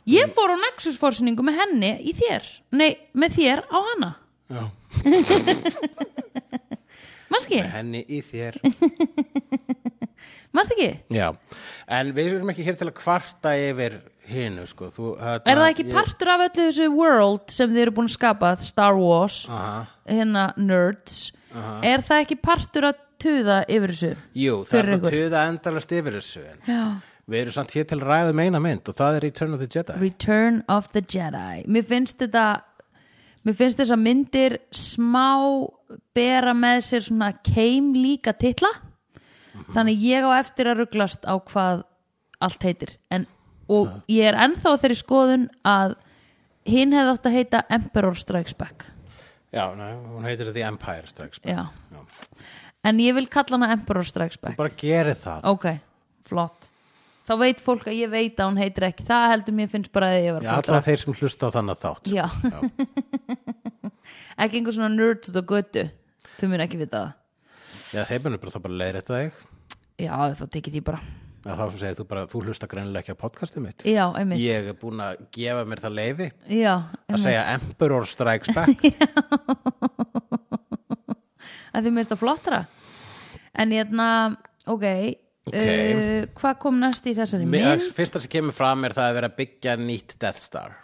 [SPEAKER 2] Ég fór á Nexus fórsýningu með henni í þér Nei, með þér á hana
[SPEAKER 1] já.
[SPEAKER 2] Manstu ekki?
[SPEAKER 1] henni í þér
[SPEAKER 2] Manstu ekki?
[SPEAKER 1] já, en við erum ekki hér til að kvarta yfir hinu sko. Þú,
[SPEAKER 2] Er það ekki partur af öllu þessu world sem þið eru búin að skapa Star Wars,
[SPEAKER 1] Aha.
[SPEAKER 2] hérna nerds Er það ekki partur að tuða yfir þessu?
[SPEAKER 1] Jú, það
[SPEAKER 2] Fyrir
[SPEAKER 1] er
[SPEAKER 2] ykkur.
[SPEAKER 1] að tuða endalast yfir þessu en
[SPEAKER 2] Já
[SPEAKER 1] Við erum samt hér til að ræða um eina mynd og það er Return of the Jedi.
[SPEAKER 2] Return of the Jedi Mér finnst þetta Mér finnst þessa myndir smá bera með sér svona keim líka titla þannig ég á eftir að rugglast á hvað allt heitir en, og ég er ennþá á þeirri skoðun að hinn hefði átt að heita Emperor Strikes Back
[SPEAKER 1] Já, nei, hún heitir The Empire strax.
[SPEAKER 2] Já. en ég vil kalla hana Emperor Strikes Back
[SPEAKER 1] Bara geri það.
[SPEAKER 2] ok, flott þá veit fólk að ég veit að hún heitir ekki það heldur mér finnst bara að ég var
[SPEAKER 1] Já, allra þeir sem hlusta á þannig þátt.
[SPEAKER 2] Já, ekki einhver svona nerd út á götu þau mun ekki vita það
[SPEAKER 1] Já, þeir munum bara þá bara leiðrétta þig.
[SPEAKER 2] Já, þá tekið því bara
[SPEAKER 1] Já, þá sem segir þú bara, þú hlusta greinilega ekki á podcastið mitt.
[SPEAKER 2] Já, einmitt
[SPEAKER 1] Ég er búin að gefa mér það leifi
[SPEAKER 2] Já,
[SPEAKER 1] að
[SPEAKER 2] einmitt
[SPEAKER 1] segja Emperor Strikes Back.
[SPEAKER 2] að þið minnst að flottara En hérna, ok
[SPEAKER 1] Ok.
[SPEAKER 2] uh, Hvað kom næst í þessari
[SPEAKER 1] Mi-
[SPEAKER 2] mynd?
[SPEAKER 1] Fyrsta sem kemur fram er það að vera að byggja nýtt Death Star.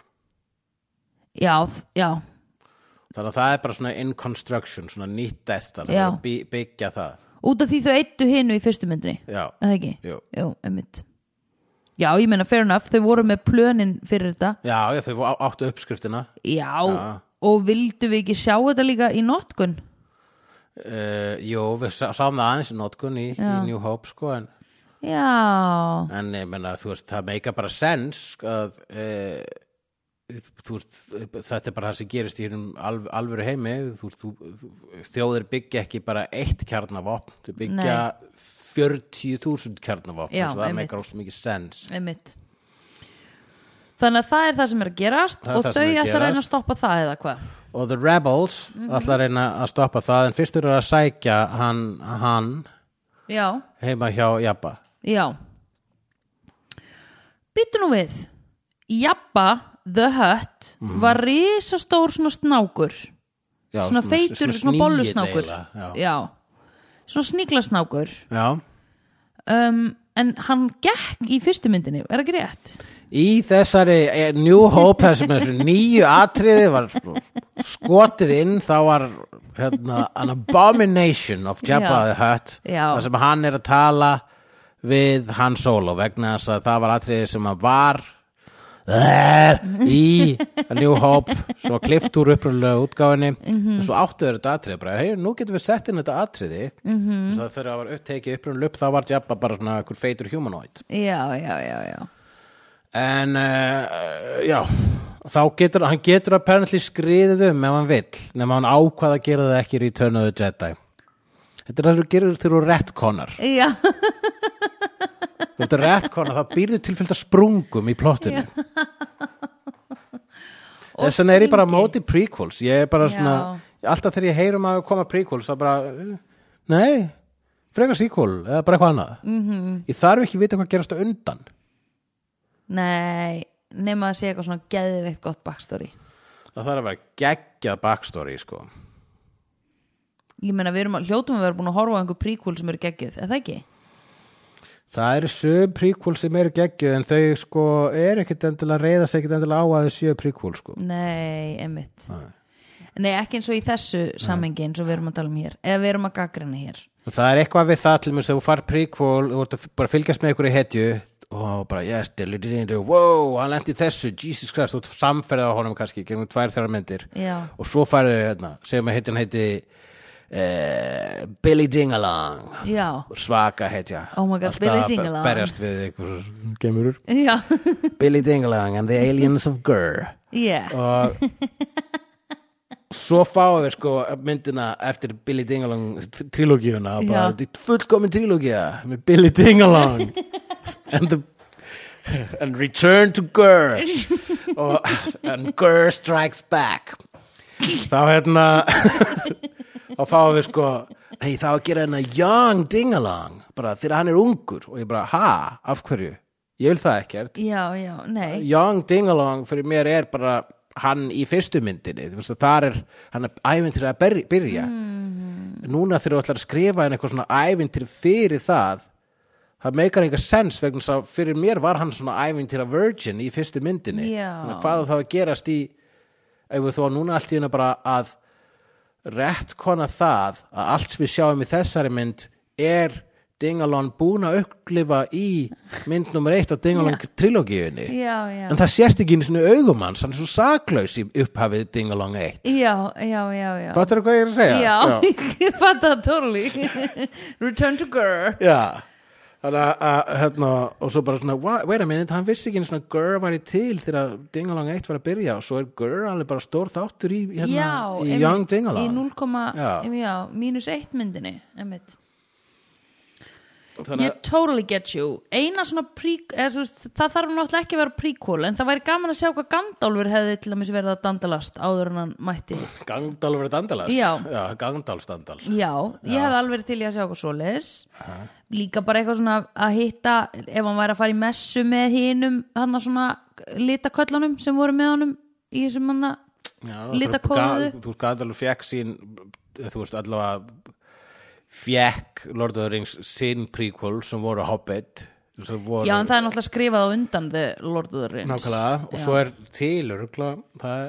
[SPEAKER 2] Já, þ- já,
[SPEAKER 1] Þannig að það er bara svona in construction, svona nýtt Death Star. Það
[SPEAKER 2] Já.
[SPEAKER 1] er að by- byggja það.
[SPEAKER 2] út af því þau eittu hinu í fyrstu myndinni
[SPEAKER 1] Já,
[SPEAKER 2] Er það ekki?
[SPEAKER 1] jú.
[SPEAKER 2] Jú, einmitt Já, ég meina fair enough, þau voru með plönin fyrir þetta
[SPEAKER 1] Já, já, þau á- áttu uppskriftina.
[SPEAKER 2] Já,
[SPEAKER 1] Já.
[SPEAKER 2] og vildu við ekki sjá þetta líka í notkun?
[SPEAKER 1] Uh, jú, við sá, sáum það aðeins í notkun í, í New Hope sko en,
[SPEAKER 2] Já,
[SPEAKER 1] en ég menna þú veist það meika bara sens að uh, þú veist, þetta er bara það sem gerist í hennum alv alvöru heimi þú veist, þú, þú, þjóðir byggja ekki bara eitt kjarnavopn, þau byggja 40.000 kjarnavopn
[SPEAKER 2] Já,
[SPEAKER 1] þess að það
[SPEAKER 2] einmitt.
[SPEAKER 1] meikar óslega mikið sens
[SPEAKER 2] einmitt þannig að það er það sem er að gerast
[SPEAKER 1] Það er
[SPEAKER 2] og
[SPEAKER 1] það
[SPEAKER 2] þau
[SPEAKER 1] sem er að
[SPEAKER 2] ætla að reyna að
[SPEAKER 1] gerast.
[SPEAKER 2] stoppa það eða hvað
[SPEAKER 1] og The Rebels
[SPEAKER 2] Mhm.
[SPEAKER 1] ætla að reyna að stoppa það en fyrst eru að sækja hann, hann
[SPEAKER 2] já,
[SPEAKER 1] heima hjá Jabba
[SPEAKER 2] já býttu nú við Jabba the Hutt var risastór svona snákur
[SPEAKER 1] Mhm. já,
[SPEAKER 2] svona feitur, svona,
[SPEAKER 1] snigill
[SPEAKER 2] bollusnákur
[SPEAKER 1] eiginlega, já.
[SPEAKER 2] já, svona sníklasnákur
[SPEAKER 1] já,
[SPEAKER 2] um, en hann gekk í fyrstu myndinni, er ekki rétt?
[SPEAKER 1] í þessari eh, New Hope þessum þessu nýju atriði var sko- skotið inn þá var hérna, an abomination of Jabba
[SPEAKER 2] Já.
[SPEAKER 1] the Hutt
[SPEAKER 2] Já.
[SPEAKER 1] þar sem hann er að tala við Han Solo vegna þess að það var atriði sem að var eh, í A New Hope sem var klift úr upprunlega útgáfinni
[SPEAKER 2] Mhm.
[SPEAKER 1] en svo áttu þeir þetta atriði bara, hey, nú getum við sett inn þetta atriði mm
[SPEAKER 2] Mhm.
[SPEAKER 1] -hmm. þess að þegar það var upptekið upprunlega upp þá var Jabba bara svona einhver feitur humanoid
[SPEAKER 2] já, já, já, já
[SPEAKER 1] en uh, já þá getur hann getur apparently skriðið um ef hann vill nema hann ákvað að gera það ekki í Return of the Jedi þetta er það sem þú gerir þegar þú retconar
[SPEAKER 2] já,
[SPEAKER 1] þú ert að retcona þá býrðu tilfylgta sprungum í plottinu
[SPEAKER 2] Og
[SPEAKER 1] þess vegna er ég bara á
[SPEAKER 2] springi.
[SPEAKER 1] móti prequels ég er bara
[SPEAKER 2] Já.
[SPEAKER 1] svona alltaf þegar ég heyrum að koma prequels þá bara, eh, nei frekar sequel eða bara eitthvað annað
[SPEAKER 2] Mhm.
[SPEAKER 1] -hmm. ég þarf ekki vita hvað gerast á undan
[SPEAKER 2] nei nema að sé eitthvað svona geðveikt gott backstory
[SPEAKER 1] það þarf að vera geggjað backstory sko
[SPEAKER 2] ég meina við erum að hljótum að vera búin að horfa á einhver príkúl sem eru geggjuð, er það ekki?
[SPEAKER 1] Það eru sögum príkvól sem eru geggjuð en þau sko eru ekkit endilega reyða sig ekkit endilega á að þau séu príkvól sko.
[SPEAKER 2] nei, emmitt
[SPEAKER 1] Nei.
[SPEAKER 2] nei, ekki eins og í þessu samengi eins og við erum að tala um hér eða við erum að gaggrina hér
[SPEAKER 1] Og það er eitthvað við það til mér sem þú far príkvól og þú bara að fylgjast með ykkur í hetju og bara yes, dillu, dillu, dillu, wow, hann lendi í þessu, Jesus Christ, þú ert samferða á honum kannski, gerum tvær þrjár myndir
[SPEAKER 2] já,
[SPEAKER 1] og svo færðu hérna, segjum að hetjan heiti eh, Billy Dingalong
[SPEAKER 2] já,
[SPEAKER 1] svaka hetja
[SPEAKER 2] Oh my God,
[SPEAKER 1] Alltaf
[SPEAKER 2] Billy Dingalong.
[SPEAKER 1] berjast við ykkur gemurur
[SPEAKER 2] já
[SPEAKER 1] Billy Dingalong and the aliens of Gur
[SPEAKER 2] yeah.
[SPEAKER 1] og svo fáum við sko myndina eftir Billy Dingalong trilógíuna og bara
[SPEAKER 2] Já.
[SPEAKER 1] þetta er fullkomin trilógía með Billy Dingalong and the and return to Gur og, and Gur strikes back þá hérna þá fáum við sko hei þá að gera hérna young Dingalong bara þegar hann er ungur og ég bara ha, af hverju, ég vil það ekkert
[SPEAKER 2] já, já, nei
[SPEAKER 1] Young Dingalong fyrir mér er bara hann í fyrstu myndinni þú veist að þar er hann ævintir að berj- byrja
[SPEAKER 2] Mhm.
[SPEAKER 1] núna þegar þú ætlar að skrifa hann eitthvað svona ævintir fyrir það það meikar enga sens vegna þess að fyrir mér var hann svona ævintir að virgin í fyrstu myndinni
[SPEAKER 2] Já.
[SPEAKER 1] Þannig að hvað á þá að gerast í ef við þó núna allt í hennu bara að rettkona það að allt sem við sjáum í þessari mynd er Dingalon búin að upplifa í mynd nummer eitt á Dingalon trilógíunni
[SPEAKER 2] já, já,
[SPEAKER 1] en það sérst ekki einu svona augum hans hann er svo saklaus í upphafið Dingalong 1
[SPEAKER 2] já, já, já, já.
[SPEAKER 1] fattur hvað ég er að segja?
[SPEAKER 2] Já, ég fatt það totally Return to girl
[SPEAKER 1] Já. Já. Þannig að, að, hérna, og svo bara svona, "Wha- wait a minute, hann vissi ekki einu svona Gur væri til þegar Dingalong 1 var að byrja og svo er Gur alveg bara stór þáttur í, hérna,
[SPEAKER 2] Já,
[SPEAKER 1] í
[SPEAKER 2] einmitt,
[SPEAKER 1] Young
[SPEAKER 2] Í
[SPEAKER 1] Dingalong
[SPEAKER 2] 0,
[SPEAKER 1] Já.
[SPEAKER 2] já. Já, mínus 1 myndinni einmitt.
[SPEAKER 1] Þannig
[SPEAKER 2] Ég totally get you Eina svona prík eða, þú veist, Það þarf náttúrulega ekki að vera príkól En það væri gaman að sjá hvað Gandálfur hefði til að verið að dandalast áður en hann mætti
[SPEAKER 1] að Gangdal verið dandalast
[SPEAKER 2] Já.
[SPEAKER 1] Já Gangdal standal
[SPEAKER 2] Já, ég hefði alveg verið til í að sjá hvað svoleiðis Líka bara eitthvað svona að hitta ef hann væri að fara í messu með hinum hann svona litaköllunum sem voru með honum í þessum hann Litakóðu.
[SPEAKER 1] Þú veist, Gandalf fekk sín þú veist, allavega fekk Lord of the Rings sín prequel sem voru Hobbit þú veist, það voru
[SPEAKER 2] Já, en það er náttúrulega skrifað á undan The Lord of the Rings
[SPEAKER 1] nákvæmlega og svo er til örgla, það,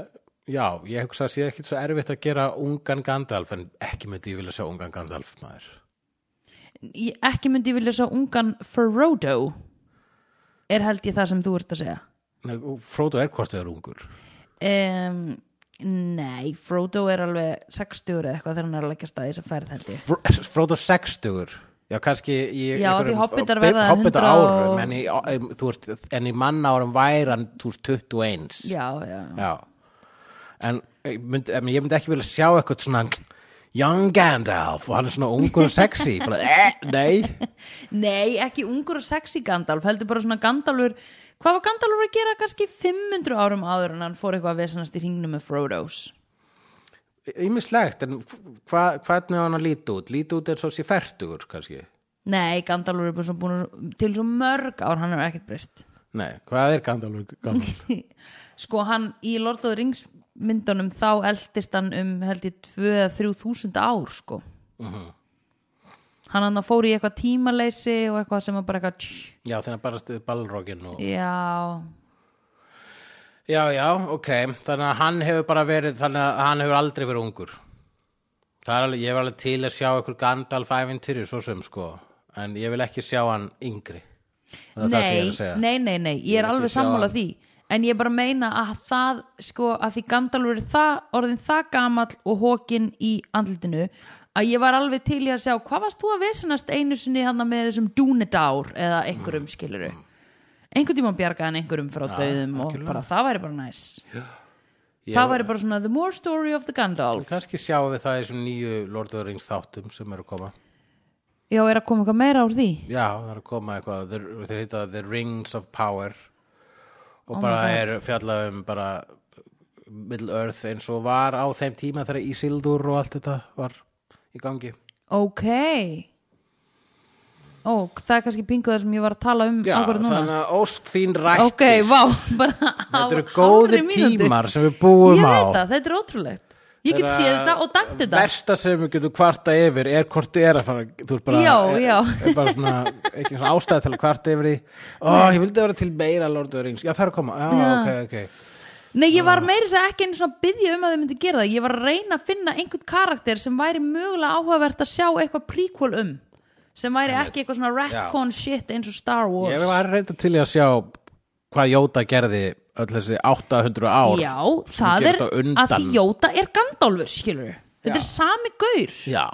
[SPEAKER 1] já, ég hugsa að sé ekkit svo erfitt að gera ungan Gandalf en ekki myndi ég vilja sjá ungan Gandalf maður
[SPEAKER 2] Ég- Ekki myndi ég vilja svo ungan Frodo er held ég það sem þú ert að segja
[SPEAKER 1] Nei, og Frodo er hvort þau er ungur
[SPEAKER 2] um, Nei, Frodo er alveg 60 eða eitthvað þegar hann er að leggja staði þess að ferð held ég
[SPEAKER 1] Fro- er Frodo sextugur Já, kannski í
[SPEAKER 2] Já,
[SPEAKER 1] einhverjum
[SPEAKER 2] því hobbitar
[SPEAKER 1] bi-
[SPEAKER 2] verða
[SPEAKER 1] hobbitar
[SPEAKER 2] 100 og-
[SPEAKER 1] árum, en í, em, þú veist, en í manna árum væri hann, þú veist, 21
[SPEAKER 2] já, já,
[SPEAKER 1] Já. En, eh, mynd, en ég myndi ekki vilja sjá eitthvað svona Young Gandalf og hann er svona ungur og sexy bara, eh, nei
[SPEAKER 2] nei, ekki ungur og sexy Gandalf, heldur bara svona Gandalfur hvað var Gandalfur að gera kannski 500 árum áður en hann fór eitthvað að vesanast í hringnum með Frodo's
[SPEAKER 1] Ímislegt, en hva, hvernig á hann að líti út? Líti út er svo sé færtugur, kannski
[SPEAKER 2] nei, Gandalfur er bara svona búin til svo mörg ár, hann er ekkert breyst
[SPEAKER 1] Nei, hvað er Gandalf? Gandalf?
[SPEAKER 2] sko hann í Lord of the Rings myndunum þá eldist hann um held ég 2-3 þúsund ár sko hann hann fór í eitthvað tímaleysi og eitthvað sem var bara eitthvað tss,
[SPEAKER 1] Já, þegar bara stuði balrogin og...
[SPEAKER 2] já,
[SPEAKER 1] Já, já, ok Þannig að hann hefur bara verið þannig að hann hefur aldrei verið ungur Það er alveg, ég var alveg til að sjá ykkur Gandalf ævintýri, svo sem sko en ég vil ekki sjá hann yngri Það er það sem ég
[SPEAKER 2] nei,
[SPEAKER 1] er að segja
[SPEAKER 2] nei, nei, nei ég
[SPEAKER 1] Ég
[SPEAKER 2] er
[SPEAKER 1] vil
[SPEAKER 2] alveg
[SPEAKER 1] ekki sjá
[SPEAKER 2] sammála
[SPEAKER 1] hann.
[SPEAKER 2] því en ég er bara að meina að það sko að því Gandalfur er það, orðin það gamall og hókin í andlitinu að ég var alveg til í að sjá hvað varst þú að vesenast einu sinni hann með þessum dúnedár eða einhverjum mm. skiluru einhvern tímann bjargaði hann einhverjum frá dauðum og
[SPEAKER 1] algjörlega.
[SPEAKER 2] bara það væri bara næs
[SPEAKER 1] Ég-
[SPEAKER 2] það væri bara svona the more story of the Gandalf
[SPEAKER 1] Kannski sjáum við það í þessum nýju Lord of the Rings þáttum sem eru að koma
[SPEAKER 2] já, er að koma eitthvað meira úr því
[SPEAKER 1] Já, það er að koma eitthvað þeir, þeir heita The Rings of Power og
[SPEAKER 2] Oh my
[SPEAKER 1] bara
[SPEAKER 2] God.
[SPEAKER 1] er fjallað um bara Middle Earth eins og var á þeim tíma þegar Ísildur og allt þetta var í gangi
[SPEAKER 2] ok ó, það er kannski pingu það sem ég var að tala um
[SPEAKER 1] Já,
[SPEAKER 2] akkurat núna
[SPEAKER 1] þannig að ósk þín rættist
[SPEAKER 2] ok, vá, bara
[SPEAKER 1] Þetta eru
[SPEAKER 2] á hálfri
[SPEAKER 1] góðir
[SPEAKER 2] mínútu.
[SPEAKER 1] tímar sem við búum
[SPEAKER 2] ég
[SPEAKER 1] á
[SPEAKER 2] veit það, þetta er ótrúlegt ég get séð þetta og dæmt þetta
[SPEAKER 1] Versta sem við getum kvarta yfir er hvort þið er að fara Þú ert bara,
[SPEAKER 2] Já,
[SPEAKER 1] er,
[SPEAKER 2] já.
[SPEAKER 1] Er bara svona, ekki svona ástæð til að kvarta yfir því Ó, ég vildi vera til meira Lord of the Rings Já, það er að koma, já,
[SPEAKER 2] Já.
[SPEAKER 1] ok, ok
[SPEAKER 2] nei, ég var meiri sem ekki einu svona að byggja um að þau myndi gera það ég var að reyna að finna einhvern karakter sem væri mögulega áhugavert að sjá eitthvað prequel um sem væri ekki eitthvað svona retcon shit eins og Star Wars
[SPEAKER 1] Ég var reynda til í að sjá hvað Jóta gerði öll þessi 800 ár
[SPEAKER 2] já,
[SPEAKER 1] sem
[SPEAKER 2] það er
[SPEAKER 1] gerist á
[SPEAKER 2] að
[SPEAKER 1] undan.
[SPEAKER 2] því Jóta er Gandalfur, skilur þetta
[SPEAKER 1] Já.
[SPEAKER 2] er sami gaur
[SPEAKER 1] Já,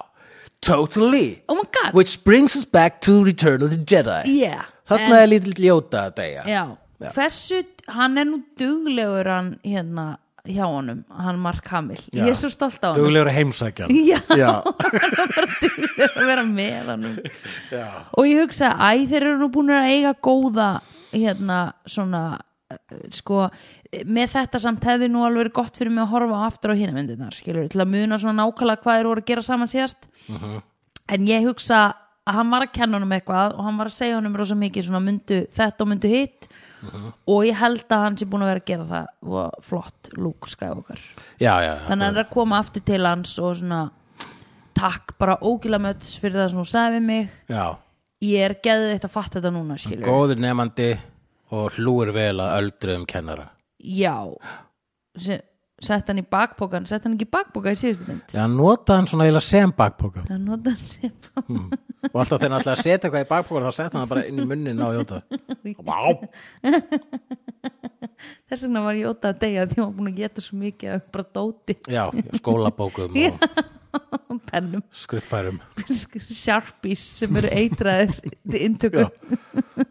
[SPEAKER 1] totally
[SPEAKER 2] oh my god,
[SPEAKER 1] Which brings us back to Return of the Jedi
[SPEAKER 2] yeah
[SPEAKER 1] Þarna er lítill Jóta að deyja
[SPEAKER 2] já. hversu, hann er nú duglegur hann hérna hjá honum hann Mark Hamill, ég er svo stolt á honum
[SPEAKER 1] Duglegur heimsækjan
[SPEAKER 2] já,
[SPEAKER 1] Já.
[SPEAKER 2] hann er bara duglegur að vera með honum og ég hugsa, æ, þeir eru nú búin að eiga góða hérna svona eh, sko, eh, með þetta samt hefði nú alveg verið gott fyrir mig að horfa aftur á hina myndirnar, skilur, til að muna svona nákvæmlega hvað þeir voru að gera saman síðast en ég hugsa að hann var að kenna honum eitthvað og hann var að segja honum rosa mikið svona myndu þetta og myndu hitt og ég held að hann sé búin að vera að gera það og flott Luke Skywalker
[SPEAKER 1] Já, já, já.
[SPEAKER 2] þannig að hann er að koma aftur til hans og svona takk bara ógilamöts fyrir það sem þú sagði við mig
[SPEAKER 1] já.
[SPEAKER 2] ég er geðið eitt að fatta þetta núna skilur
[SPEAKER 1] góður nefandi og hlúir vel að öldruðum kennara
[SPEAKER 2] já Se, sett hann í bakpokan, sett hann ekki í bakpoka í síðustu mynd
[SPEAKER 1] Já, nota hann svona eiginlega sem bakpoka
[SPEAKER 2] hann nota hann sem
[SPEAKER 1] og alltaf þegar hann ætlaði að setja eitthvað í bakpokan þá setja hann það bara inn í munnin á Jóta Vá,
[SPEAKER 2] þess vegna var ég ótað að deyja því hann var búin að geta svo mikið að bara dóti
[SPEAKER 1] já, skólabókum og
[SPEAKER 2] og pennum sko,
[SPEAKER 1] skriffærum
[SPEAKER 2] sharpies sem eru eitraðir til inntöku
[SPEAKER 1] Já.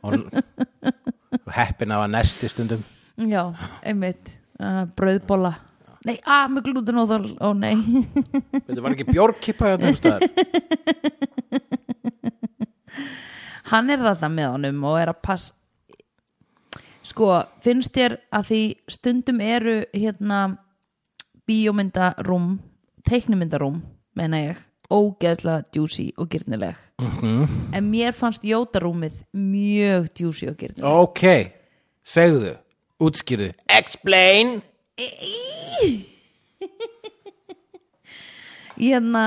[SPEAKER 1] og heppin af að nesti stundum
[SPEAKER 2] já, einmitt uh, brauðbóla nei, að með glútenóðal, ó nei
[SPEAKER 1] Þetta var ekki bjórkippa hérna um staðar
[SPEAKER 2] hann er þarna með honum og er að pass sko, finnst þér að því stundum eru hérna bíómyndarúm teiknumyndarúm, menna ég ógeðslega djúsi og gyrnileg en mér fannst jótarúmið mjög djúsi og gyrnileg
[SPEAKER 1] Ok, segðu, útskýrðu Explain
[SPEAKER 2] hérna,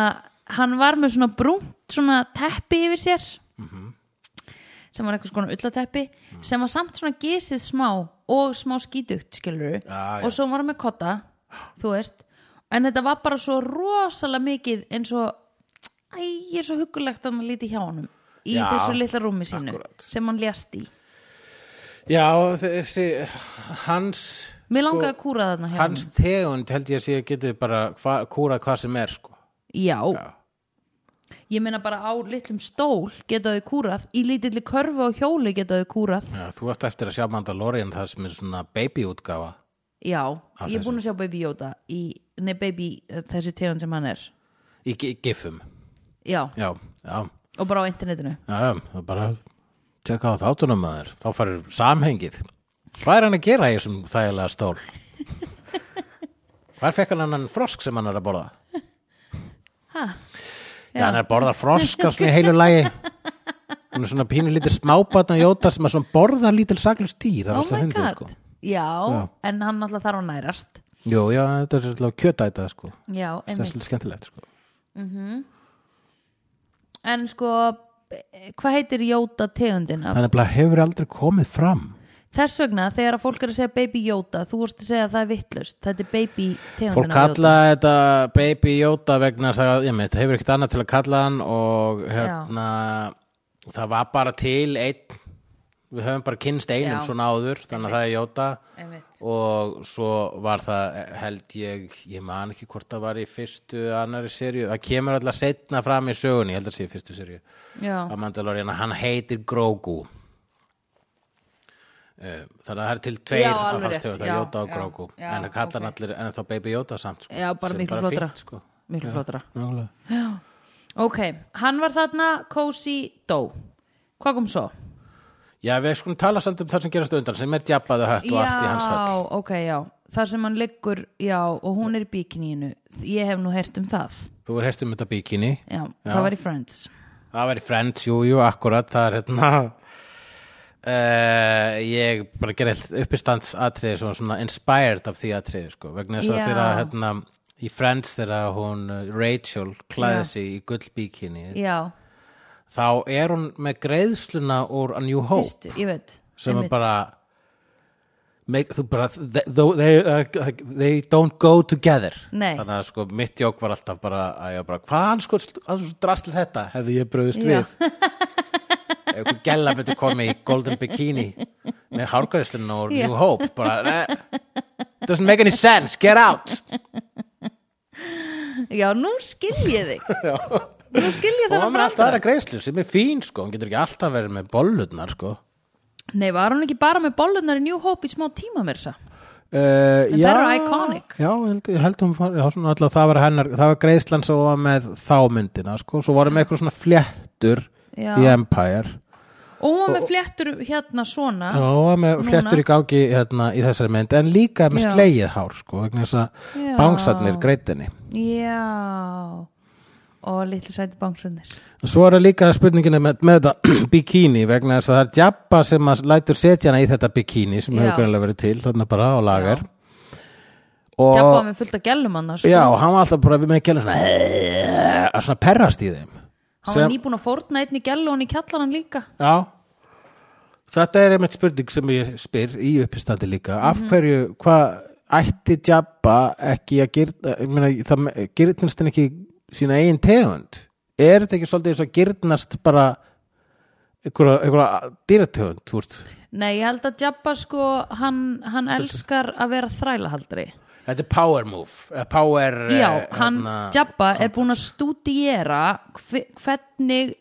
[SPEAKER 2] hann var með svona brúnt svona teppi yfir sér
[SPEAKER 1] Mhm.
[SPEAKER 2] sem var einhvers konar ullateppi sem var samt svona gisið smá og smá skítugt skilur
[SPEAKER 1] Já, já.
[SPEAKER 2] og svo var hann með kotta þú veist, en þetta var bara svo rosalega mikið eins og æ, ég er svo huggulegt að hann líti hjá honum í
[SPEAKER 1] Já,
[SPEAKER 2] þessu litla rúmi sínu
[SPEAKER 1] akkúrat.
[SPEAKER 2] sem hann ljast í
[SPEAKER 1] Já, þessi, hans
[SPEAKER 2] mér langaði að hérna. kúra þarna hjá
[SPEAKER 1] Sko, hans
[SPEAKER 2] honum
[SPEAKER 1] sko. tegund held ég að sé að getið bara hva, kúra hvað sem er sko
[SPEAKER 2] já,
[SPEAKER 1] Já.
[SPEAKER 2] ég meina bara á litlum stól getaðu kúrað, í lítilli körfu og hjóli getaðu kúrað
[SPEAKER 1] Já, þú ert eftir að sjá Mandalorian það sem er svona babyútgáfa
[SPEAKER 2] já,
[SPEAKER 1] Af
[SPEAKER 2] ég er búin að sjá Baby Yoda í, nei Baby, eh, þessi tegund sem hann er
[SPEAKER 1] í gi- gifum.
[SPEAKER 2] já,
[SPEAKER 1] Já, já,
[SPEAKER 2] og bara á internetinu
[SPEAKER 1] já, já, það er bara tjekka á þáttunum maður. Þá farir samhengið. Hvað er hann að gera í þessum þægilega stól? Hvar fekk hann annan frosk sem hann er að borða?
[SPEAKER 2] ha,
[SPEAKER 1] Já, hann er að borða froska svona í heilu lagi Hún er svona pínu lítil smábatna jóta sem að svona borða lítil saklust dýr Það er
[SPEAKER 2] oh
[SPEAKER 1] alltaf
[SPEAKER 2] my
[SPEAKER 1] fyndið
[SPEAKER 2] god
[SPEAKER 1] sko
[SPEAKER 2] já,
[SPEAKER 1] Já.
[SPEAKER 2] en hann alltaf þarf að nærast
[SPEAKER 1] Jú, já, þetta er alltaf kjötæta sko
[SPEAKER 2] já,
[SPEAKER 1] Það er
[SPEAKER 2] einmitt
[SPEAKER 1] svolítið skemmtilegt sko
[SPEAKER 2] en sko, eh, hvað heitir Yoda tegundin af
[SPEAKER 1] Það er bara hefur aldrei komið fram
[SPEAKER 2] Þess vegna þegar að fólk er að segja baby Yoda þú vorst að segja að það er vittlust þetta er baby tegundina
[SPEAKER 1] Fólk kalla þetta baby jóta vegna þess að, ég með, það hefur ekkert annað til að kalla hann og hérna það var bara til einn við höfum bara kynst einum
[SPEAKER 2] Já.
[SPEAKER 1] svona áður þannig að það er jóta
[SPEAKER 2] Einmitt.
[SPEAKER 1] og svo var það held ég, ég man ekki hvort það var í fyrstu eða annarri serju, það kemur alltaf setna fram í sögunni, ég held að sé í fyrstu serju
[SPEAKER 2] Já,
[SPEAKER 1] að Mandalorian, að hann heitir Grogu Eh, þannig að það er til tveir
[SPEAKER 2] Já,
[SPEAKER 1] að
[SPEAKER 2] alveg
[SPEAKER 1] fara
[SPEAKER 2] rétt,
[SPEAKER 1] stöðu, það
[SPEAKER 2] já,
[SPEAKER 1] er Jóta og
[SPEAKER 2] já,
[SPEAKER 1] Grogu
[SPEAKER 2] já,
[SPEAKER 1] en það kallar hann
[SPEAKER 2] ok.
[SPEAKER 1] allir, en þá Baby Jóta samt sko,
[SPEAKER 2] Já, bara
[SPEAKER 1] sem
[SPEAKER 2] miklu
[SPEAKER 1] bara
[SPEAKER 2] flottara.
[SPEAKER 1] fínt, sko.
[SPEAKER 2] miklu flotara
[SPEAKER 1] Nákvæmlega.
[SPEAKER 2] Ok, hann var þarna Cozy Dó Hvað kom svo?
[SPEAKER 1] Já, við skulum tala samt um það sem gerast á undan sem er djabbaðu hött og allt í hans höll
[SPEAKER 2] Já, ok, já Þar sem hann liggur, já, og hún er í bikiniinu Ég hef nú heyrt um það
[SPEAKER 1] Þú er heyrst um þetta bikini
[SPEAKER 2] Já, það var í Friends
[SPEAKER 1] Það var í Friends, jú, jú, akkurat það er hérna uh, ég bara gerði uppistandsatriði svona, svona inspired af því atriði sko, vegna þess að
[SPEAKER 2] Já.
[SPEAKER 1] þegar hérna, í Friends þegar hún eh, Rachel
[SPEAKER 2] Já.
[SPEAKER 1] klæði sig í gullbíkinni
[SPEAKER 2] Já,
[SPEAKER 1] þá er hún með greiðsluna úr A New Hope
[SPEAKER 2] fyrstu, ég veit
[SPEAKER 1] sem er
[SPEAKER 2] einmitt.
[SPEAKER 1] bara make, þú bara they, they, uh, they don't go together
[SPEAKER 2] Nei.
[SPEAKER 1] þannig að sko mitt jók var alltaf bara að ég bara, hvað hann sko drasl þetta hefði ég bröðist
[SPEAKER 2] Já.
[SPEAKER 1] við einhver gæla myndi komið í golden bikini með hárgræslun og
[SPEAKER 2] Já.
[SPEAKER 1] new hope bara, ne, doesn't make any sense get out
[SPEAKER 2] Já, nú skil ég þig Nú skil ég
[SPEAKER 1] og
[SPEAKER 2] þennan
[SPEAKER 1] hann með alltaf
[SPEAKER 2] brandara.
[SPEAKER 1] aðra greiðslu sem er fín sko, hann getur ekki alltaf verið með bollutnar sko
[SPEAKER 2] Nei, var hún ekki bara með bollunar í New Hope í smá tíma mér þess að?
[SPEAKER 1] Uh,
[SPEAKER 2] En þær eru iconic.
[SPEAKER 1] Já, ég held, ég held hún fór- já, svona, alltaf, það, var hennar, það var greiðslan svo var með þá myndina sko. svo varum með eitthvað svona fléttur
[SPEAKER 2] Já.
[SPEAKER 1] í Empire
[SPEAKER 2] Og hún var með fléttur hérna svona
[SPEAKER 1] Já, og var með
[SPEAKER 2] Núna.
[SPEAKER 1] fléttur í gangi hérna, í þessari mynd en líka með
[SPEAKER 2] Já.
[SPEAKER 1] slegið hár sko, vegna þess að
[SPEAKER 2] Já.
[SPEAKER 1] bangsarnir greitinni
[SPEAKER 2] Já Og litlu sæti bánsennir
[SPEAKER 1] Svo er það líka spurningin með, með þetta bikini vegna þess að það er djabba sem að lætur setja hana í þetta bikini sem
[SPEAKER 2] Já.
[SPEAKER 1] hefur greinlega verið til þarna bara á lager
[SPEAKER 2] Já.
[SPEAKER 1] og
[SPEAKER 2] Tjappaði með fullt af gælum annars sko.
[SPEAKER 1] Já, og hann var alltaf bara með gælum svona, að svona perrast í þeim
[SPEAKER 2] Hann var nýbúin að fórna einni gælu og hann í kjallarann líka
[SPEAKER 1] Já Þetta er einmitt spurning sem ég spyr í uppistandi líka Af hverju, hvað ætti Jabba ekki að gyrna ég meina, það gyrnast hann ekki sína eigin tegund Er þetta ekki svolítið eins og gyrnast bara einhverja, einhverja dýrategund, þú veist
[SPEAKER 2] Nei, ég held að Jabba sko hann, hann elskar að vera þrælahaldri
[SPEAKER 1] Þetta er power move, eh, power eh,
[SPEAKER 2] Já, hann
[SPEAKER 1] hérna-
[SPEAKER 2] Jabba er búin að stúdíera hve- hvernig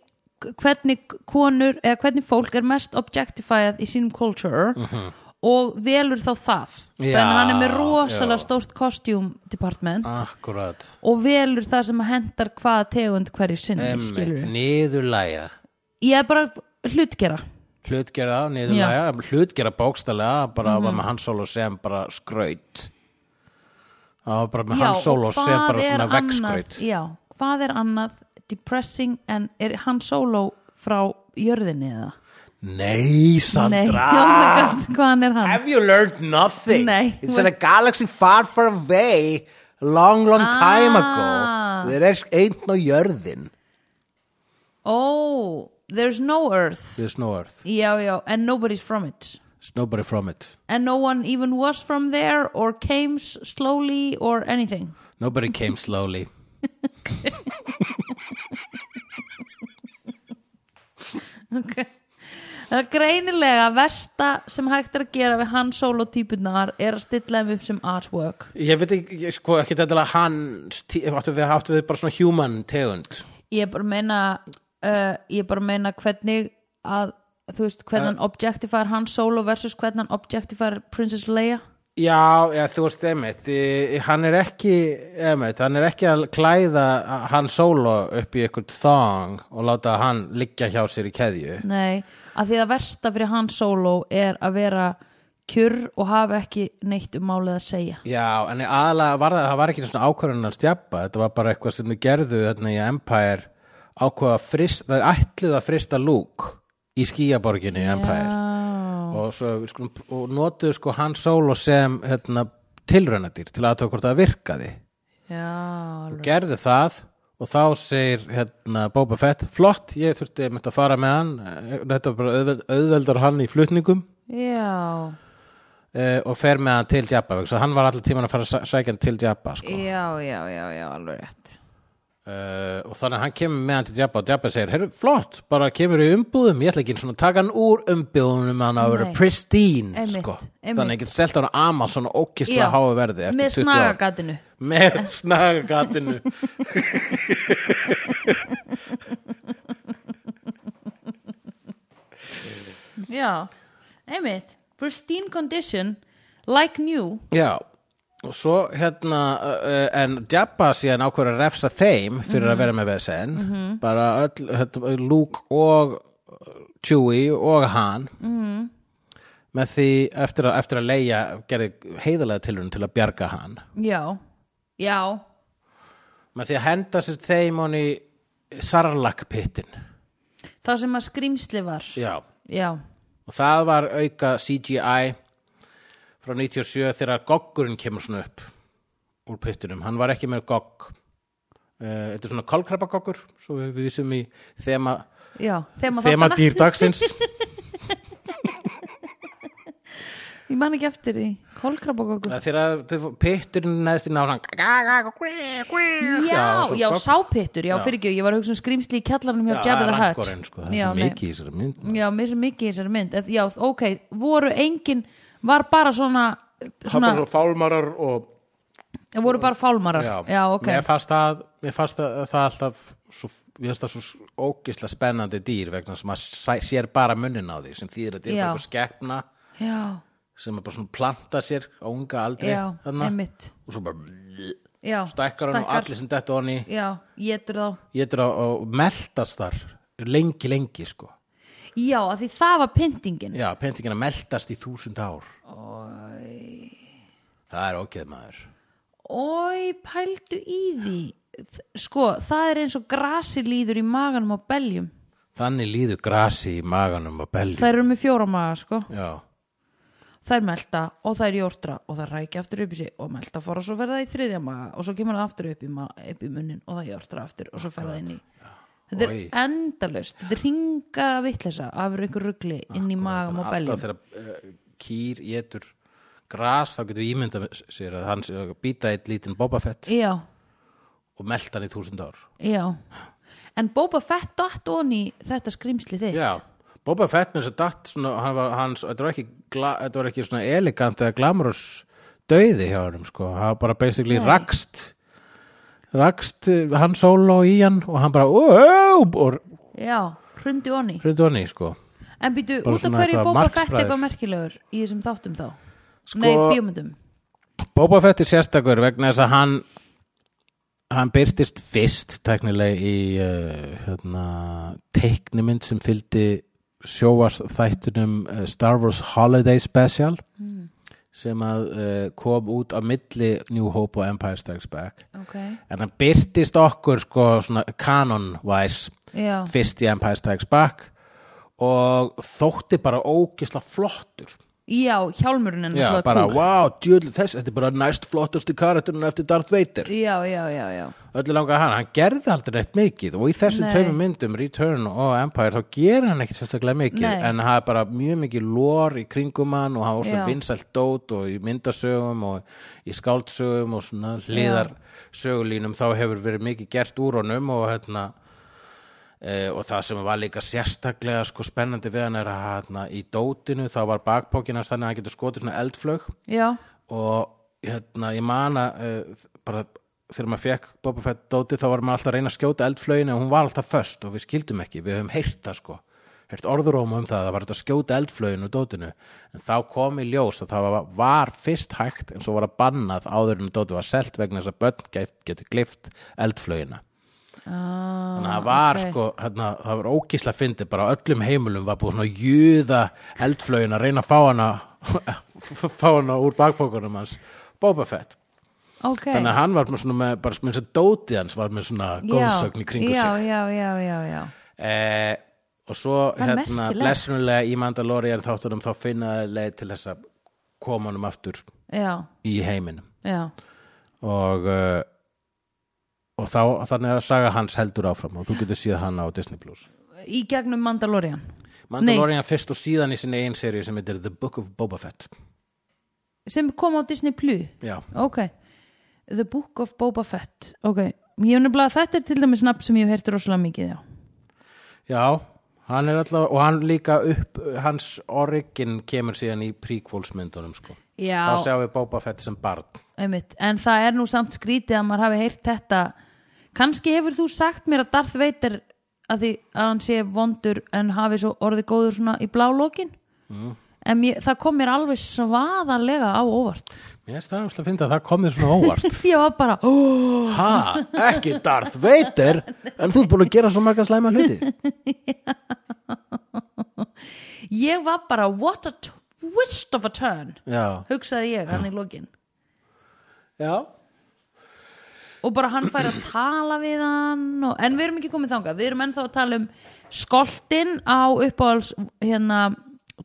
[SPEAKER 2] hvernig konur eða hvernig fólk er mest objectified í sínum culture og velur þá það
[SPEAKER 1] Mhm. Já,
[SPEAKER 2] þannig að hann er með
[SPEAKER 1] já.
[SPEAKER 2] rosalega
[SPEAKER 1] Ah.
[SPEAKER 2] stórt costume department
[SPEAKER 1] Akkurat,
[SPEAKER 2] og velur það sem hendar hvaða tegund hverju sinni skilur
[SPEAKER 1] emmitt, niðurlæja
[SPEAKER 2] ég er bara hlutgera
[SPEAKER 1] hlutgerða, niðurlæga, hlutgerða bókstælega bara var
[SPEAKER 2] Mhm.
[SPEAKER 1] með hans solo sem bara skraut það var bara með hans solo sem bara svona vegskraut
[SPEAKER 2] já, hvað er annað depressing en er hann solo frá jörðinni eða?
[SPEAKER 1] Nei,
[SPEAKER 2] Nei,
[SPEAKER 1] Sandra
[SPEAKER 2] oh my god, hvaðan er hann?
[SPEAKER 1] Have you learned nothing?
[SPEAKER 2] Nei.
[SPEAKER 1] It's in a galaxy far far away long long time
[SPEAKER 2] Ah.
[SPEAKER 1] ago There is ain't no jörðin
[SPEAKER 2] Oh, there's no earth
[SPEAKER 1] There's no earth,
[SPEAKER 2] Já, já, and nobody's from it
[SPEAKER 1] there's nobody from it
[SPEAKER 2] And no one even was from there or came s- slowly or anything
[SPEAKER 1] Nobody came slowly
[SPEAKER 2] okay. Það er greinilega versta sem hægt er að gera við hann solo-típunar er að stilla þeim upp sem artwork
[SPEAKER 1] Ég veit ekki, ég, sko, ekki þetta hans tí- áttu við, áttu við bara svona human tegund
[SPEAKER 2] ég er bara að meina uh, ég er bara að meina hvernig að þú veist hvernig hann objectifar hann solo versus hvernig hann objectifar Princess Leia
[SPEAKER 1] Já, já, þú veist, einmitt, í- hann er ekki, einmitt, hann er ekki að klæða hann solo upp í eitthvað thong og láta hann liggja hjá sér í keðju.
[SPEAKER 2] nei, að því að versta fyrir hann solo er að vera kjur og hafa ekki neitt um málið að segja
[SPEAKER 1] Já, en aðalega var það, það var ekki svona ákvörðun að stjabba, þetta var bara eitthvað sem þau gerðu þarna í Empire ákvöða frist, það er ætluð að frista Luke í skýjaborginni í Empire
[SPEAKER 2] já,
[SPEAKER 1] og, svo, við skulum, og notuðu sko hann solo sem hérna, tilraunadýr til að tók hvort það virkaði
[SPEAKER 2] já
[SPEAKER 1] og
[SPEAKER 2] alveg.
[SPEAKER 1] gerðu það og þá segir hérna, Boba Fett flott, ég þurfti einmitt að fara með hann eh, þetta var bara auðveld, auðveldar hann í flutningum
[SPEAKER 2] já,
[SPEAKER 1] uh, og fer með hann til Jabba vegna þess að hann var allir tíman að fara að sæ- sækja hann til Jabba sko.
[SPEAKER 2] já, já, já, já alveg rétt
[SPEAKER 1] uh, og þannig að hann kemur með hann til Jabba og Jabba segir, heyrðu, flott, bara kemur í umbúðum ég ætla ekki svona að taka hann úr umbúðum hann á að vera
[SPEAKER 2] Nei.
[SPEAKER 1] pristine
[SPEAKER 2] Einmitt,
[SPEAKER 1] sko.
[SPEAKER 2] einmitt.
[SPEAKER 1] þannig að ég get selt hann á Amazon og ókistlega
[SPEAKER 2] Já.
[SPEAKER 1] háu verði eftir
[SPEAKER 2] með
[SPEAKER 1] 20 ár.
[SPEAKER 2] snagagatinu
[SPEAKER 1] með snagagatinu
[SPEAKER 2] já, einmitt pristine condition like new
[SPEAKER 1] Já, og svo hérna uh, uh, en Jabba síðan ákveður að refsa þeim fyrir að vera með vesen -hmm. bara öll, hérna, Luke og Chewie og hann -hmm. með því eftir að, eftir að leia gerði heiðalega tilhörun til að bjarga hann
[SPEAKER 2] já, já,
[SPEAKER 1] með því að henda sér þeim hann í sarlakpittin
[SPEAKER 2] það sem að skrýmsli var
[SPEAKER 1] Já
[SPEAKER 2] já,
[SPEAKER 1] og það var auka CGI frá 97 þegar goggurinn kemur svona upp úr pittunum, hann var ekki með gogg Eh, þetta er svona kolkrabagoggur svo við við vísum í þema,
[SPEAKER 2] já þema,
[SPEAKER 1] þema Eh,
[SPEAKER 2] þáttanna.
[SPEAKER 1] dýrdagsins
[SPEAKER 2] ég man ekki eftir því, kolkrabagogur
[SPEAKER 1] þegar pitturinn neðst í náðan
[SPEAKER 2] já, já, sápittur, já, fyrir ekki ég var að hugsa um skrýmsli í kjallarnum hjá Jabba the
[SPEAKER 1] rankorinn
[SPEAKER 2] Hutt
[SPEAKER 1] sko, það er
[SPEAKER 2] já,
[SPEAKER 1] svo
[SPEAKER 2] nei.
[SPEAKER 1] mikið í þessari mynd
[SPEAKER 2] já, mér sem mikið í þessari mynd Ef- já, ok, voru engin var bara svona, svona
[SPEAKER 1] fálmarar og
[SPEAKER 2] voru bara fálmarar, já, ok
[SPEAKER 1] mér fannst það, mér fannst það, það alltaf svo, mér fannst það svo ógislega spennandi dýr vegna sem maður sæ- sér bara munnin á því sem þýðir að þetta er
[SPEAKER 2] Já.
[SPEAKER 1] bara einhver skepna
[SPEAKER 2] já,
[SPEAKER 1] sem er bara svona planta sér á unga aldri
[SPEAKER 2] já,
[SPEAKER 1] þarna,
[SPEAKER 2] einmitt
[SPEAKER 1] og svo bara
[SPEAKER 2] já,
[SPEAKER 1] stækkar hann og allir sem þetta honni
[SPEAKER 2] já, getur þá
[SPEAKER 1] getur að, að meltast þar lengi lengi sko
[SPEAKER 2] já, af því það var pyntingin
[SPEAKER 1] já, pentingin að meltast í þúsund ár það er ógeð maður
[SPEAKER 2] Ói, pældu í því Þ- Sko, það er eins og grasi líður í maganum á beljum
[SPEAKER 1] þannig líður grasi í maganum og belju
[SPEAKER 2] Það eru með fjóra maga, sko
[SPEAKER 1] já,
[SPEAKER 2] Það er melta og það er jórtra og það rækja aftur upp í sig og melta fór og svo verða það í þriðja maga og svo kemur það aftur upp í, ma- upp í munnin og það jórtra aftur og svo ferða inn í Þetta er
[SPEAKER 1] Oj.
[SPEAKER 2] endalaust, þetta er ringa vitleysa af einhver rugli inn í magam og
[SPEAKER 1] alltaf
[SPEAKER 2] beljum
[SPEAKER 1] þegar uh, kýr getur gras þá getur ímynda sér að hann sé að býta eitt lítinn Boba Fett
[SPEAKER 2] Já,
[SPEAKER 1] og melta hann í þúsund ár
[SPEAKER 2] já En Boba Fett dott onni þetta skrimsli þitt
[SPEAKER 1] Já, Boba Fett með þess að datt svona, hann var, hans, þetta var ekki, gla, þetta var ekki svona elegant eða glamurus döiði hjá hann sko, hann var bara basically
[SPEAKER 2] Nei.
[SPEAKER 1] rakst rakst eh, hann solo í hann og hann bara "Ó, ó", og
[SPEAKER 2] Já hrundi onni
[SPEAKER 1] hrundi hann í sko
[SPEAKER 2] En býtu,
[SPEAKER 1] Bara
[SPEAKER 2] út af
[SPEAKER 1] svona
[SPEAKER 2] hverju
[SPEAKER 1] eitthvað
[SPEAKER 2] Boba Fett
[SPEAKER 1] margsbræður.
[SPEAKER 2] eitthvað merkilegur í þessum þáttum þá? Nei,
[SPEAKER 1] Sko-
[SPEAKER 2] bíómyndum
[SPEAKER 1] Boba Fett er sérstakur vegna þess að hann hann byrtist fyrst teknileg í uh, hérna, teiknimynd sem fylgdi sjóvars þættunum uh, Star Wars Holiday Special sem að uh, kom út á milli New Hope og Empire Strikes Back
[SPEAKER 2] Ok,
[SPEAKER 1] en hann byrtist okkur sko svona canon-wise
[SPEAKER 2] já,
[SPEAKER 1] fyrst í Empire Strikes Back og þótti bara ógisla flottur
[SPEAKER 2] já hjálmurinn er
[SPEAKER 1] Já,
[SPEAKER 2] náttúrulega
[SPEAKER 1] bara,
[SPEAKER 2] kúl.
[SPEAKER 1] wow, djöðli þess, þetta er bara næst flottusti karakterinn eftir Darth Vader
[SPEAKER 2] Já, já, já, já
[SPEAKER 1] Öllu langar hann, hann gerði aldrei neitt mikið og í þessum
[SPEAKER 2] Nei.
[SPEAKER 1] tveimur myndum, Return og Empire, þá gerir hann ekkert sérstaklega mikið
[SPEAKER 2] Nei.
[SPEAKER 1] en það er bara mjög mikið lór í kringum hann og hann var
[SPEAKER 2] Já.
[SPEAKER 1] svona vinsælt dót og í myndasögum og í skáldsögum og svona hliðar sögulínum þá hefur verið mikið gert úr honum og hérna Uh, og það sem var líka sérstaklega sko, spennandi við hann er að hérna, í dótinu þá var bakpókinast þannig að hann getur skotið svona eldflög
[SPEAKER 2] Já,
[SPEAKER 1] og hérna, ég man að uh, bara þegar maður fekk Boba Fett dótið þá var maður alltaf að reyna að skjóta eldflögin en hún var alltaf föst og við skildum ekki, við höfum heyrt það sko heyrt orðuróma um það, að það var þetta að skjóta eldflögin úr dótinu, en þá kom í ljós að það var, var fyrst hægt en svo var það bannað áður en dótið var selt vegna þess að börn get- getur glift eldflögina
[SPEAKER 2] Ah,
[SPEAKER 1] þannig að það var
[SPEAKER 2] ok.
[SPEAKER 1] sko hérna, það var ókísla fyndið, bara á öllum heimilum var búið svona að júða eldflögin að reyna að fá hana fá hana úr bakbókunum hans Boba Fett,
[SPEAKER 2] Ok.
[SPEAKER 1] þannig að hann var með svona með, bara eins og dótið hans var með svona góðsögn í kringu
[SPEAKER 2] já,
[SPEAKER 1] sig
[SPEAKER 2] Já, já, já, já.
[SPEAKER 1] eh, og svo
[SPEAKER 2] Það er
[SPEAKER 1] hérna,
[SPEAKER 2] merkilegt.
[SPEAKER 1] blessunulega í Mandalorian þáttunum þá finna þeir leið til þess að koma honum aftur
[SPEAKER 2] Já,
[SPEAKER 1] í heiminum
[SPEAKER 2] já.
[SPEAKER 1] og eh, og þá, þannig að saga hans heldur áfram og þú getur síða hann á Disney Plus
[SPEAKER 2] Í gegnum Mandalorian.
[SPEAKER 1] Mandalorian fyrst og síðan í sinni einn seríu sem heitir The Book of Boba Fett
[SPEAKER 2] Sem kom á Disney Plus.
[SPEAKER 1] Já,
[SPEAKER 2] Ok. The Book of Boba Fett. Ok. Ég hef nefnilega þetta er til dæmis nafn sem ég hef heyrt rosalega mikið, já.
[SPEAKER 1] já hann er alltaf, og hann líka upp hans origin kemur síðan í prequelsmyndunum sko
[SPEAKER 2] Já.
[SPEAKER 1] þá sjáum við Boba Fett sem barn
[SPEAKER 2] Einmitt. En það er nú samt skrítið að maður hafi heyrt þetta. Kannski hefur þú sagt mér að Darth Vader að því að hann sé vondur en hafi svo orðið góður svona í blá lokin. En mér, það kom mér alveg svaðanlega á óvart.
[SPEAKER 1] Mér finnst það að finna að það kom þér svona óvart
[SPEAKER 2] Ég var bara, ó,
[SPEAKER 1] Ha, ekki Darth Vader en þú er búin að gera svo marga slæma hluti
[SPEAKER 2] ég var bara, what a twist of a turn,
[SPEAKER 1] Já,
[SPEAKER 2] hugsaði ég hann í lokin.
[SPEAKER 1] já
[SPEAKER 2] Og bara hann fær að tala við hann, og, en við erum ekki komið þangað, við erum ennþá að tala um skoltin á uppáhals hérna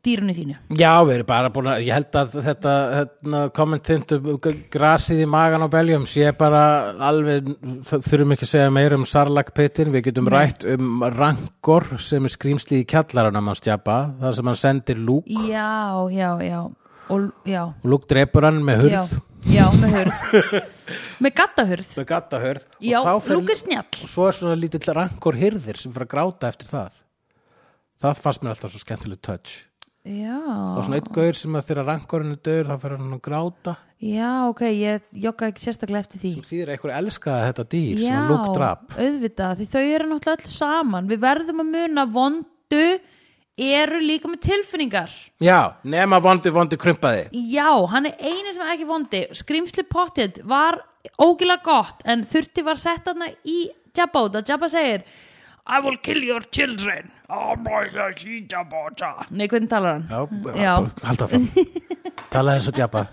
[SPEAKER 2] dýrunni þínu.
[SPEAKER 1] Já, við erum bara búin að, ég held að þetta, hérna, þetta kommentint um grasið í magan og beljum sé bara alveg, þurfum ekki að segja meira um sarlakpittin, við getum rætt um rangor sem er skrýmsli í kjallaranum hans stjapa, þar sem hann sendir lúk
[SPEAKER 2] Já, já, já og, já,
[SPEAKER 1] og lúk drepur hann með
[SPEAKER 2] já,
[SPEAKER 1] hurð,
[SPEAKER 2] já, með hurð með gattahurð
[SPEAKER 1] með gattahurð
[SPEAKER 2] Já,
[SPEAKER 1] og þá
[SPEAKER 2] Lúk er
[SPEAKER 1] og
[SPEAKER 2] snjall
[SPEAKER 1] svo er svona lítill rangor hirðir sem fyrir að gráta eftir það. Það fannst mér alltaf svo skemmtileg touch. og
[SPEAKER 2] Já,
[SPEAKER 1] svona einn gaur sem að þegar rangorinn er döður þá fer hann að gráta
[SPEAKER 2] já, ok, ég jogga ekki sérstaklega eftir því
[SPEAKER 1] sem þýðir að einhver elskaði þetta dýr sem
[SPEAKER 2] Já,
[SPEAKER 1] að lúk drap
[SPEAKER 2] auðvitað, því þau eru náttúrulega alls saman Við verðum að muna að vondu eru líka með tilfinningar
[SPEAKER 1] já, nema vondi vondi krumpaði
[SPEAKER 2] Já, hann er eini sem er ekki vondi Skrimsli pottet var ógilega gott en þurfti var sett hana í Jabba út að Jabba segir "Ah, I will kill your children Oh my god, she Jabba Nei, hvernig talar hann?
[SPEAKER 1] já,
[SPEAKER 2] Já.
[SPEAKER 1] bara halda fram talaði eins og djapa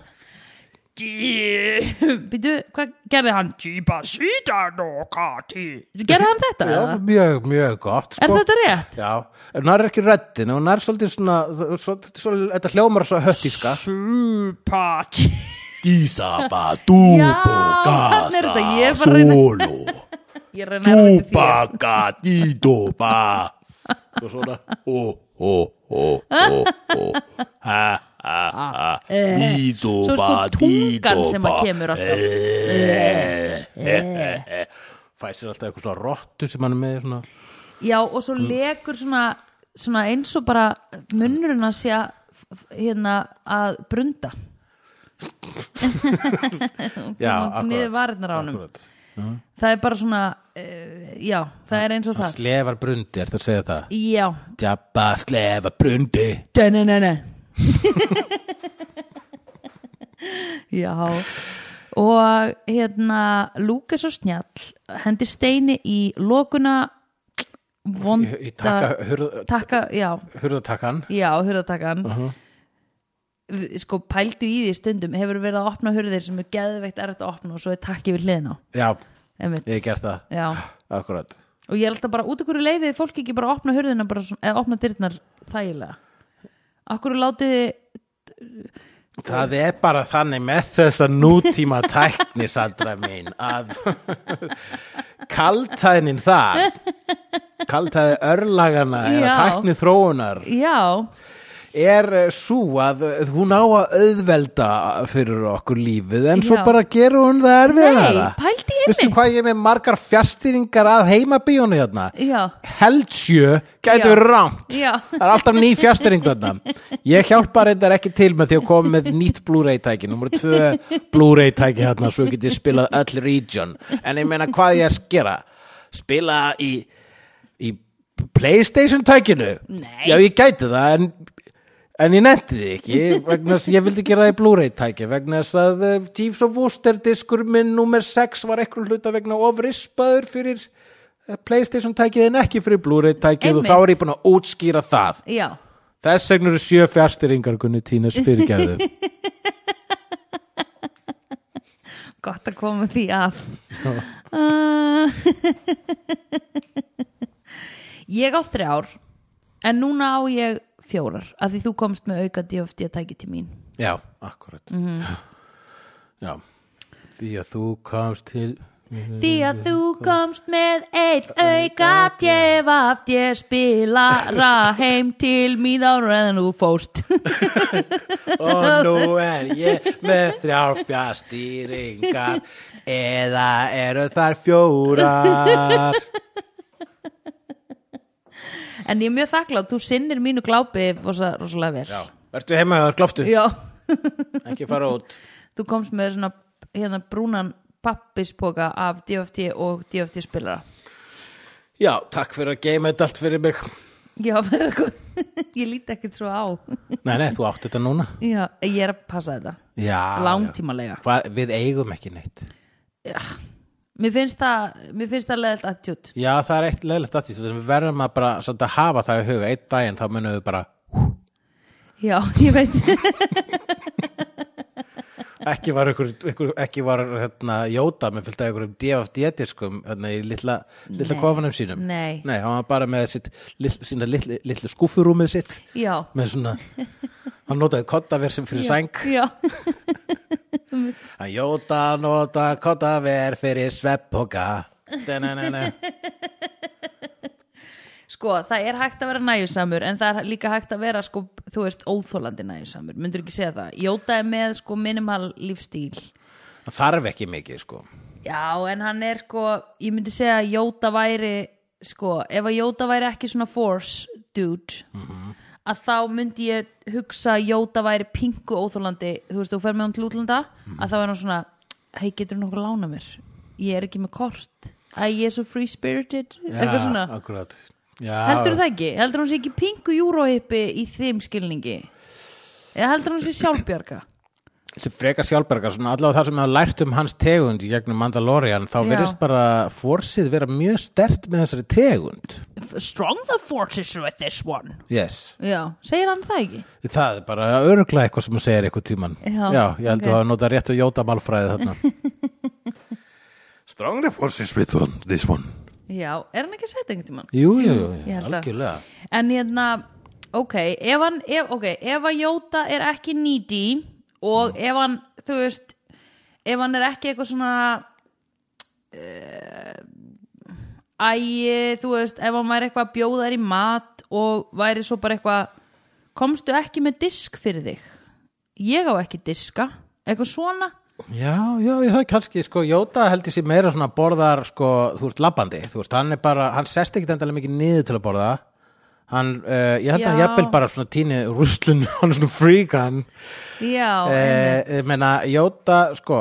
[SPEAKER 2] Býtu, hvað gerði hann? Jibba Sita no Kati Gerði hann þetta?
[SPEAKER 1] já,
[SPEAKER 2] eða?
[SPEAKER 1] mjög, mjög gott sko.
[SPEAKER 2] er þetta rétt?
[SPEAKER 1] já, en hann er ekki röddin og hann er svolítið svona, svolítið, svolítið þetta hljómar svo höttíska
[SPEAKER 2] Súpat
[SPEAKER 3] Disaba, dubo,
[SPEAKER 2] Já, hann er þetta, ég er bara að reyna-
[SPEAKER 3] solo,
[SPEAKER 2] Ég reyna að vera því
[SPEAKER 3] tupa, gatito, ba.
[SPEAKER 1] og svona
[SPEAKER 3] Oh, oh, oh, oh, oh. Ha, ha, ha. Dizo,
[SPEAKER 2] Svo e, sko
[SPEAKER 3] ba,
[SPEAKER 2] tungan
[SPEAKER 3] dido,
[SPEAKER 2] sem að
[SPEAKER 3] ba.
[SPEAKER 2] kemur
[SPEAKER 1] E,
[SPEAKER 2] E. alltaf Eh.
[SPEAKER 1] fæ sér alltaf eitthvað svona rottu sem hann er með svona.
[SPEAKER 2] Já, og svo lekur svona, svona eins og bara munnurinn að sé að- hérna að brunda
[SPEAKER 1] já,
[SPEAKER 2] niður varirnar á honum
[SPEAKER 1] akkurat.
[SPEAKER 2] það er bara svona uh, já, það er eins og það
[SPEAKER 1] slefar brundi, ertu að segja það
[SPEAKER 2] já,
[SPEAKER 1] djapa slefa brundi
[SPEAKER 2] dæna næna já og hérna Luke er svo snjall hendir steini í lokuna vonda
[SPEAKER 1] í, í taka, hurð,
[SPEAKER 2] takka já,
[SPEAKER 1] hurðatakkan
[SPEAKER 2] Já, hurðatakan
[SPEAKER 1] Uh-huh.
[SPEAKER 2] Sko, pældu í því stundum Hefur verið að opna hurðir sem er geðveikt erfitt að opna og svo er takki við hliðina á.
[SPEAKER 1] já,
[SPEAKER 2] Einmitt.
[SPEAKER 1] ég hef gert það
[SPEAKER 2] Já,
[SPEAKER 1] akkurat
[SPEAKER 2] og ég er alltaf bara út af hverju leiðið fólk ekki bara að opna hurðina bara svona, eða opna dyrnar þægilega Akkur látið þið
[SPEAKER 1] það er bara þannig með þessa nútíma tækni Sandra mín að kaltæðnin þar kaltæði örlagana eða
[SPEAKER 2] Já.
[SPEAKER 1] tækni þróunar
[SPEAKER 2] Já,
[SPEAKER 1] er eh, sú að eh, hún á að auðvelda fyrir okkur lífið en svo
[SPEAKER 2] Já.
[SPEAKER 1] bara gerur hún það erfiðara
[SPEAKER 2] Nei, pældu í
[SPEAKER 1] Veistu
[SPEAKER 2] einmitt.
[SPEAKER 1] hvað ég er með margar fjastýringar að heimabíónu hérna
[SPEAKER 2] Já.
[SPEAKER 1] Heldsjö gætu
[SPEAKER 2] Já.
[SPEAKER 1] verið rámt
[SPEAKER 2] Já.
[SPEAKER 1] Það er alltaf ný fjastýring þarna Ég hjálpa reyndar ekki til með því að koma með nýtt Blu-ray tæki Númer tvö Blu-ray tæki þarna svo get ég spilað öll region En ég meina hvað ég að skera Spila í, í Playstation tækinu
[SPEAKER 2] Nei.
[SPEAKER 1] Já ég gæti það en En ég nefndi þið ekki, vegna þess ég vildi gera það í Blu-ray tæki, vegna þess að uh, Thieves of Worcester diskur minn nummer 6 var eitthvað hluta vegna ofrispaður fyrir uh, Playstation tækið en ekki fyrir Blu-ray tækið og
[SPEAKER 2] Einmitt.
[SPEAKER 1] þá er ég búin að útskýra það.
[SPEAKER 2] Já.
[SPEAKER 1] Þess vegna eru sjö fjárstyringar kunni tínes fyrirgæðu.
[SPEAKER 2] gott að koma því að uh, ég á þrjár en núna á ég fjórar að því þú komst með auka DFD að tæki til mín
[SPEAKER 1] Já, akkurat. Mhm. Já, því að þú komst til...
[SPEAKER 2] því að þú komst með eitt auka DFD spilara heim til mín ára en þú fóst
[SPEAKER 1] og nú er ég með þrjár fjárstýringar eða eru þar fjórar
[SPEAKER 2] en ég er mjög þakklátt, þú sinnir mínu glápi rosa, rosalega vel
[SPEAKER 1] Já, verður heima og glóftu,
[SPEAKER 2] Já.
[SPEAKER 1] ekki fara út
[SPEAKER 2] þú komst með svona hérna brúnan pappispoka af DFD og DFD spilara
[SPEAKER 1] Já, takk fyrir að geima þetta allt fyrir mig
[SPEAKER 2] Já, bara eitthvað, ég líti ekkert svo á
[SPEAKER 1] Nei, nei, þú átt þetta núna
[SPEAKER 2] Já, ég er að passa þetta
[SPEAKER 1] Ah, Já,
[SPEAKER 2] Langtímalega
[SPEAKER 1] já. Hvað, Við eigum ekki neitt
[SPEAKER 2] Mér finnst það, mér finnst það leðilt attjút
[SPEAKER 1] Já, það er eitt leðilegt að því við verðum að bara samt að hafa það í huga einn daginn þá munum við bara
[SPEAKER 2] Já, ég veit
[SPEAKER 1] ekki var, ykkur, ykkur, ekki var hérna, Jóta með fylgta ykkur um DFD-diskum hérna, í litla, litla
[SPEAKER 2] Nei.
[SPEAKER 1] kofanum sínum
[SPEAKER 2] Nei.
[SPEAKER 1] hann var bara með sitt, lill, sína litlu, litlu skúfurúmið sitt
[SPEAKER 2] Já,
[SPEAKER 1] með svona hann notaði kottaver sem fyrir sæng
[SPEAKER 2] já
[SPEAKER 1] hann Jóta notar kottaver fyrir sveppoka Da-na-na-na.
[SPEAKER 2] Sko, það er hægt að vera næjusamur en það er líka hægt að vera, sko, þú veist, óþólandi næjusamur Myndur ekki segja það Jóta er með, sko, minimal lífstíl
[SPEAKER 1] hann þarf ekki mikið sko
[SPEAKER 2] Já, en hann er, sko, ég myndi segja að Jóta væri, sko Ef að Jóta væri ekki svona force dude að þá myndi ég hugsa að Jóta væri pingu óþólandi þú veist, þú fer með hann til útlanda að þá er hann svona, hei, getur hann okkur lána mér ég er ekki með kort æ, ég er svo free spirited eitthvað svona,
[SPEAKER 1] akkurat. Já,
[SPEAKER 2] heldur það ekki? heldur hann sé ekki pingu júróhippi í þeim skilningi eða heldur hann sé sjálfbjarga
[SPEAKER 1] sem frekar sjálfbergar, svona allavega það sem hefur lært um hans tegund í gegnum Mandalorian þá
[SPEAKER 2] Já.
[SPEAKER 1] verðist bara forsið vera mjög stert með þessari tegund
[SPEAKER 2] F- strong the forces with this one
[SPEAKER 1] yes,
[SPEAKER 2] já, segir hann það ekki?
[SPEAKER 1] það er bara örgla eitthvað sem að segja eitthvað tíman
[SPEAKER 2] Já,
[SPEAKER 1] ég held
[SPEAKER 2] ok.
[SPEAKER 1] að það nota rétt og jóta málfræði þarna Stronger forces with one, this one
[SPEAKER 2] já, er hann ekki að segja þetta einhvern tímann?
[SPEAKER 1] Jú, jú, jú,
[SPEAKER 2] Ég held það.
[SPEAKER 1] algjörlega
[SPEAKER 2] En hérna, ok, ef hann, ef, ok, ef að Jóta er ekki needy
[SPEAKER 1] Mm.
[SPEAKER 2] og ef hann, þú veist, ef hann er ekki eitthvað svona, uh, æ, þú veist, ef hann væri eitthvað að bjóða þær í mat og væri svo bara eitthvað, komstu ekki með disk fyrir þig? Ég á ekki diska, eitthvað svona?
[SPEAKER 1] Já, já, ég það er kannski, sko, Jóta held ég sér meira svona borðar, sko, þú veist, labbandi, þú veist, hann er bara, hann sest ekki endalega mikið niður til að borða, hann, uh, ég held að hann
[SPEAKER 2] Já.
[SPEAKER 1] jafnvel bara svona tíni ruslun, hann er svona freak hann,
[SPEAKER 2] Já,
[SPEAKER 1] Eh,
[SPEAKER 2] einmitt.
[SPEAKER 1] ég meina, Jóta, sko,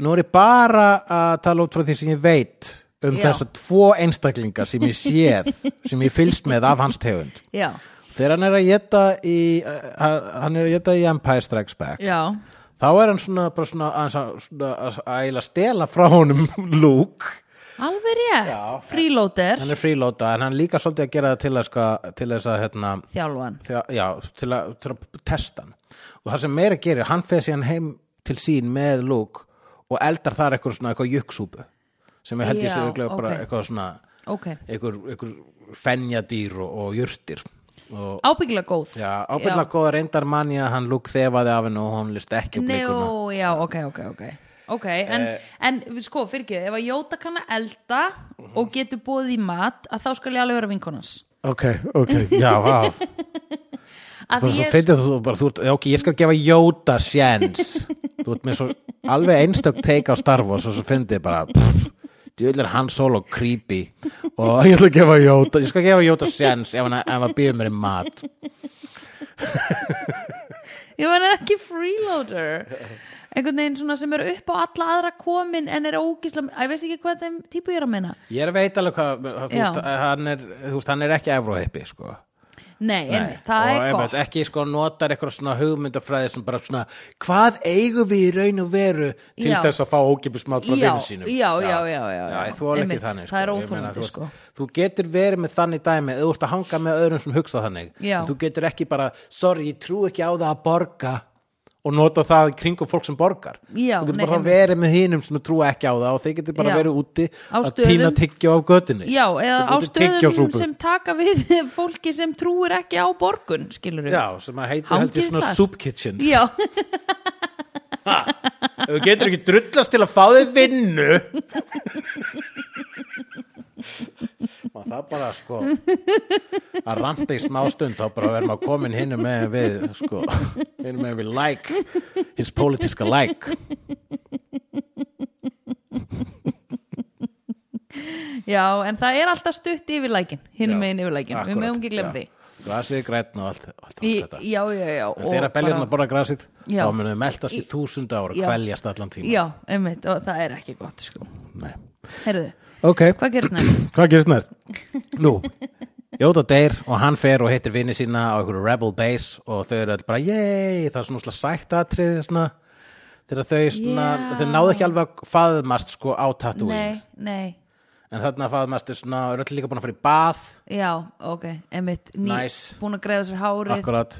[SPEAKER 1] nú er ég bara að tala út frá því sem ég veit um
[SPEAKER 2] Já.
[SPEAKER 1] þessa tvo einstaklinga sem ég séð, sem ég fylst með af hans tegund.
[SPEAKER 2] já,
[SPEAKER 1] Þegar hann er að geta í, uh, hann er að geta í Empire Strikes Back
[SPEAKER 2] já,
[SPEAKER 1] þá er hann svona, bara svona, aðeins að, svona að, að eiginlega stela frá honum Luke
[SPEAKER 2] alveg rétt,
[SPEAKER 1] Já.
[SPEAKER 2] freeloader,
[SPEAKER 1] hann er frílóta en hann líka svolítið að gera það til, að, sko, til þess að hérna,
[SPEAKER 2] þjálfan,
[SPEAKER 1] til að, já, til að, til að testa hann og það sem meira gerir, hann feð síðan heim til sín með Luke og eldar þar eitthvað svona eitthvað jukksúpu sem ég held ég
[SPEAKER 2] Já,
[SPEAKER 1] sér örugglega bara
[SPEAKER 2] ok.
[SPEAKER 1] eitthvað svona
[SPEAKER 2] ok,
[SPEAKER 1] eitthvað, eitthvað fenjadýr og, og jurtir og
[SPEAKER 2] ábyggilega góð.
[SPEAKER 1] Já, ábyrðlega góða reyndar manni að hann lúk þefaði af hennu og hún list ekki upp líkuna.
[SPEAKER 2] Njó, já, ok, ok, ok Ok, en,
[SPEAKER 1] Eh.
[SPEAKER 2] en sko, fyrir ekki, ef að Jóta kann að elda
[SPEAKER 1] Mhm.
[SPEAKER 2] og getur bóðið í mat að þá skal ég alveg vera vinkonans
[SPEAKER 1] Ok, ok, já, vá. Bara
[SPEAKER 2] Af því
[SPEAKER 1] svo
[SPEAKER 2] ég-
[SPEAKER 1] fyndið þú bara, þú ert, já, ok, ég skal gefa Jóta sjens Þú ert með svo alveg einstök teika á Star Wars og svo fyndið bara pff, Djöðlir hann solo creepy og ég ætla að gefa Jóta ég skal gefa Jóta sjens ef hann, ef hann býður mér í mat
[SPEAKER 2] Ég var hann er ekki freeloader einhvern veginn svona sem er upp á alla aðra komin en er ógisla Æ, ég veist ekki hvað þeim típu ég er að meina
[SPEAKER 1] Ég er veit alveg hvað þú
[SPEAKER 2] Já.
[SPEAKER 1] veist, hann, er, þú veist, hann er ekki evrohippi sko
[SPEAKER 2] Nei,
[SPEAKER 1] Nei.
[SPEAKER 2] einmitt,
[SPEAKER 1] og
[SPEAKER 2] það er
[SPEAKER 1] einmitt,
[SPEAKER 2] gott
[SPEAKER 1] ekki sko notar eitthvað svona hugmyndafræði sem bara svona hvað eigum við í raun og veru til
[SPEAKER 2] Já.
[SPEAKER 1] þess að fá ókipusmátt frá
[SPEAKER 2] Já,
[SPEAKER 1] vinnum sínum
[SPEAKER 2] já, já, já, já, já.
[SPEAKER 1] ég þóla ekki
[SPEAKER 2] Einmitt,
[SPEAKER 1] þannig sko.
[SPEAKER 2] það er
[SPEAKER 1] Ég meina,
[SPEAKER 2] óþolandi,
[SPEAKER 1] þú veist,
[SPEAKER 2] sko.
[SPEAKER 1] þú getur verið með þannig dæmi eða þú ert að hanga með öðrum sem hugsa þannig
[SPEAKER 2] Já.
[SPEAKER 1] en þú getur ekki bara, sorry, ég trú ekki á það að borga og nota það í kringum fólk sem borgar
[SPEAKER 2] Já,
[SPEAKER 1] þú getur
[SPEAKER 2] nei,
[SPEAKER 1] bara
[SPEAKER 2] einmitt.
[SPEAKER 1] þá verið með hinum sem trúa ekki á það og þeir getur bara
[SPEAKER 2] Já.
[SPEAKER 1] verið úti
[SPEAKER 2] Á
[SPEAKER 1] að
[SPEAKER 2] stöðum.
[SPEAKER 1] tína tyggja á götunni
[SPEAKER 2] Já, eða
[SPEAKER 1] Þú
[SPEAKER 2] á
[SPEAKER 1] getur
[SPEAKER 2] stöðum
[SPEAKER 1] tyggjósúpu.
[SPEAKER 2] sem taka við fólki sem trúir ekki á borgun, skilur við
[SPEAKER 1] Já, sem að heitir held
[SPEAKER 2] Hangið
[SPEAKER 1] ég svona
[SPEAKER 2] þar.
[SPEAKER 1] soup kitchens
[SPEAKER 2] Já,
[SPEAKER 1] Ef þú getur ekki drullast til að fá þig vinnu Maður það bara sko að ranta í smástund þá bara verðum að komin hinum með við sko, hinum með við like hins pólitíska like
[SPEAKER 2] já, en það er alltaf stutt yfir lækin, hinum megin yfir lækin Við
[SPEAKER 1] Akkúrat,
[SPEAKER 2] mögum ekki glemma
[SPEAKER 1] já.
[SPEAKER 2] því
[SPEAKER 1] Grasið er grætn og allt, allt, allt
[SPEAKER 2] Í,
[SPEAKER 1] þetta
[SPEAKER 2] Já, já, já
[SPEAKER 1] En þegar beljum að borra grasið
[SPEAKER 2] Já.
[SPEAKER 1] þá munum við meldast í þúsund ára
[SPEAKER 2] Já.
[SPEAKER 1] kveljast allan tíma
[SPEAKER 2] Já, einmitt, og það er ekki gott, sko
[SPEAKER 1] Nei.
[SPEAKER 2] Heyrðu,
[SPEAKER 1] Ok,
[SPEAKER 2] hvað gerist næst?
[SPEAKER 1] Hvað gerist næst? Nú, Jóta deyr og hann fer og hittir vini sína á einhverju rebel base og þau eru öll bara, yey, það er svona óslega sætt atrið svona, þegar þau svona,
[SPEAKER 2] Já.
[SPEAKER 1] þau náðu ekki alveg að faðmast sko á Tatooine,
[SPEAKER 2] Nei, nei,
[SPEAKER 1] en þarna faðmast er svona, eru öll líka búin að fara í bað,
[SPEAKER 2] já, ok, einmitt ný,
[SPEAKER 1] Nice.
[SPEAKER 2] Búin að greiða sér hárið
[SPEAKER 1] akkurat,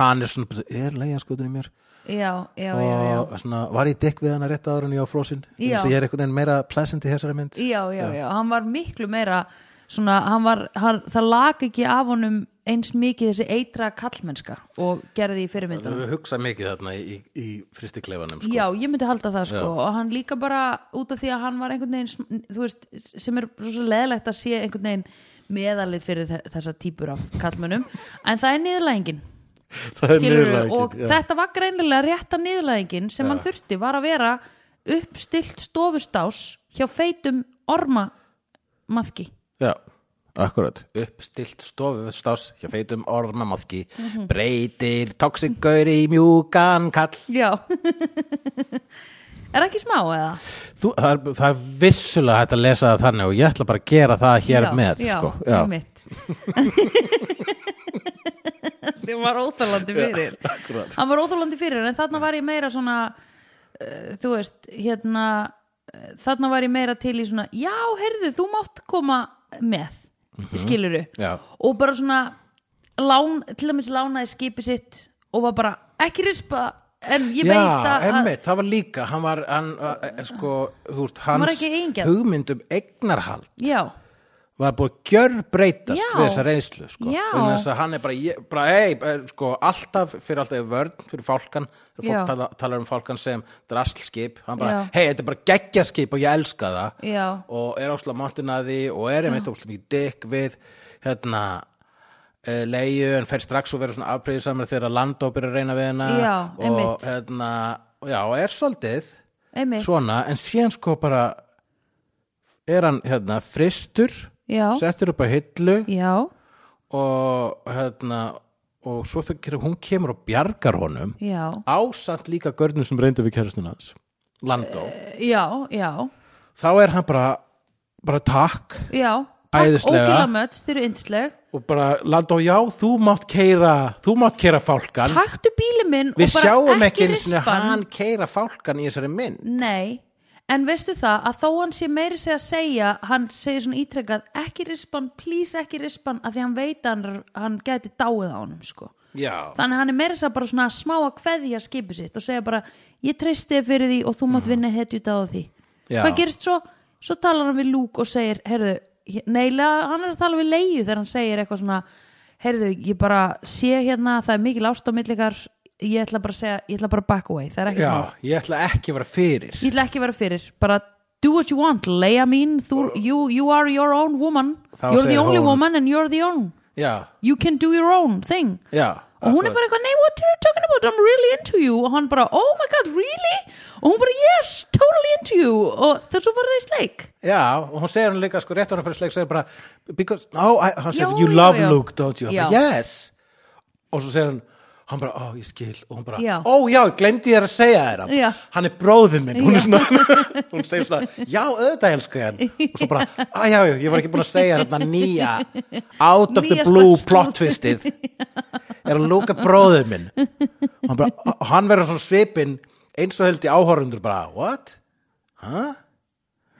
[SPEAKER 1] hann er svona, er leiða skoður í mér
[SPEAKER 2] Já, já, já, já
[SPEAKER 1] og svona, var ég dekk við hann að rétta ára en ég á frósin,
[SPEAKER 2] Já.
[SPEAKER 1] þess að ég er einhvern veginn meira pleasant í þessari mynd.
[SPEAKER 2] Já, já, já, hann var miklu meira Svona, hann var, hann, það lag ekki af honum eins mikið þessi eitra kallmennska og gerði í
[SPEAKER 1] Við
[SPEAKER 2] fyrirmyndunum
[SPEAKER 1] höfum hugsað mikið þarna í, í, í fristikleifanum sko.
[SPEAKER 2] Já, ég myndi halda það sko
[SPEAKER 1] Já.
[SPEAKER 2] og hann líka bara út af því að hann var einhvern veginn sm- þú veist, sem er svo leðlegt að sé einhvern veginn meðalið fyrir þe- þessa típur af kallmönnum en það er niðurlægingin
[SPEAKER 1] Það er
[SPEAKER 2] skilur
[SPEAKER 1] niðurlæging,
[SPEAKER 2] og
[SPEAKER 1] já.
[SPEAKER 2] þetta var greinilega rétta niðurlægingin sem hann þurfti var að vera uppstilt stofustás hjá feitum orma mafki
[SPEAKER 1] Já, akkurat Uppstilt stofustás hjá feitum ormamafki Breytir toxikur í mjúkan kall
[SPEAKER 2] já er ekki smá eða?
[SPEAKER 1] Þú, það, er, það er vissulega hægt að lesa það þannig og ég ætla bara að gera það hér
[SPEAKER 2] já,
[SPEAKER 1] með
[SPEAKER 2] já,
[SPEAKER 1] sko. já.
[SPEAKER 2] einmitt. þið var óþalandi fyrir
[SPEAKER 1] Akkurat.
[SPEAKER 2] hann var óþálandi fyrir en þarna var ég meira svona uh, þú veist, hérna uh, þarna var ég meira til í svona já, heyrðu, þú mátt koma með mm
[SPEAKER 1] Mhm, Já.
[SPEAKER 2] og bara svona lán, til dæmis lánaði skipi sitt og var bara, ekki rispa það, en ég
[SPEAKER 1] Já,
[SPEAKER 2] veit að
[SPEAKER 1] emmitt, það var líka hann var, hann, eh, sko, þú veist
[SPEAKER 2] var
[SPEAKER 1] hans
[SPEAKER 2] ekki eigingjarn.
[SPEAKER 1] hugmynd um eignarhald
[SPEAKER 2] já,
[SPEAKER 1] var búið að gjörbreytast
[SPEAKER 2] Já.
[SPEAKER 1] við þessa reynslu sko.
[SPEAKER 2] Já.
[SPEAKER 1] Vegna þess að hann er bara, ég, bara hey, eh, sko, alltaf fyrir alltaf er vörn fyrir fálkan, þegar
[SPEAKER 2] Já.
[SPEAKER 1] fólk tala, talar um fálkan sem drastlskip, hann bara
[SPEAKER 2] Já.
[SPEAKER 1] hei, þetta er bara geggjaskip og ég elska það
[SPEAKER 2] já,
[SPEAKER 1] og er ásla montinaði og er einmitt ósla mikið dykk við hérna eh, leigu en fer strax og verður svona afbreyðisamur þegar landóp er að reyna við hana
[SPEAKER 2] Já, einmitt.
[SPEAKER 1] og hérna, já, og er svolítið
[SPEAKER 2] einmitt
[SPEAKER 1] svona, en síðan sko bara er hann hérna fristur
[SPEAKER 2] Já.
[SPEAKER 1] settur upp á hillu
[SPEAKER 2] já,
[SPEAKER 1] og hérna og svo þegar hún kemur og bjargar honum
[SPEAKER 2] já,
[SPEAKER 1] ásamt líka görnum sem reyndi við kæristuna hans Landó,
[SPEAKER 2] já, já
[SPEAKER 1] þá er hann bara bara takk
[SPEAKER 2] já,
[SPEAKER 1] Æðislega.
[SPEAKER 2] ógila möts, þið eru yndisleg
[SPEAKER 1] og bara Landó, já, þú mátt keira þú mátt keira fálkan
[SPEAKER 2] taktu bíli minn
[SPEAKER 1] við
[SPEAKER 2] og bara
[SPEAKER 1] sjáum ekki einu sinni
[SPEAKER 2] rispa
[SPEAKER 1] hann keira fálkan í þessari mynd
[SPEAKER 2] Nei, en veistu það að þó hann sé meiri segja að segja hann segir svona ítrekkað ekki rispan, please ekki rispan að því hann veit að hann, hann gæti dáið á honum sko.
[SPEAKER 1] já,
[SPEAKER 2] þannig að hann er meiri segja bara svona smá að kveðja skipið sitt og segja bara ég treysti þér fyrir því og þú mátt vinna hetju á því
[SPEAKER 1] Mhm. Já.
[SPEAKER 2] hvað gerist svo? Svo talar hann við Luke og segir heyrðu, neila, hann er að tala við leiðu þegar hann segir eitthvað svona heyrðu, ég bara sé hérna það er mikil ást á millikar ég ætla bara að segja, ég ætla bara að back away það er ekki
[SPEAKER 1] já,
[SPEAKER 2] mál
[SPEAKER 1] ég ætla ekki að vera fyrir
[SPEAKER 2] ég ætla ekki að vera fyrir bara do what you want, Leia mín þú, you, you are your own woman
[SPEAKER 1] Þá
[SPEAKER 2] you're the
[SPEAKER 1] segir
[SPEAKER 2] only
[SPEAKER 1] hún-
[SPEAKER 2] woman and you're the own
[SPEAKER 1] já,
[SPEAKER 2] you can do your own thing
[SPEAKER 1] já
[SPEAKER 2] og hún er bara eitthvað, nei, what are you talking about I'm really into you, og hann bara, oh my god really, og hún bara, yes totally into you, og þess að voru þeir sleik
[SPEAKER 1] Já, og hún segir hann líka, sko, rétt á hann fyrir sleik segir bara, because, no, I, hann segir
[SPEAKER 2] Já,
[SPEAKER 1] you
[SPEAKER 2] já,
[SPEAKER 1] love
[SPEAKER 2] já.
[SPEAKER 1] Luke, don't you?
[SPEAKER 2] Já.
[SPEAKER 1] Hann bara, yes og svo segir hann hann bara, ó, ég skil, og hún bara,
[SPEAKER 2] Já.
[SPEAKER 1] ó, já, ég glemdi þér að segja þér hann
[SPEAKER 2] Já.
[SPEAKER 1] hann er bróðin minn, hún er svona hún segir svona, já, auðvitað elska ég hann og svo bara, á, já, já, ég var ekki búin að segja þér hann nýja, out of the
[SPEAKER 2] Nýjasta
[SPEAKER 1] blue
[SPEAKER 2] slúð.
[SPEAKER 1] plot twistið er að Luke er bróðin minn og hann, bara, og hann verður svona svipinn eins og held í áhorundur bara, what? Huh?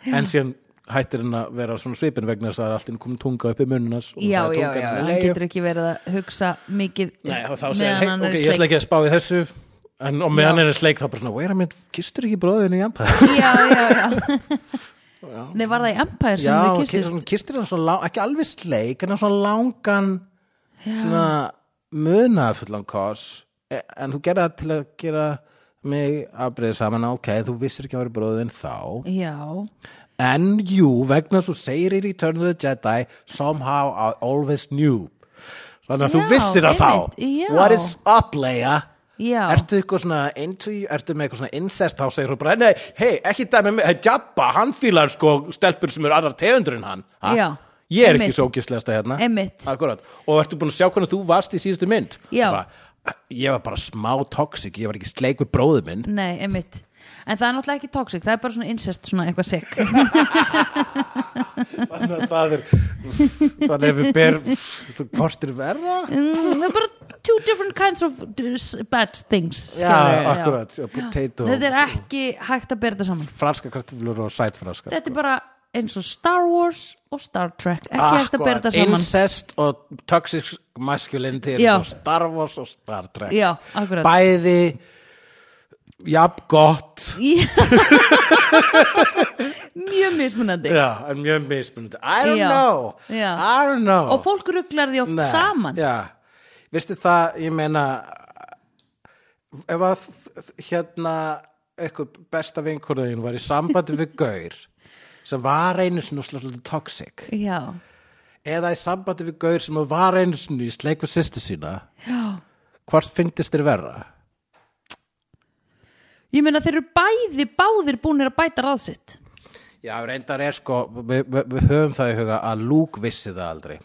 [SPEAKER 1] en síðan hættir hann að vera svona svipin vegna þess að það er alltaf komin tunga upp í munnunars
[SPEAKER 2] já, já, já, hann getur ekki verið að hugsa mikið
[SPEAKER 1] Nei, og þá
[SPEAKER 2] meðan
[SPEAKER 1] segir hann,
[SPEAKER 2] hann
[SPEAKER 1] hei,
[SPEAKER 2] er
[SPEAKER 1] ok,
[SPEAKER 2] í
[SPEAKER 1] ég ætla
[SPEAKER 2] sleik."
[SPEAKER 1] ekki að spá í þessu en og meðan
[SPEAKER 2] Já.
[SPEAKER 1] hann er í sleik þá bara svona, wait a minute, kistur ekki bróðinu í Empire?
[SPEAKER 2] já, já, já Nei, var það í Empire sem
[SPEAKER 1] Já,
[SPEAKER 2] þið
[SPEAKER 1] ki-
[SPEAKER 2] kistist?
[SPEAKER 1] svona kistur hann svona, lang- ekki alveg sleik en hann svona langan svona munað fullan kos E- en þú gerði það til að gera mig afbreyði saman ok, þú vissir ekki að vera bróðin þá
[SPEAKER 2] Já,
[SPEAKER 1] En jú, vegna svo segir í Return of the Jedi Somehow I always knew Þannig að þú
[SPEAKER 2] Já,
[SPEAKER 1] vissir það þá
[SPEAKER 2] einmitt, já.
[SPEAKER 1] What is up, Leia?
[SPEAKER 2] Já.
[SPEAKER 1] Ertu eitthvað svona into, ertu með eitthvað svona incest þá segir þú bara, nei, hei, ekki dæmi með, hei, Jabba, hann fílar sko stelpur sem eru annar tegundur en hann ha?
[SPEAKER 2] Já,
[SPEAKER 1] Ég er
[SPEAKER 2] einmitt.
[SPEAKER 1] ekki svo ógislegasta hérna
[SPEAKER 2] Einmitt.
[SPEAKER 1] Akkurat, og ertu búin að sjá hvernig þú varst í síðustu mynd
[SPEAKER 2] Já.
[SPEAKER 1] bara, Ég var bara smá toxic, ég var ekki sleikur bróðu minn
[SPEAKER 2] nei, einmitt En það er náttúrulega ekki toxic, það er bara svona incest, svona eitthvað sick
[SPEAKER 1] Þannig að það er Þannig að við ber þú- Hvort er verra?
[SPEAKER 2] Mm, Það er bara two different kinds of uh, bad things
[SPEAKER 1] Já,
[SPEAKER 2] skilurðu, já.
[SPEAKER 1] akkurat, já, potato
[SPEAKER 2] Þetta er ekki hægt að bera þetta saman
[SPEAKER 1] Franska kartöflur og sætfranska
[SPEAKER 2] Þetta er bara eins og Star Wars og Star Trek Ekki hægt að bera þetta saman
[SPEAKER 1] Incest og toxic masculinity
[SPEAKER 2] Já.
[SPEAKER 1] og Star Wars og Star Trek
[SPEAKER 2] Já, akkurat
[SPEAKER 1] Bæði Jafn gott
[SPEAKER 2] Mjög mismunandi
[SPEAKER 1] Já, en mjög mismunandi I don't
[SPEAKER 2] Já.
[SPEAKER 1] know
[SPEAKER 2] Já.
[SPEAKER 1] I don't know
[SPEAKER 2] Og fólk ruglar því oft
[SPEAKER 1] Nei,
[SPEAKER 2] saman
[SPEAKER 1] Já, veistu það, ég meina ef að þ- hérna eitthvað besta vinkonuðin var í sambandi við gaur sem var einu sinni og svolítið toxic
[SPEAKER 2] Já,
[SPEAKER 1] eða í sambandi við gaur sem var einu sinni í sleik við sýstu sína
[SPEAKER 2] já
[SPEAKER 1] hvort fyndist þér verra?
[SPEAKER 2] Ég meina þeir eru bæði, báðir búnir að bæta ráð sitt
[SPEAKER 1] Já, reyndar er sko, við, við, við höfum það í huga að Luke vissi það aldrei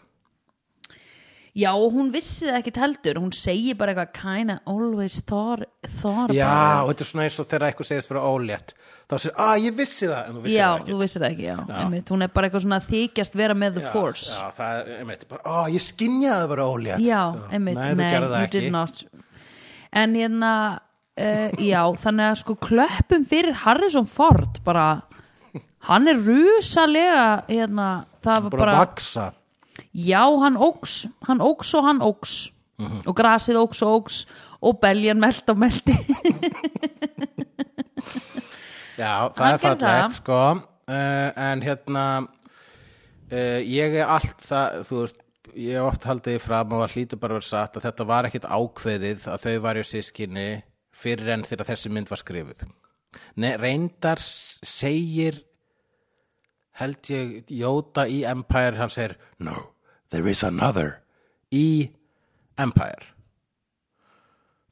[SPEAKER 2] Já, og hún vissi það ekkit heldur Hún segir bara eitthvað kinda always thought, thought
[SPEAKER 1] Já,
[SPEAKER 2] about
[SPEAKER 1] og þetta er svona eins og þegar eitthvað segist vera ólétt þá sér, að ég vissi það en þú
[SPEAKER 2] it."
[SPEAKER 1] vissi
[SPEAKER 2] Já,
[SPEAKER 1] það ekki
[SPEAKER 2] þú vissir það ekki, já, Einmitt, Hún er bara eitthvað svona að þykjast vera með the
[SPEAKER 1] Já,
[SPEAKER 2] force
[SPEAKER 1] Já, það er, einmitt, bara, ó, ég skinjaði bara ólétt
[SPEAKER 2] Já, einmitt,
[SPEAKER 1] Nei, þú
[SPEAKER 2] nei,
[SPEAKER 1] gerði það
[SPEAKER 2] you did
[SPEAKER 1] ekki
[SPEAKER 2] not En hérna uh, Já, þannig að sko klöppum fyrir Harrison Ford bara hann er rusalega hérna, það var
[SPEAKER 1] Bara
[SPEAKER 2] bara,
[SPEAKER 1] að vaksa
[SPEAKER 2] já, hann óks hann óks og hann óks
[SPEAKER 1] Mhm.
[SPEAKER 2] og grasið óks og óks og beljan meld og meldi
[SPEAKER 1] Já, það
[SPEAKER 2] Hann
[SPEAKER 1] er
[SPEAKER 2] gerði það.
[SPEAKER 1] fallegt, sko uh, En hérna uh, Ég er allt það, þú veist Ég hef oft haldið því fram og að hlýtu bara verið satt að þetta var ekkit ákveðið að þau varju sískinni fyrir en þegar þessi mynd var skrifuð Nei, reyndar s- segir held ég Jóta í Empire hann segir No, there is another í Empire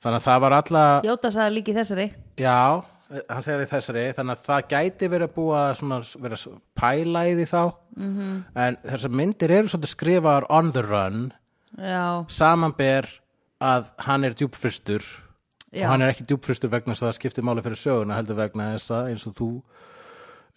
[SPEAKER 1] Þannig að það var alla
[SPEAKER 2] Jóta sagði líki þessari
[SPEAKER 1] Já, hann segir í þessari þannig að það gæti verið að búa að svona, vera að pæla í því þá -hmm. en þessar myndir eru svolítið skrifaðar on the run
[SPEAKER 2] Já,
[SPEAKER 1] samanber að hann er djúpfristur
[SPEAKER 2] Já.
[SPEAKER 1] og hann er ekki djúpfristur vegna þess að það skiptir máli fyrir söguna heldur vegna þess að eins og þú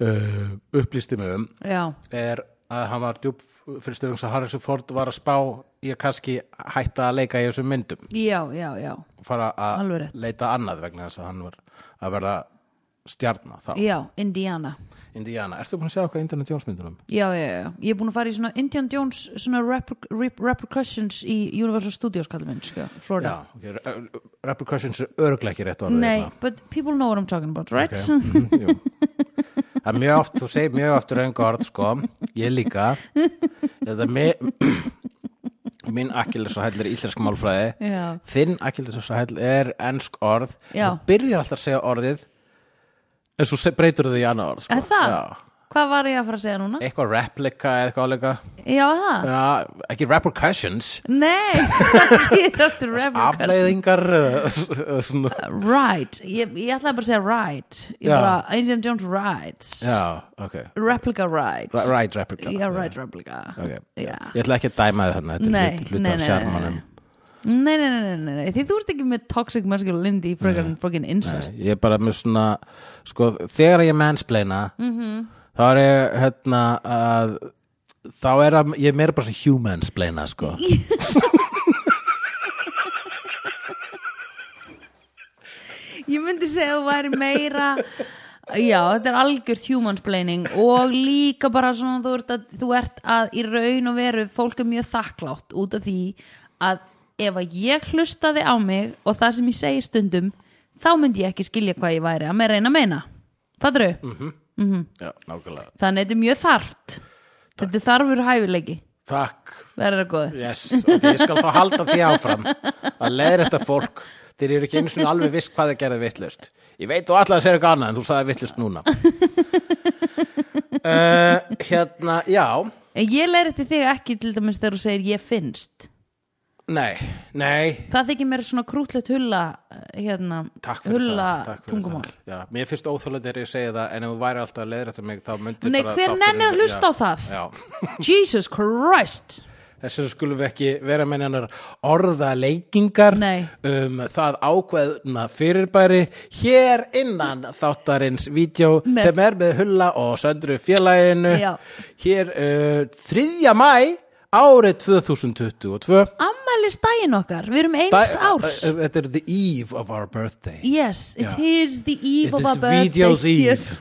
[SPEAKER 1] uh, upplýsti mig um
[SPEAKER 2] já,
[SPEAKER 1] er að hann var djúpfristur eins og Harrison Ford var að spá í að kannski hætta að leika í þessum myndum
[SPEAKER 2] já, já, já
[SPEAKER 1] fara
[SPEAKER 2] Alveg
[SPEAKER 1] að
[SPEAKER 2] rétt.
[SPEAKER 1] leita annað vegna þess að hann var að verða stjarna þá.
[SPEAKER 2] Já, Indiana
[SPEAKER 1] Indiana, ertu búin að sjá eitthvað Indiana Jones myndunum?
[SPEAKER 2] Já, já, já, ég er búin að fara í svona Indiana Jones svona reper- rep repercussions í Universal Studios kallum minn, sko, Florida
[SPEAKER 1] Já, ok, re- re- repercussions er örglega ekki rétt orðið.
[SPEAKER 2] Nei,
[SPEAKER 1] hérna.
[SPEAKER 2] but people know what I'm talking about, right?
[SPEAKER 1] Ok, mhm, jú. Það er mjög oft, þú segir mjög oft raung orð, sko, ég líka. Þetta me, minn akkilesarhæll er íslensk málfræði,
[SPEAKER 2] Já.
[SPEAKER 1] þinn akkilesarhæll er ensk orð,
[SPEAKER 2] Já.
[SPEAKER 1] en þú byrjar alltaf að segja orðið, en svo se- breytir það í annað orð, sko.
[SPEAKER 2] Er það?
[SPEAKER 1] Já.
[SPEAKER 2] Hvað var ég að fara að segja núna?
[SPEAKER 1] eitthvað replika eða eitthvað álega
[SPEAKER 2] Já, það.
[SPEAKER 1] Já, ekki repercussions
[SPEAKER 2] Nei, það er aftur reference.
[SPEAKER 1] afleiðingar eða- eða svona.
[SPEAKER 2] Right, ég, ég ætlaði bara að segja right Ég
[SPEAKER 1] Já.
[SPEAKER 2] bara, Indiana Jones rides
[SPEAKER 1] já, ok
[SPEAKER 2] Replica rides
[SPEAKER 1] Ra- right replica
[SPEAKER 2] Já, right replica
[SPEAKER 1] Ok.
[SPEAKER 2] Já.
[SPEAKER 1] ég ætla ekki að dæma þið þarna þetta
[SPEAKER 2] Nei,
[SPEAKER 1] er hlut-
[SPEAKER 2] nei,
[SPEAKER 1] hluti af
[SPEAKER 2] nei,
[SPEAKER 1] sjarmanum
[SPEAKER 2] Nei, nei, nei, nei, nei, því þú ert ekki með toxic masculinity frögan frögan incest
[SPEAKER 1] Nei, ég er bara með svona sko, þegar ég mansplaina
[SPEAKER 2] Mhm.
[SPEAKER 1] þá er ég hérna að þá er að, ég er meira bara svona humansplaina sko
[SPEAKER 2] Ég myndi segja að þú væri meira Já, þetta er algjört humansplaining og líka bara svona þú ert, að, þú ert að í raun og veru fólk er mjög þakklátt út af því að ef að ég hlustaði á mig og það sem ég segi stundum þá myndi ég ekki skilja hvað ég væri að meira eina meina Fatru?
[SPEAKER 1] Mhm. já, nákvæmlega
[SPEAKER 2] Þannig þetta er mjög þarft Þetta er þarfur hæfileiki
[SPEAKER 1] takk,
[SPEAKER 2] Verður það góð?
[SPEAKER 1] yes, ok, ég skal þá halda því áfram að leiðir þetta fólk þeir eru ekki einu svona alveg viss hvað þið gerði vittlust ég veit þú allar að segja eitthvað annað en þú sagði vittlust núna uh, hérna, já
[SPEAKER 2] En ég leir þetta þig ekki til dæmis þegar þú segir ég finnst
[SPEAKER 1] nei, nei,
[SPEAKER 2] Það þykir mér svona krútlegt hulla eh, hérna,
[SPEAKER 1] Takk fyrir
[SPEAKER 2] hulla
[SPEAKER 1] það, takk fyrir
[SPEAKER 2] tungumál
[SPEAKER 1] það. Já, mér finnst óþjóðlega þegar ég segi það en ef þú væri alltaf að leiðra þetta mig þá myndi
[SPEAKER 2] Nei,
[SPEAKER 1] bara
[SPEAKER 2] hver
[SPEAKER 1] þátturinn-
[SPEAKER 2] nennir að
[SPEAKER 1] Já,
[SPEAKER 2] hlusta á það?
[SPEAKER 1] Já,
[SPEAKER 2] Jesus Christ
[SPEAKER 1] þess vegna skulum við ekki vera með hennar orðaleikingar
[SPEAKER 2] Nei.
[SPEAKER 1] um það ákveðna fyrirbæri hér innan þáttarins vídeo
[SPEAKER 2] Nei.
[SPEAKER 1] sem er með Hulla og Söndru félaginu
[SPEAKER 2] Já.
[SPEAKER 1] hér uh, 3. mæ árið 2022
[SPEAKER 2] Ammælis daginn okkar, við erum eins
[SPEAKER 1] Da-
[SPEAKER 2] árs
[SPEAKER 1] uh, uh, Þetta er the eve of our birthday
[SPEAKER 2] Yes, it
[SPEAKER 1] Já.
[SPEAKER 2] is the eve
[SPEAKER 1] It
[SPEAKER 2] of
[SPEAKER 1] is
[SPEAKER 2] our birthday
[SPEAKER 1] video's eve. Uh,
[SPEAKER 2] yes.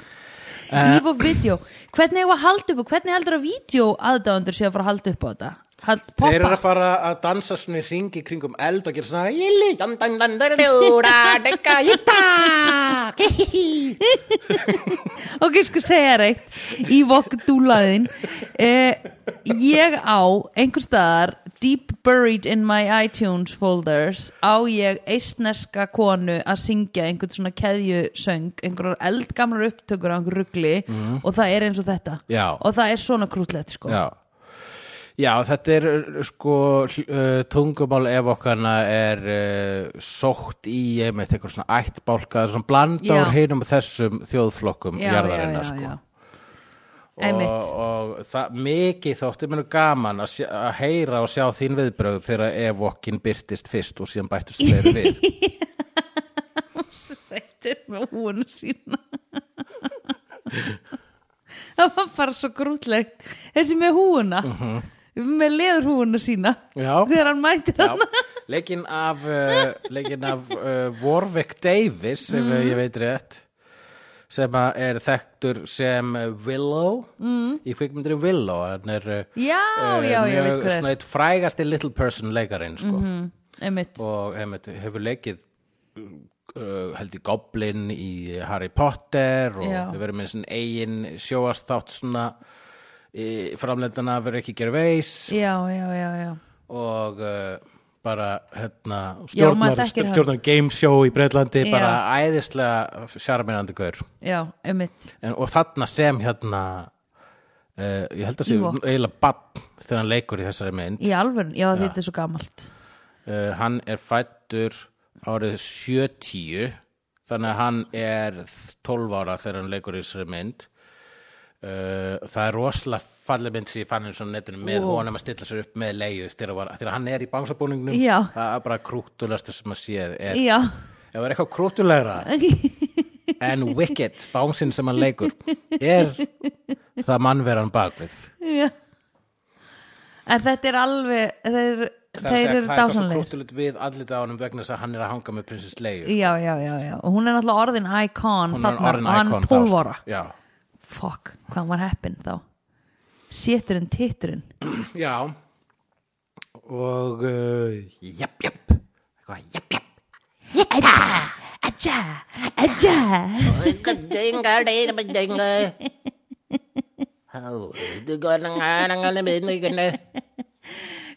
[SPEAKER 2] Eve of video Hvernig hefur að halda upp og hvernig heldur að video aðdáðundur sé að fara að halda upp á þetta? Hald,
[SPEAKER 1] Þeir eru
[SPEAKER 2] poppa,
[SPEAKER 1] að fara að dansa svona í ringi kringum eld og gera svona Jilli, dan, dan, dan, dan, djúra, dekka, jitta
[SPEAKER 2] ok, ég skal segja þér eitt í vokdúlaðin eh, ég á einhver staðar deep buried in my iTunes folders á ég eistneska konu að syngja einhvern svona keðjusöng einhverjar eldgamlar upptökur á einhver rugli og það er eins og þetta
[SPEAKER 1] Mhm. Já.
[SPEAKER 2] og það er svona krútlegt sko
[SPEAKER 1] Já Já, þetta er uh, sko hl- uh, tungumál ef okkarna er uh, sótt í einmitt eitthvað svona ættbálka svona blanda
[SPEAKER 2] Já.
[SPEAKER 1] úr hinum og þessum þjóðflokkum jarðarinnar sko og,
[SPEAKER 2] Einmitt.
[SPEAKER 1] og það mikið þótti mér nú gaman að, sjá, að heyra og sjá þín viðbrögð þegar evokkin byrtist fyrst og síðan bættist fleiri við
[SPEAKER 2] sættir með húnu sína það var bara svo grútlegt þessi með húuna með leður húuna sína
[SPEAKER 1] Já.
[SPEAKER 2] þegar hann mætir
[SPEAKER 1] Já,
[SPEAKER 2] hann
[SPEAKER 1] leikinn af, uh, leikinn af uh, Warwick Davis ef mm. ég veit rétt sem að er þekktur sem uh, Willow mm. í kvikmyndri Willow hann er uh,
[SPEAKER 2] já,
[SPEAKER 1] uh,
[SPEAKER 2] já, ég veit
[SPEAKER 1] mjög svona
[SPEAKER 2] hvað er Mhm.
[SPEAKER 1] eitt frægasti little person leikarinn sko.
[SPEAKER 2] einmitt,
[SPEAKER 1] og einmitt, hefur leikið uh, held í Goblin í Harry Potter og
[SPEAKER 2] Já.
[SPEAKER 1] hefur verið með svona eigin sjóastátt svona eh, í framlendana verið ekki gerveis
[SPEAKER 2] já, já, já, já
[SPEAKER 1] og uh, bara hérna,
[SPEAKER 2] Já, maður
[SPEAKER 1] stjórnar,
[SPEAKER 2] þekkir hann.
[SPEAKER 1] stjórnar game show í Breitlandi,
[SPEAKER 2] Já.
[SPEAKER 1] bara æðislega sjarmirandi gaur
[SPEAKER 2] já, einmitt,
[SPEAKER 1] en, og þarna sem hérna uh, ég held að sé
[SPEAKER 2] Ewok.
[SPEAKER 1] eiginlega bann þegar hann leikur í þessari mynd
[SPEAKER 2] í alvörn já, þetta er svo gamalt
[SPEAKER 1] uh, hann er fættur árið 70 þannig að hann er 12 ára þegar hann leikur í þessari mynd uh, það er rosalega falleg mynd sem ég fann eins og netinu með
[SPEAKER 2] Wow.
[SPEAKER 1] honum að stilla sér upp með leiðu þegar, var, þegar hann er í bánsabúningnum
[SPEAKER 2] Já.
[SPEAKER 1] það er bara krúttulegsta sem að séð er,
[SPEAKER 2] já,
[SPEAKER 1] ef það er eitthvað krúttulegra en Wicked bánsinn sem hann leikur er það mannveran bakvið
[SPEAKER 2] já en þetta er alveg þeir,
[SPEAKER 1] það er
[SPEAKER 2] þeir
[SPEAKER 1] að
[SPEAKER 2] eru
[SPEAKER 1] segja, það er svo
[SPEAKER 2] dásanlega
[SPEAKER 1] krúttulegt við allir á honum vegna þess að hann er að hanga með prinsess leiðu
[SPEAKER 2] já, já, já, já, og hún er náttúrulega orðin icon
[SPEAKER 1] hún
[SPEAKER 2] þarna,
[SPEAKER 1] var orðin
[SPEAKER 2] og hann
[SPEAKER 1] icon
[SPEAKER 2] 12 ára
[SPEAKER 1] þá, sko. já.
[SPEAKER 2] Fuck, hvað hann var heppin þá Séturinn, titturinn
[SPEAKER 1] já og uh, japp, japp eitthvað japp, japp
[SPEAKER 2] Aja, aja, aja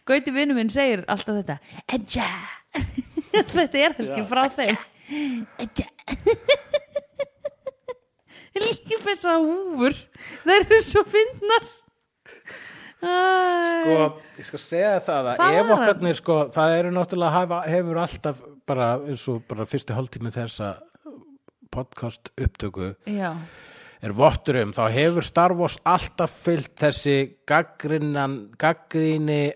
[SPEAKER 2] Gauti vinnu minn segir alltaf þetta Eh, Aja
[SPEAKER 1] Eh,
[SPEAKER 2] Eh, Þetta er ekki frá þeim Aja líka þessar húfur það eru svo fyndnar
[SPEAKER 1] sko, ég skal segja það að
[SPEAKER 2] Hvað
[SPEAKER 1] ef
[SPEAKER 2] var hann?
[SPEAKER 1] okkarnir sko, það eru náttúrulega hafa, hefur alltaf bara eins og bara fyrsti hálftími þessa podcast upptöku
[SPEAKER 2] já,
[SPEAKER 1] er votturum, þá hefur Star Wars alltaf fyllt þessi gaggrinnan, gaggrinni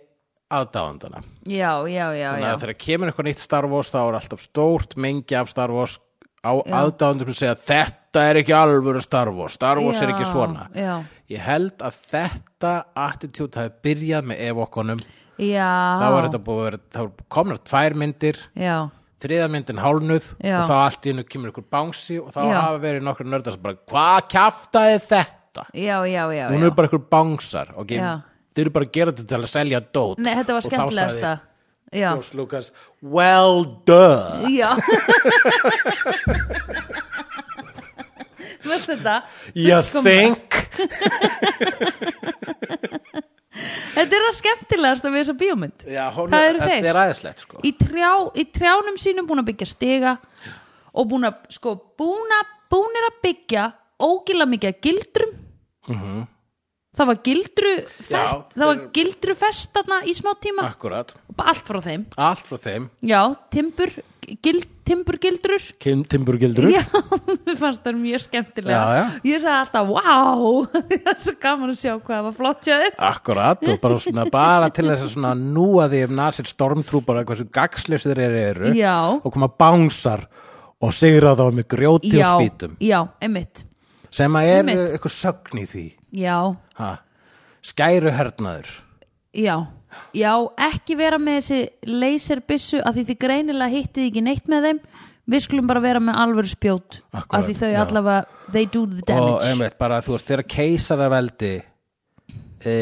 [SPEAKER 1] aðdáðandana.
[SPEAKER 2] já, já, já,
[SPEAKER 1] Þannig
[SPEAKER 2] já.
[SPEAKER 1] að þegar kemur eitthvað nýtt Star Wars þá er alltaf stórt mengi af Star Wars á aðdáðandum sem segja þetta er ekki alvöru Star Wars, Star Wars er ekki
[SPEAKER 2] Já,
[SPEAKER 1] svona.
[SPEAKER 2] já,
[SPEAKER 1] Ég held að þetta attitude hafi byrjað með Evokkonum
[SPEAKER 2] já
[SPEAKER 1] þá var þetta búið að vera, þá voru komnar tvær myndir
[SPEAKER 2] já,
[SPEAKER 1] þriða myndin hálnuð
[SPEAKER 2] Já.
[SPEAKER 1] og þá allt í hennu kemur ykkur bánsi og þá
[SPEAKER 2] Já.
[SPEAKER 1] hafa verið nokkur nördar sem bara, hvað kjaftaði þetta?
[SPEAKER 2] já, já, já,
[SPEAKER 1] Hún
[SPEAKER 2] já.
[SPEAKER 1] eru bara ykkur bánsar og okay?
[SPEAKER 2] Já.
[SPEAKER 1] þeir eru bara að gera þetta til að selja dót
[SPEAKER 2] Nei, þetta var
[SPEAKER 1] Og þá
[SPEAKER 2] skemmtilegasta
[SPEAKER 1] sagði
[SPEAKER 2] já,
[SPEAKER 1] George Lucas, well done
[SPEAKER 2] já Vast þetta?
[SPEAKER 1] you
[SPEAKER 2] Fullkomna.
[SPEAKER 1] think
[SPEAKER 2] Þetta er það skemmtilegasta við þessa bíómynd
[SPEAKER 1] Já, hún,
[SPEAKER 2] Það eru
[SPEAKER 1] þetta
[SPEAKER 2] þeir.
[SPEAKER 1] er aðeinslegt sko
[SPEAKER 2] í, trjá, í trjánum sínum búin að byggja stiga og búin að sko búin að, búin að byggja ógila mikið af gildrum það var gildru
[SPEAKER 1] Mhm. Já,
[SPEAKER 2] fest, það var
[SPEAKER 1] þeir- Ah.
[SPEAKER 2] gildru þarna í smá tíma
[SPEAKER 1] akkurat,
[SPEAKER 2] bara allt frá þeim
[SPEAKER 1] allt frá þeim
[SPEAKER 2] já, timbur, gild, timbur gildrur
[SPEAKER 1] Kim Timburgildur
[SPEAKER 2] já, mér fannst það mjög skemmtilega
[SPEAKER 1] Já, já.
[SPEAKER 2] ég sagði alltaf, wow það er svo gaman að sjá hvað það var flott hjá þér
[SPEAKER 1] Akkurat og bara, svona, bara til þess að svona núa því um nasir stormtrúpar og hversu gagslis þeir eru, eru
[SPEAKER 2] Já.
[SPEAKER 1] og koma bánsar og sigra þá með grjóti
[SPEAKER 2] já,
[SPEAKER 1] og spýtum
[SPEAKER 2] já, einmitt
[SPEAKER 1] sem að er
[SPEAKER 2] Einmitt.
[SPEAKER 1] eitthvað sögn í því
[SPEAKER 2] já,
[SPEAKER 1] ha. skæru hernaður
[SPEAKER 2] Já, já, ekki vera með þessi laserbissu að því þið greinilega hittið ekki neitt með þeim við skulum bara vera með alvöru spjót
[SPEAKER 1] Akkúrat,
[SPEAKER 2] að því þau
[SPEAKER 1] já.
[SPEAKER 2] allavega, they do the
[SPEAKER 1] og
[SPEAKER 2] damage
[SPEAKER 1] einmitt bara þú veist þegar keisaraveldi e,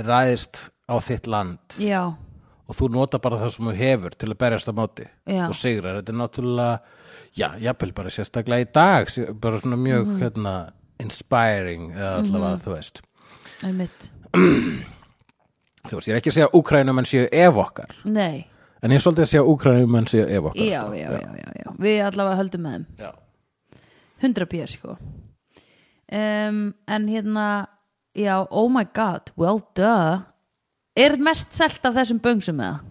[SPEAKER 1] ræðist á þitt land
[SPEAKER 2] Já,
[SPEAKER 1] og þú nota bara það sem þú hefur til að berjast á móti
[SPEAKER 2] Já.
[SPEAKER 1] og sigrar, þetta er náttúrulega já, jafnvel bara sérstaklega í dag sé- bara svona mjög
[SPEAKER 2] Mhm.
[SPEAKER 1] hérna, inspiring eða allavega, þú veist
[SPEAKER 2] einmitt
[SPEAKER 1] þú veist, ég er ekki að segja að Úkrænumenn séu ef okkar
[SPEAKER 2] Nei,
[SPEAKER 1] en ég er svolítið að segja að Úkrænumenn séu ef okkar
[SPEAKER 2] já, já, já, já, já við allavega höldum með þeim
[SPEAKER 1] sko. já.
[SPEAKER 2] 100 pjör sko um, en hérna já, oh my god, well duh er mest selt af þessum böngsum með það?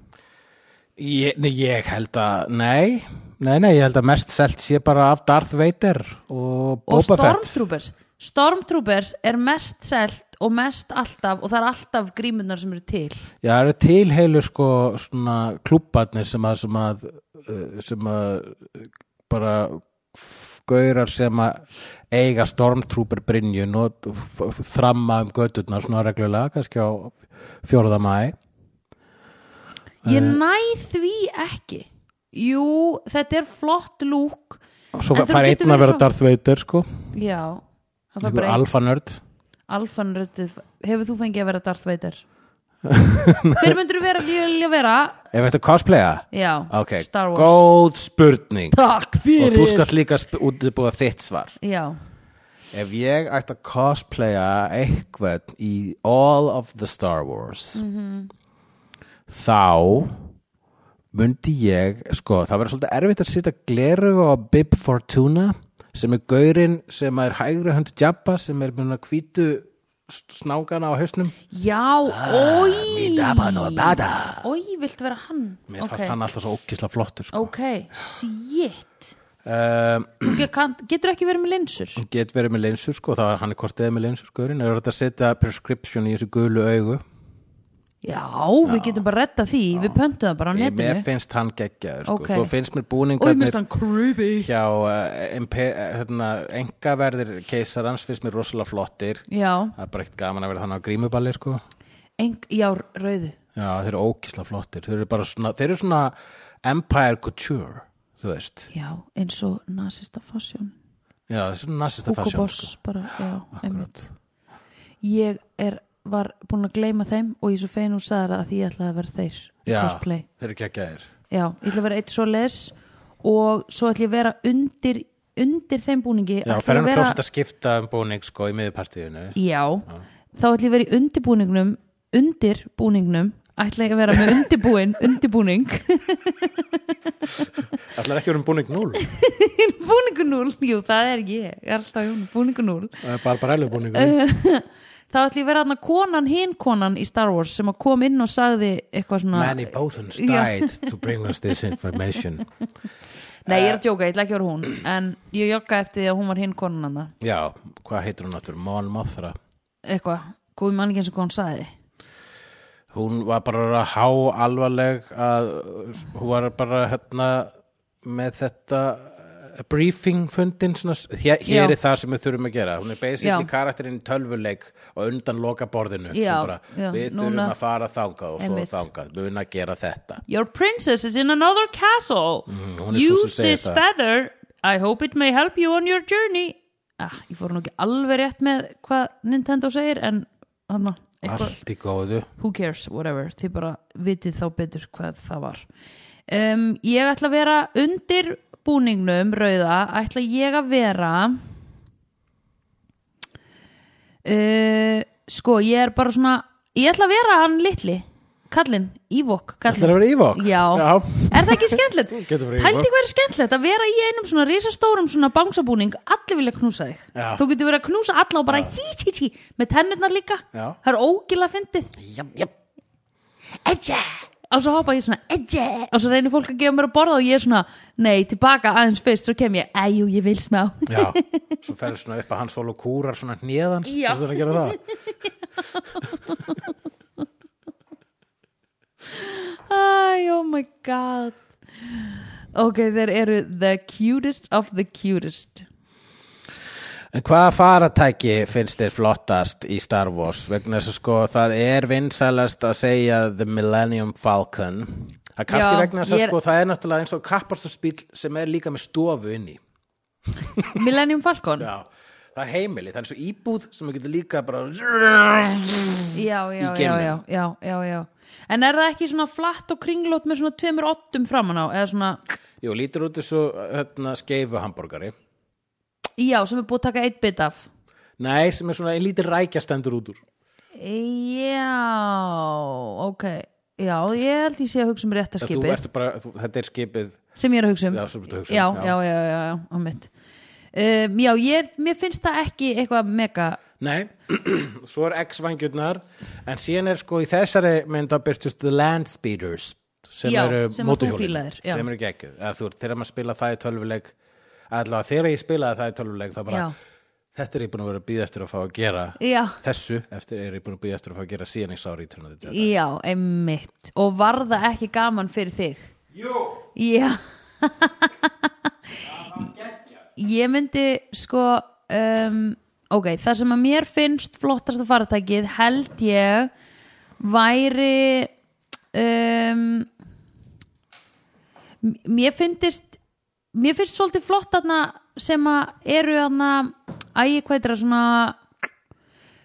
[SPEAKER 1] Ég, nei, ég held að, nei nei, nei, ég held að mest selt sé bara af Darth Vader og
[SPEAKER 2] og
[SPEAKER 1] Boba Fett
[SPEAKER 2] Stormtroopers Stormtroopers er mest selt og mest alltaf og það er alltaf grímunar sem eru til
[SPEAKER 1] já, það eru tilheilu sko svona klúbbarnir sem að sem að, uh, sem að uh, bara f- gaurar sem að eiga Stormtrooper Brynjun og f- f- þramma um götturnar svona reglulega, kannski á fjórða maí
[SPEAKER 2] ég
[SPEAKER 1] Eh.
[SPEAKER 2] næ því ekki jú, þetta er flott lúk
[SPEAKER 1] svo
[SPEAKER 2] En það
[SPEAKER 1] fær
[SPEAKER 2] getur
[SPEAKER 1] einn að
[SPEAKER 2] verið
[SPEAKER 1] vera
[SPEAKER 2] svo-
[SPEAKER 1] Darth Vader sko
[SPEAKER 2] já, það var
[SPEAKER 1] Einhver
[SPEAKER 2] bara ein,
[SPEAKER 1] alfanörd
[SPEAKER 2] alfanröttið hefur þú fengið að vera Darth Vader hver myndur þú vera vilja vera
[SPEAKER 1] Ef þetta cosplaya?
[SPEAKER 2] já,
[SPEAKER 1] Ok,
[SPEAKER 2] Star Wars
[SPEAKER 1] góð spurning
[SPEAKER 2] takk
[SPEAKER 1] Og
[SPEAKER 2] fyrir
[SPEAKER 1] þú skalt líka sp- útbúa þitt svar
[SPEAKER 2] já,
[SPEAKER 1] Ef ég ætti að cosplaya eitthvað í all of the Star Wars þá myndi ég sko, það verður svolítið erfitt að sitja gleru á Bib Fortuna sem er gaurinn sem er hægri hönd Jabba sem er mjög hvítu s- snákana á hausnum
[SPEAKER 2] já, oi
[SPEAKER 1] Dabba og Bada
[SPEAKER 2] oi, viltu vera hann
[SPEAKER 1] Mér
[SPEAKER 2] ok,
[SPEAKER 1] fannst hann alltaf svo ókísla flottur sko.
[SPEAKER 2] ok, shit
[SPEAKER 1] um,
[SPEAKER 2] Ge- kann- getur ekki verið með linsur
[SPEAKER 1] Get verið með leinsur sko, þá er hann hvort eða með leinsur skoðurinn Er þetta að setja prescription í þessu gulu augu
[SPEAKER 2] já, við getum bara retta því við pöntum það bara á
[SPEAKER 1] Ég- Mér
[SPEAKER 2] netinu
[SPEAKER 1] finnst hann geggjaður sko.
[SPEAKER 2] Ok.
[SPEAKER 1] Svo finnst mér
[SPEAKER 2] og ég minnst
[SPEAKER 1] búningarnir
[SPEAKER 2] hann creepy
[SPEAKER 1] hjá uh, impe, uh, hérna, engaverðir keisarans finnst mér rosalega flottir
[SPEAKER 2] já,
[SPEAKER 1] Það er bara ekkert gaman að vera þannig á grímuballi sko.
[SPEAKER 2] eng, já, rauðu
[SPEAKER 1] Já, þeir eru ókísla flottir Þeir eru bara svona, þeir eru svona empire couture Þú veist,
[SPEAKER 2] já, eins og nazista fasjón
[SPEAKER 1] já þessi er nasista
[SPEAKER 2] Hugo
[SPEAKER 1] fashion
[SPEAKER 2] Boss
[SPEAKER 1] sko.
[SPEAKER 2] bara, já, einmitt ég er, var búin að gleyma þeim og ég er svo fein úr sagði það að því ég ætlaði að vera þeir í
[SPEAKER 1] Já,
[SPEAKER 2] cosplay,
[SPEAKER 1] þeir eru geggjaðir
[SPEAKER 2] já, ég ætla að vera eitt svo les og svo ætla ég að vera undir undir þeim búningi
[SPEAKER 1] Já,
[SPEAKER 2] ætla ég
[SPEAKER 1] fer hann
[SPEAKER 2] að vera-
[SPEAKER 1] klósit að skipta um búning sko í miðpartíðinu
[SPEAKER 2] Já, þá ætlum ég verið í undirbúningnum undirbúningnum ætla ég að vera með undirbúin undirbúning
[SPEAKER 1] Ætlar ekki verið um búning 0
[SPEAKER 2] búningu 0, jú það er ég Ég er alltaf Jón, búningu 0
[SPEAKER 1] Barbarellu
[SPEAKER 2] Uh,
[SPEAKER 1] búningur
[SPEAKER 2] þá ætla ég að vera þarna konan, hinn konan í Star Wars sem að kom inn og sagði eitthvað svona
[SPEAKER 1] Manny Bothans died to bring us this information
[SPEAKER 2] nei
[SPEAKER 1] Eh.
[SPEAKER 2] ég er að djóka, ég ætla ekki að vera hún en ég jogga eftir því að hún var hinn konan hann
[SPEAKER 1] Já, hvað heitir hún aftur? Mon Mothra
[SPEAKER 2] eitthvað, góð mann ekki eins og hvað hún sagði
[SPEAKER 1] Hún var bara há alvarleg að hún var bara hérna með þetta eh, briefing fundin svona, s- hér,
[SPEAKER 2] Já.
[SPEAKER 1] hér er það sem við þurfum að gera hún er basically
[SPEAKER 2] Já.
[SPEAKER 1] karakterinn í tölvuleik og undan loka borðinu
[SPEAKER 2] Já,
[SPEAKER 1] bara,
[SPEAKER 2] já,
[SPEAKER 1] við þurfum
[SPEAKER 2] núna-
[SPEAKER 1] að fara þangað og svo
[SPEAKER 2] Einmitt.
[SPEAKER 1] þangað, við að gera þetta Mm,
[SPEAKER 2] Your princess is in another castle
[SPEAKER 1] hún er sú sem
[SPEAKER 2] Use
[SPEAKER 1] segir
[SPEAKER 2] this
[SPEAKER 1] það.
[SPEAKER 2] feather I hope it may help you on your journey ah, Ég fór nú ekki alveg rétt með hvað Nintendo segir en hann eitthvað
[SPEAKER 1] allt í góðu
[SPEAKER 2] who cares, whatever, þið bara vitið þá betur hvað það var um, ég ætla að vera undir búningnum rauða ætla ég að vera uh, sko, ég er bara svona ég ætla að vera hann litli kallinn, Ívok
[SPEAKER 1] Það er að vera ívok
[SPEAKER 2] Já.
[SPEAKER 1] Já.
[SPEAKER 2] Er það ekki skemmtilegt?
[SPEAKER 1] Getur verið
[SPEAKER 2] Hældi
[SPEAKER 1] Ewok.
[SPEAKER 2] hvað er skemmtilegt að vera í einum svona risastórum svona bangsabúning, allir vilja knúsa þig
[SPEAKER 1] Já.
[SPEAKER 2] Þú getur verið að knúsa alla og bara hí, hí, hí, með tennurnar líka
[SPEAKER 1] Já.
[SPEAKER 2] Það er ógila fyndið
[SPEAKER 1] Jáp, jáp.
[SPEAKER 2] Edja Og svo hoppa ég svona Edja Og svo reynir fólk að gefa mér að borða og ég er svona Nei, tilbaka aðeins fyrst, svo kem ég Æjú, ég vil smá
[SPEAKER 1] Já, svo ferðu svona upp að hans fól og kúrar svona hnéðans
[SPEAKER 2] Já.
[SPEAKER 1] þess að það gera það
[SPEAKER 2] Æ, oh my god Ok, þeir eru the cutest of the cutest
[SPEAKER 1] En hvaða faratæki finnst þér flottast í Star Wars? Vegna þess að sko það er vinsælast að segja The Millennium Falcon Það er kannski
[SPEAKER 2] Já,
[SPEAKER 1] vegna þess að
[SPEAKER 2] ég er-
[SPEAKER 1] sko það er náttúrulega eins og kapparstofspíl sem er líka með stofu inn í
[SPEAKER 2] Millennium Falcon
[SPEAKER 1] Já, það er heimili, það er eins og íbúð sem við getur líka bara
[SPEAKER 2] já, já,
[SPEAKER 1] í
[SPEAKER 2] já,
[SPEAKER 1] geimnum.
[SPEAKER 2] já, já, já, já. En er það ekki svona flatt og kringlót með svona tveimur ottum framan á eða svona,
[SPEAKER 1] Jú, lítur út þessu hérna, skeifu hambúrgari
[SPEAKER 2] já, sem er búið að taka eitt bit af
[SPEAKER 1] Nei, sem er svona ein lítið rækjastendur út úr
[SPEAKER 2] Já, ok Já, ég held ég sé að hugsa um rétta
[SPEAKER 1] Þú
[SPEAKER 2] skipið
[SPEAKER 1] ert bara, þú, þetta er skipið
[SPEAKER 2] sem ég er að hugsa um
[SPEAKER 1] Já, sem þú ert að hugsa um,
[SPEAKER 2] já,
[SPEAKER 1] já.
[SPEAKER 2] já, já, já, já, á mitt um, Já, ég, mér finnst það ekki eitthvað mega
[SPEAKER 1] Nei, svo er X-vangjurnar en síðan er sko í þessari mynd að byrtust The Land Speeders sem
[SPEAKER 2] Já,
[SPEAKER 1] eru
[SPEAKER 2] sem að þú
[SPEAKER 1] mótorhjólin,
[SPEAKER 2] fílaðir, já.
[SPEAKER 1] sem eru geggjuð Eða þú veist, þegar maður spila það í tölvuleik allavega þegar ég spilaði það í tölvuleik þá bara,
[SPEAKER 2] Já.
[SPEAKER 1] þetta er ég búin að vera að býða eftir að fá að gera
[SPEAKER 2] Já,
[SPEAKER 1] þessu eftir er ég búin að býða eftir að fá að gera síðan ég sá Return of the Jedi
[SPEAKER 2] já, einmitt og var það ekki gaman fyrir þig
[SPEAKER 1] Jú,
[SPEAKER 2] Já Ég myndi sko um, ok, það sem að mér finnst flottasta faratækið held ég væri um, m- mér finnst mér finnst svolítið flott aðna sem að eru aðna ægi hvað er það svona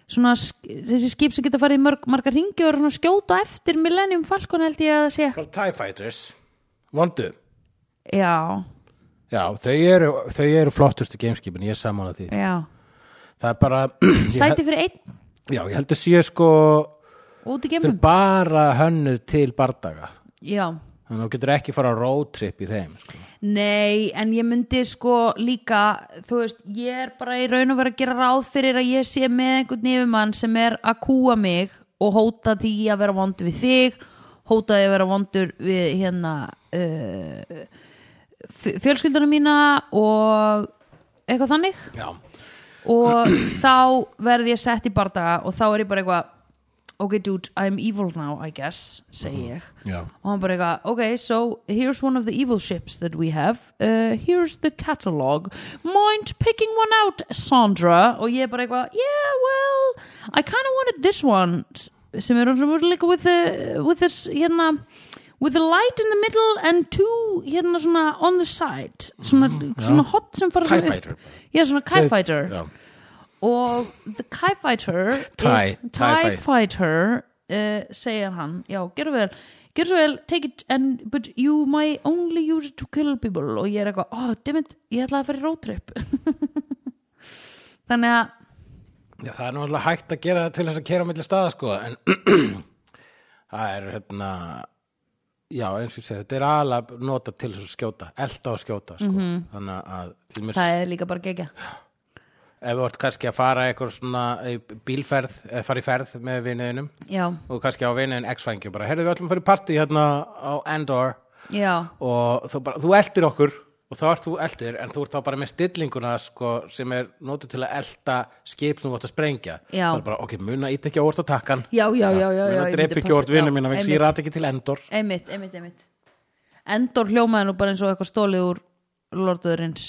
[SPEAKER 2] svona sk- þessi skip sem geta farið í mörg, margar ringi og eru svona skjóta eftir Millennium Falcon held ég að það sé
[SPEAKER 1] bara TIE Fighters Vondu
[SPEAKER 2] já,
[SPEAKER 1] Já, þau eru, þau eru flottustu gameskipin, ég er saman að því
[SPEAKER 2] já
[SPEAKER 1] Það er bara, ég, held-
[SPEAKER 2] sæti fyrir einn
[SPEAKER 1] já, ég heldur síðan sko
[SPEAKER 2] út í
[SPEAKER 1] Þau eru
[SPEAKER 2] geimnum
[SPEAKER 1] bara hönnuð til bardaga
[SPEAKER 2] já,
[SPEAKER 1] þannig að þú getur ekki fara á roadtrip í þeim sko.
[SPEAKER 2] nei, en ég myndi sko líka, þú veist ég er bara í raun og vera að gera ráð fyrir að ég sé með einhvern yfirmann sem er að kúa mig og hóta því að vera vondur við þig hóta því að vera vondur við hérna uh, fjölskyldunum mína og eitthvað þannig
[SPEAKER 1] já,
[SPEAKER 2] og þá verði ég sett í bardaga og þá er ég bara eitthvað ok dude, I'm evil now I guess segi ég
[SPEAKER 1] já.
[SPEAKER 2] og hann bara eitthvað, ok, so here's one of the evil ships that we have uh, here's the catalog mind picking one out, Sandra og ég bara eitthvað, yeah, well I kind of wanted this one s- sem er svona líka with the with this, hérna with the light in the middle and two hérna svona on the side svona, svona hot sem fara
[SPEAKER 1] Mm-hmm. TIE
[SPEAKER 2] svona
[SPEAKER 1] Fighter bara.
[SPEAKER 2] upp. já, svona TIE Fighter
[SPEAKER 1] já.
[SPEAKER 2] og the TIE Fighter
[SPEAKER 1] TIE,
[SPEAKER 2] is,
[SPEAKER 1] TIE
[SPEAKER 2] TIE
[SPEAKER 1] Fighter.
[SPEAKER 2] Fighter uh, segir hann, já, gerðu vel gerðu vel, take it and but you may only use it to kill people og ég er eitthvað, oh damn it, ég ætlaði að fara í road trip þannig að
[SPEAKER 1] já, það er náttúrulega hægt að gera það til þess að kera á milli staða sko, en það er hérna já eins og ég segi þetta er aðalega nota til þess að skjóta elda og skjóta sko. þannig að til mér
[SPEAKER 2] Mhm. það er líka bara gegja
[SPEAKER 1] ef þú ert kannski að fara eitthvað svona í bílferð, eða fara í ferð með vinuðinum
[SPEAKER 2] já,
[SPEAKER 1] og kannski á vinuðin X-fængjum bara, heyrðu við ætlum að fara í partí hérna á Endor
[SPEAKER 2] já,
[SPEAKER 1] og þú bara, þú eldir okkur og þá ert þú eldir en þú ert þá bara með stillinguna sko, sem er nótu til að elda skip sem þú átt að sprengja
[SPEAKER 2] Já.
[SPEAKER 1] það er bara, ok, muna ít ekki á orð á takkan
[SPEAKER 2] já, já, já, já, já
[SPEAKER 1] muna
[SPEAKER 2] ég
[SPEAKER 1] dreip
[SPEAKER 2] myndi
[SPEAKER 1] ekki á
[SPEAKER 2] passa-
[SPEAKER 1] orð vinnu
[SPEAKER 2] já,
[SPEAKER 1] mína vegna þess að ég
[SPEAKER 2] einmitt,
[SPEAKER 1] rata ekki til Endor
[SPEAKER 2] einmitt, einmitt, einmitt Endor hljómaði nú bara eins og eitthvað stólið úr Lorduðurins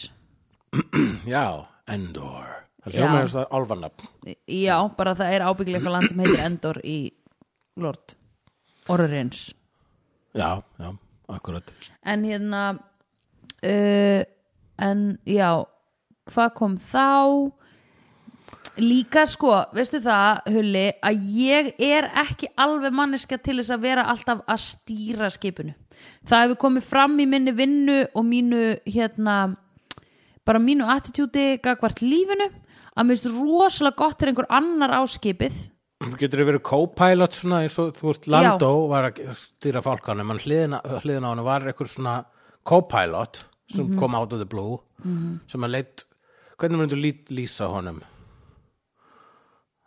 [SPEAKER 1] já, Endor það
[SPEAKER 2] Já.
[SPEAKER 1] hljóma er það álfanafn
[SPEAKER 2] já, bara það er ábyggilega eitthvað land sem heitir Endor í Lord Orðurins
[SPEAKER 1] já, já, akkurat
[SPEAKER 2] en hérna uh, en já hvað kom þá líka sko, veistu það Hulli, að ég er ekki alveg manneska til þess að vera alltaf að stýra skipinu það hefur komið fram í minni vinnu og mínu hérna bara mínu attitúti gagvart lífinu að mér finnst rosalega gott er einhver annar á skipið
[SPEAKER 1] getur verið co-pilot svona eins og þú veist Lando var að stýra fálkanum en hliðin á hliðin á hann var eitthvað svona co-pilot sem kom out of the blue sem að leitt hvernig myndu lít, lýsa honum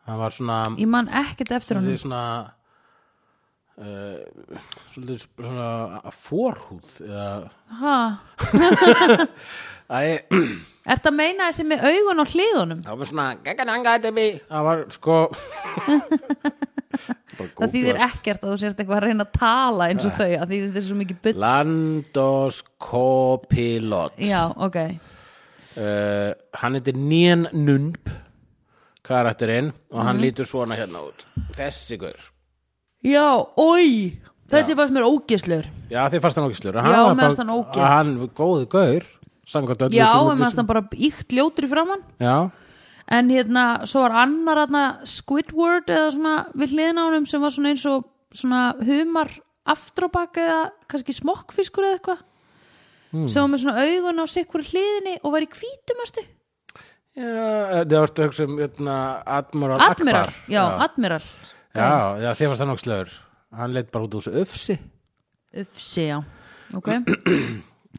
[SPEAKER 1] hann var svona
[SPEAKER 2] ég man ekkert eftir hann
[SPEAKER 1] svolítið svona uh, svolítið svona forhúð eða
[SPEAKER 2] er
[SPEAKER 1] Æ,
[SPEAKER 2] þetta að meina þessi með augun og hliðunum
[SPEAKER 1] það var svona það var sko
[SPEAKER 2] það þýðir ekkert að þú sérst eitthvað að reyna að tala eins og þau að því þetta er svo mikið bull
[SPEAKER 1] Landos co-pilot
[SPEAKER 2] já, ok,
[SPEAKER 1] uh, hann heitir Nén Nunb karakterinn og hann
[SPEAKER 2] Mhm.
[SPEAKER 1] lítur svona hérna út þessi guður
[SPEAKER 2] já, oi þessi fannst mér ógislur
[SPEAKER 1] já þið fannst hann ógislur
[SPEAKER 2] Já,
[SPEAKER 1] var
[SPEAKER 2] mér
[SPEAKER 1] bara-
[SPEAKER 2] fannst hann ógeð.
[SPEAKER 1] að hann var góðu gaur samkvæmt öllu
[SPEAKER 2] já,
[SPEAKER 1] sem
[SPEAKER 2] en
[SPEAKER 1] við
[SPEAKER 2] maður
[SPEAKER 1] vissum.
[SPEAKER 2] stann bara íkt ljótur í framann
[SPEAKER 1] já,
[SPEAKER 2] en hérna, svo var annar hérna, Squidward eða svona við hliðin á honum sem var svona eins og svona humar aftróbak eða kannski smokkfiskur eða eitthvað sem var með svona augun á sikkur hliðinni og var í hvítumastu
[SPEAKER 1] já þið vartu að hugsa um hérna, Admiral,
[SPEAKER 2] Admiral,
[SPEAKER 1] Akbar
[SPEAKER 2] já,
[SPEAKER 1] já.
[SPEAKER 2] Admiral
[SPEAKER 1] Já, já, þið fannst hann ógislur hann leitt bara út úr þessu öfsi
[SPEAKER 2] Ufsi, já, ok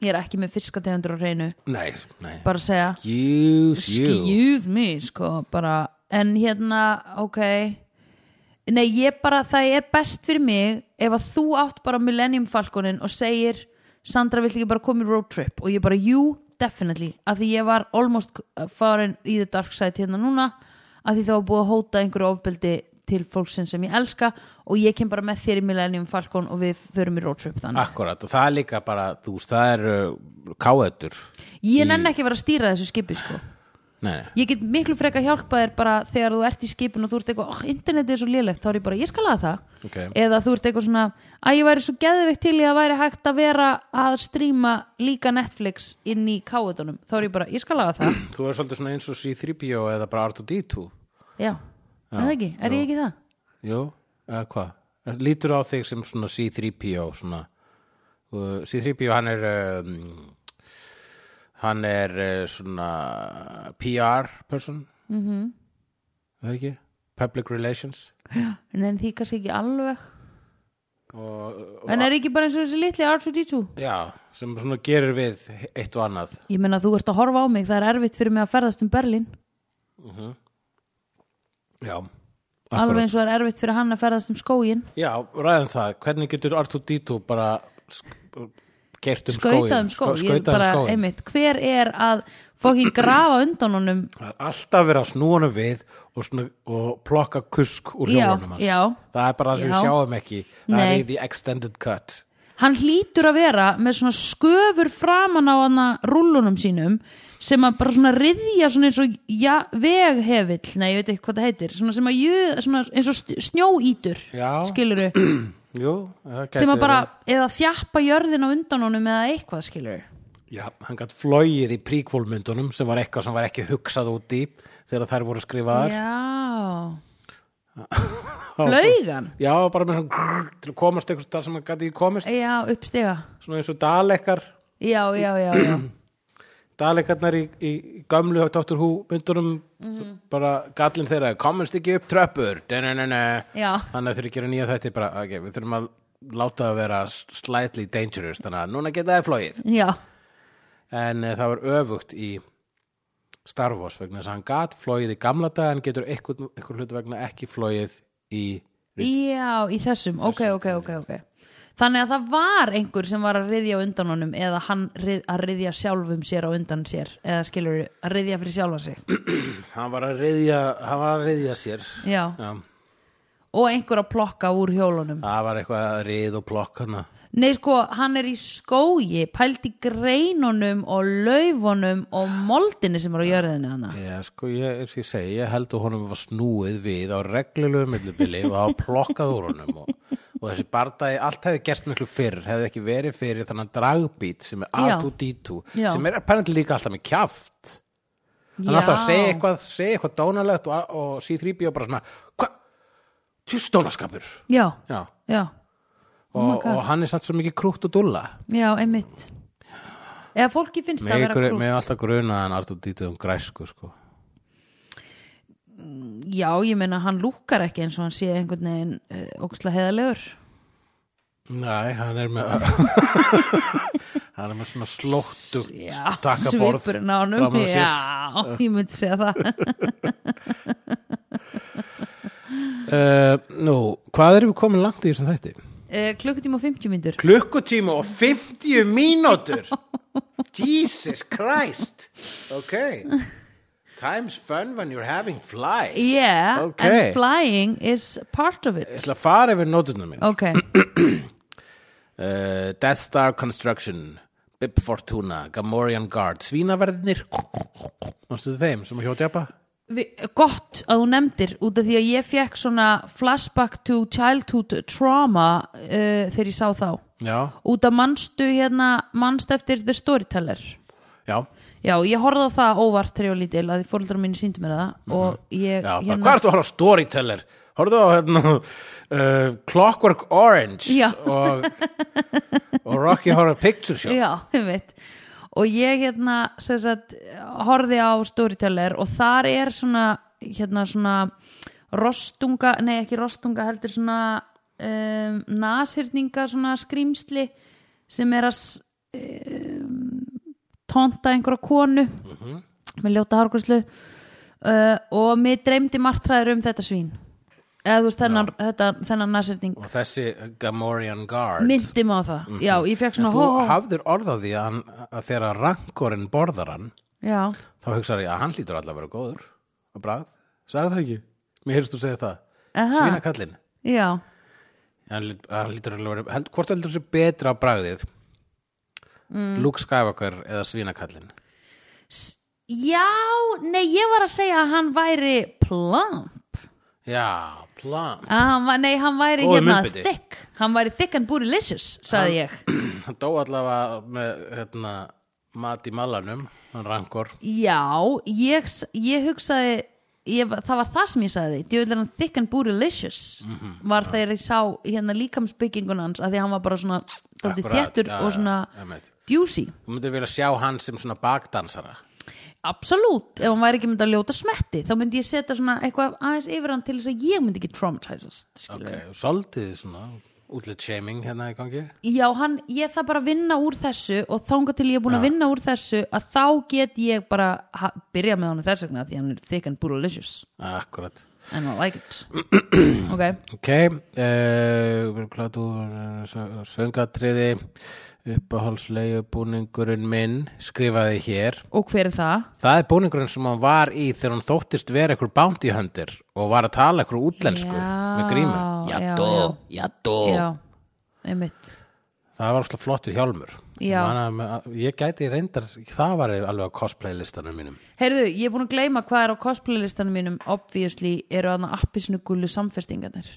[SPEAKER 2] ég er ekki með fiskategundur á hreinu
[SPEAKER 1] nei, nei
[SPEAKER 2] bara að segja
[SPEAKER 1] excuse you
[SPEAKER 2] excuse me sko bara en hérna ok nei ég bara það er best fyrir mig ef að þú átt bara Millennium Falconin og segir Sandra vill ekki bara koma í road trip og ég bara you definitely af því ég var almost uh, farin í the dark side hérna núna af því það var búið að hóta einhverju ofbeldi til fólksinn sem ég elska og ég kem bara með þér í Millennium Falcon og við förum í road trip þannig
[SPEAKER 1] akkurat og það er líka bara þú veist það eru káðutur
[SPEAKER 2] ég nenn ekki að vera að stýra þessu skipi sko
[SPEAKER 1] nei, nei
[SPEAKER 2] ég get miklu freka hjálpa þér bara þegar þú ert í skipin og þú ert eitthvað, oh, internetið er svo lélegt þá er ég bara, ég skal að það
[SPEAKER 1] Ok.
[SPEAKER 2] eða þú ert eitthvað svona, að ég væri svo geðveikt til ég að væri hægt að vera að stríma líka Netflix inn í káutunum, þá er ég bara, ég skal að það
[SPEAKER 1] Þú er svolítið svona eins og C-3PO eða bara R2-D2
[SPEAKER 2] já, er það ekki, er ég ekki það?
[SPEAKER 1] Jú, eða hvað? Er- Lítur á þig sem svona C-3PO svona uh, C-3PO hann er um, hann er uh, svona PR person mm -hmm. eða ekki? Public Relations
[SPEAKER 2] en en því kannski ekki alveg
[SPEAKER 1] og, og,
[SPEAKER 2] en er ekki bara eins og þessi litli R2-D2
[SPEAKER 1] Já, sem svona gerir við eitt og annað
[SPEAKER 2] ég meina þú ert að horfa á mig, það er erfitt fyrir mig að ferðast um Berlín
[SPEAKER 1] Já,
[SPEAKER 2] alveg eins og það er erfitt fyrir hann að ferðast um skógin
[SPEAKER 1] Já, ræðum það Hvernig getur R2-D2 bara gert um
[SPEAKER 2] skauta um
[SPEAKER 1] skóginn? Skau-
[SPEAKER 2] skó, ég
[SPEAKER 1] skautað um
[SPEAKER 2] bara,
[SPEAKER 1] skóginn?
[SPEAKER 2] einmitt, hver er að fókin grafa undan honum
[SPEAKER 1] Það er alltaf verið að snúa hann við og, svona, og plokka kusk úr
[SPEAKER 2] Já,
[SPEAKER 1] hljóðunum hans.
[SPEAKER 2] já.
[SPEAKER 1] það er bara það sem við
[SPEAKER 2] Já.
[SPEAKER 1] sjáum ekki. Það er
[SPEAKER 2] Nei.
[SPEAKER 1] í the extended cut.
[SPEAKER 2] hann hlýtur að vera með svona sköfur framan á hana rúllunum sínum sem að bara svona riðja svona eins og ja, veghefill, nei ég veit ekki hvað það heitir svona sem að jöð, svona eins og st- snjóítur
[SPEAKER 1] Já.
[SPEAKER 2] skiluru,
[SPEAKER 1] Jú, það gæti
[SPEAKER 2] sem að bara
[SPEAKER 1] verið.
[SPEAKER 2] eða þjappa jörðin á undan honum eða eitthvað skiluru
[SPEAKER 1] Já, hann gætt flóið í príkvólmyndunum sem var eitthvað sem var ekki hugsað út í þegar þær voru skrifaðar.
[SPEAKER 2] já flaugan
[SPEAKER 1] Já, bara með svona grrr, til að komast eitthvað þar sem hann gæti ekki komist.
[SPEAKER 2] já, uppstiga
[SPEAKER 1] Svona eins og dalekar.
[SPEAKER 2] já, já, já, já
[SPEAKER 1] dalekarnar í, í gamlu Dr. Who myndunum
[SPEAKER 2] Mhm.
[SPEAKER 1] bara gallin þeirra, komumst ekki upp tröppur Dun-dun-dun-dun.
[SPEAKER 2] Já.
[SPEAKER 1] þannig að þurfi að gera nýja þetta bara, ok, við þurfum að láta það vera slightly dangerous þannig að núna geta það flóið
[SPEAKER 2] já,
[SPEAKER 1] en e, það var öfugt í Star Wars vegna þess að hann gat flóið í gamla dag en getur eitthvað, eitthvað hlut vegna ekki flóið í
[SPEAKER 2] já, í þessum ok, ok, ok, ok þannig að það var einhver sem var að riðja á undan honum eða hann rið, að riðja sjálfum sér á undan sér eða skilur að riðja fyrir sjálfa sig
[SPEAKER 1] hann var að reyðja, hann var að reyðja sér
[SPEAKER 2] já,
[SPEAKER 1] Já,
[SPEAKER 2] og einhver að plokka úr hjólunum
[SPEAKER 1] það var eitthvað að reyð og plokk hana
[SPEAKER 2] Nei sko, hann er í skógi pælt í greinunum og laufunum og moldinni sem er á jörðinni hana
[SPEAKER 1] Já, sko, ég, eins og ég segi, ég held að honum var snúið við á reglulegu millibili og hafa plokkað úr honum og, og þessi bardaði, allt hefði gerst miklu fyrr, hefði ekki verið fyrir þannig dragbít sem er
[SPEAKER 2] Já.
[SPEAKER 1] A2D2
[SPEAKER 2] Já.
[SPEAKER 1] sem er apparently líka alltaf með kjaft hann er alltaf að segja eitthvað, segja eitthvað dónalegt og, og C3B og bara svona hvað, tjústónaskapur
[SPEAKER 2] Já,
[SPEAKER 1] já,
[SPEAKER 2] já,
[SPEAKER 1] og,
[SPEAKER 2] Oh
[SPEAKER 1] og hann er samt svo mikið krútt og dúlla
[SPEAKER 2] já, einmitt Eða fólki finnst það að
[SPEAKER 1] með
[SPEAKER 2] vera krútt
[SPEAKER 1] alltaf grunað en A2D2 um græsku sko.
[SPEAKER 2] Já, ég meina hann lúkar ekki eins og hann sé einhvern veginn uh, óksla heðalegur
[SPEAKER 1] Nei, hann er með hann er með svona slóttu
[SPEAKER 2] Já,
[SPEAKER 1] takkaborð
[SPEAKER 2] svipurinn á honum
[SPEAKER 1] framan á sér.
[SPEAKER 2] Já, ég myndi segja það
[SPEAKER 1] uh, Nú, hvað erum við komin langt í þessum þætti?
[SPEAKER 2] uh, Klukkutíma og 50 myndur
[SPEAKER 1] Klukkutíma og 50 mínútur Jesus Christ Ok Time's fun when you're having flies
[SPEAKER 2] Yeah,
[SPEAKER 1] Ok
[SPEAKER 2] and flying is part of
[SPEAKER 1] Ég
[SPEAKER 2] it
[SPEAKER 1] ætla að fara yfir nótunum minn
[SPEAKER 2] Ok,
[SPEAKER 1] uh, Death Star Construction Bib Fortuna, Gamorrean Guard Svínaverðinir Mástu þeim sem að hjóðdjapa?
[SPEAKER 2] Vi, gott að þú nefndir út af því að ég fekk svona flashback to childhood trauma uh, þegar ég sá þá
[SPEAKER 1] Já,
[SPEAKER 2] út af mannstu hérna mannst eftir The Storyteller
[SPEAKER 1] já
[SPEAKER 2] já, ég horfði á það óvart þegar ég var lítil að því fóreldrar mínu síndu mér það og ég,
[SPEAKER 1] Mhm.
[SPEAKER 2] hérna-
[SPEAKER 1] Já, bara, hvað ertu að horfa á Storyteller? Horfðu á hérna, uh, Clockwork Orange
[SPEAKER 2] Já.
[SPEAKER 1] og, og Rocky Horror Picture Show
[SPEAKER 2] já, ég veit og ég hérna sem sagt, horfði á Storyteller og þar er svona hérna svona rostunga, nei ekki rostunga heldur svona um, nashyrninga svona skrýmsli sem er að s- tónta einhverja konu með ljóta hárgræslu uh, og mér dreymdi martræður um þetta svín eða þú veist þennan, þetta, þennan nasirting
[SPEAKER 1] og þessi Gamorrean Guard
[SPEAKER 2] myndi mig á það, já, ég fekk svona
[SPEAKER 1] Þú
[SPEAKER 2] hó, hó,
[SPEAKER 1] hafðir orð á því að, hann- að þegar rankorinn borðar hann
[SPEAKER 2] já,
[SPEAKER 1] þá hugsaði ég að hann lítur allavega að vera góður og bragð, sagði það ekki Mér heyrst þú segja það,
[SPEAKER 2] Aha.
[SPEAKER 1] svínakallinn
[SPEAKER 2] já
[SPEAKER 1] hann, lít- hann lítur alveg að vera, held, hvort heldur þessi betra á bragðið
[SPEAKER 2] Mm.
[SPEAKER 1] Luke Skywalker eða svínakallinn
[SPEAKER 2] já, nei, ég var að segja að hann væri plump
[SPEAKER 1] Já, plan
[SPEAKER 2] að hann, var- nei, hann væri
[SPEAKER 1] Góður
[SPEAKER 2] hérna
[SPEAKER 1] munnbiti.
[SPEAKER 2] thick, hann væri thick and bootylicious sagði ég,
[SPEAKER 1] hann dó allavega með hérna, mat í malanum hann rankor
[SPEAKER 2] já ég, s- ég hugsaði ég, var- það var það sem ég sagði, djöðlega hann thick and bootylicious
[SPEAKER 1] Mhm.
[SPEAKER 2] var þegar ég sá hérna líkamsbyggingun hans að því að hann var bara svona, þátti
[SPEAKER 1] Akkurat,
[SPEAKER 2] þéttur
[SPEAKER 1] já,
[SPEAKER 2] og svona
[SPEAKER 1] já, einmitt.
[SPEAKER 2] juicy
[SPEAKER 1] þú myndir vilja sjá hann sem svona bakdansara
[SPEAKER 2] Absolutt, ef hann væri ekki myndi að ljóta smetti þá myndi ég setja svona eitthvað aðeins yfir hann til þess að ég myndi ekki traumatizast
[SPEAKER 1] ok,
[SPEAKER 2] skilurðu.
[SPEAKER 1] svolítið svona útlit shaming hérna í gangi
[SPEAKER 2] Já, hann, ég þarf bara að vinna úr þessu og þanga til ég er búin að vinna úr þessu að þá get ég bara ha, byrja með hann þess vegna því hann er thick and bootylicious
[SPEAKER 1] akkurat
[SPEAKER 2] and I like it Ok,
[SPEAKER 1] ok, eh, uh, klátu söngatriði uppahálslegu búningurinn minn skrifaði hér
[SPEAKER 2] og hver er það?
[SPEAKER 1] það er búningurinn sem hann var í þegar hann þóttist vera ykkur bounty hunter og var að tala ykkur útlensku Sko, með grímu
[SPEAKER 2] Já, já,
[SPEAKER 3] Jadó
[SPEAKER 2] já, einmitt
[SPEAKER 1] Það var alltaf flottur hjálmur.
[SPEAKER 2] Já.
[SPEAKER 1] Ég man að- Ég gæti reyndar, það var alveg á cosplay listanum mínum.
[SPEAKER 2] Heyrðu, ég er búin að gleyma hvað er á cosplay-listanum mínum obviously eru hann að appisinu gullu samfestingarnir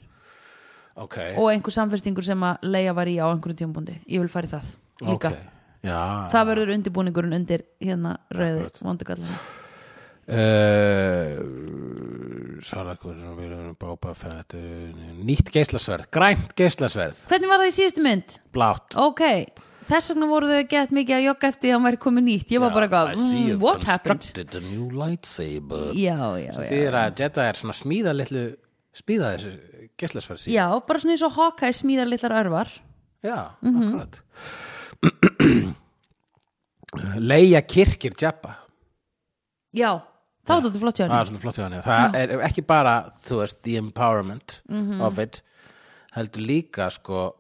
[SPEAKER 1] Ok.
[SPEAKER 2] og einhver samfestingur sem að leia var í á einhverjum tímabundi, ég vil fara í það líka,
[SPEAKER 1] Ok. Já.
[SPEAKER 2] það verður undirbúningurinn undir hérna rauði
[SPEAKER 1] Akkurat.
[SPEAKER 2] vondugallan
[SPEAKER 1] Eh, Uh, Salakur, Bóba Fett, eh, nýtt geislasverð, grænt geislasverð,
[SPEAKER 2] hvernig var það í síðustu mynd?
[SPEAKER 1] blátt,
[SPEAKER 2] ok, þess vegna voru þau gett mikið að jogga eftir því að hann væri komið nýtt ég var bara
[SPEAKER 3] I
[SPEAKER 2] eitthvað,
[SPEAKER 3] see
[SPEAKER 2] mm,
[SPEAKER 3] you've
[SPEAKER 2] what happened Oh,
[SPEAKER 3] constructed a new lightsaber
[SPEAKER 2] já, já, já,
[SPEAKER 1] Þið er að Jedi er svona smíða litlu smíða þessu gæslasverð sín
[SPEAKER 2] já, bara svona eins og Hawkeye smíðar litlar örvar
[SPEAKER 1] Já,
[SPEAKER 2] Mhm.
[SPEAKER 1] akkurat Leia kirkir Jabba
[SPEAKER 2] já, þá er þetta flott hjá
[SPEAKER 1] Það er
[SPEAKER 2] hann
[SPEAKER 1] svolítið flott hjá henni Það er ekki bara, þú veist, the empowerment
[SPEAKER 2] Mhm.
[SPEAKER 1] of it heldur líka, sko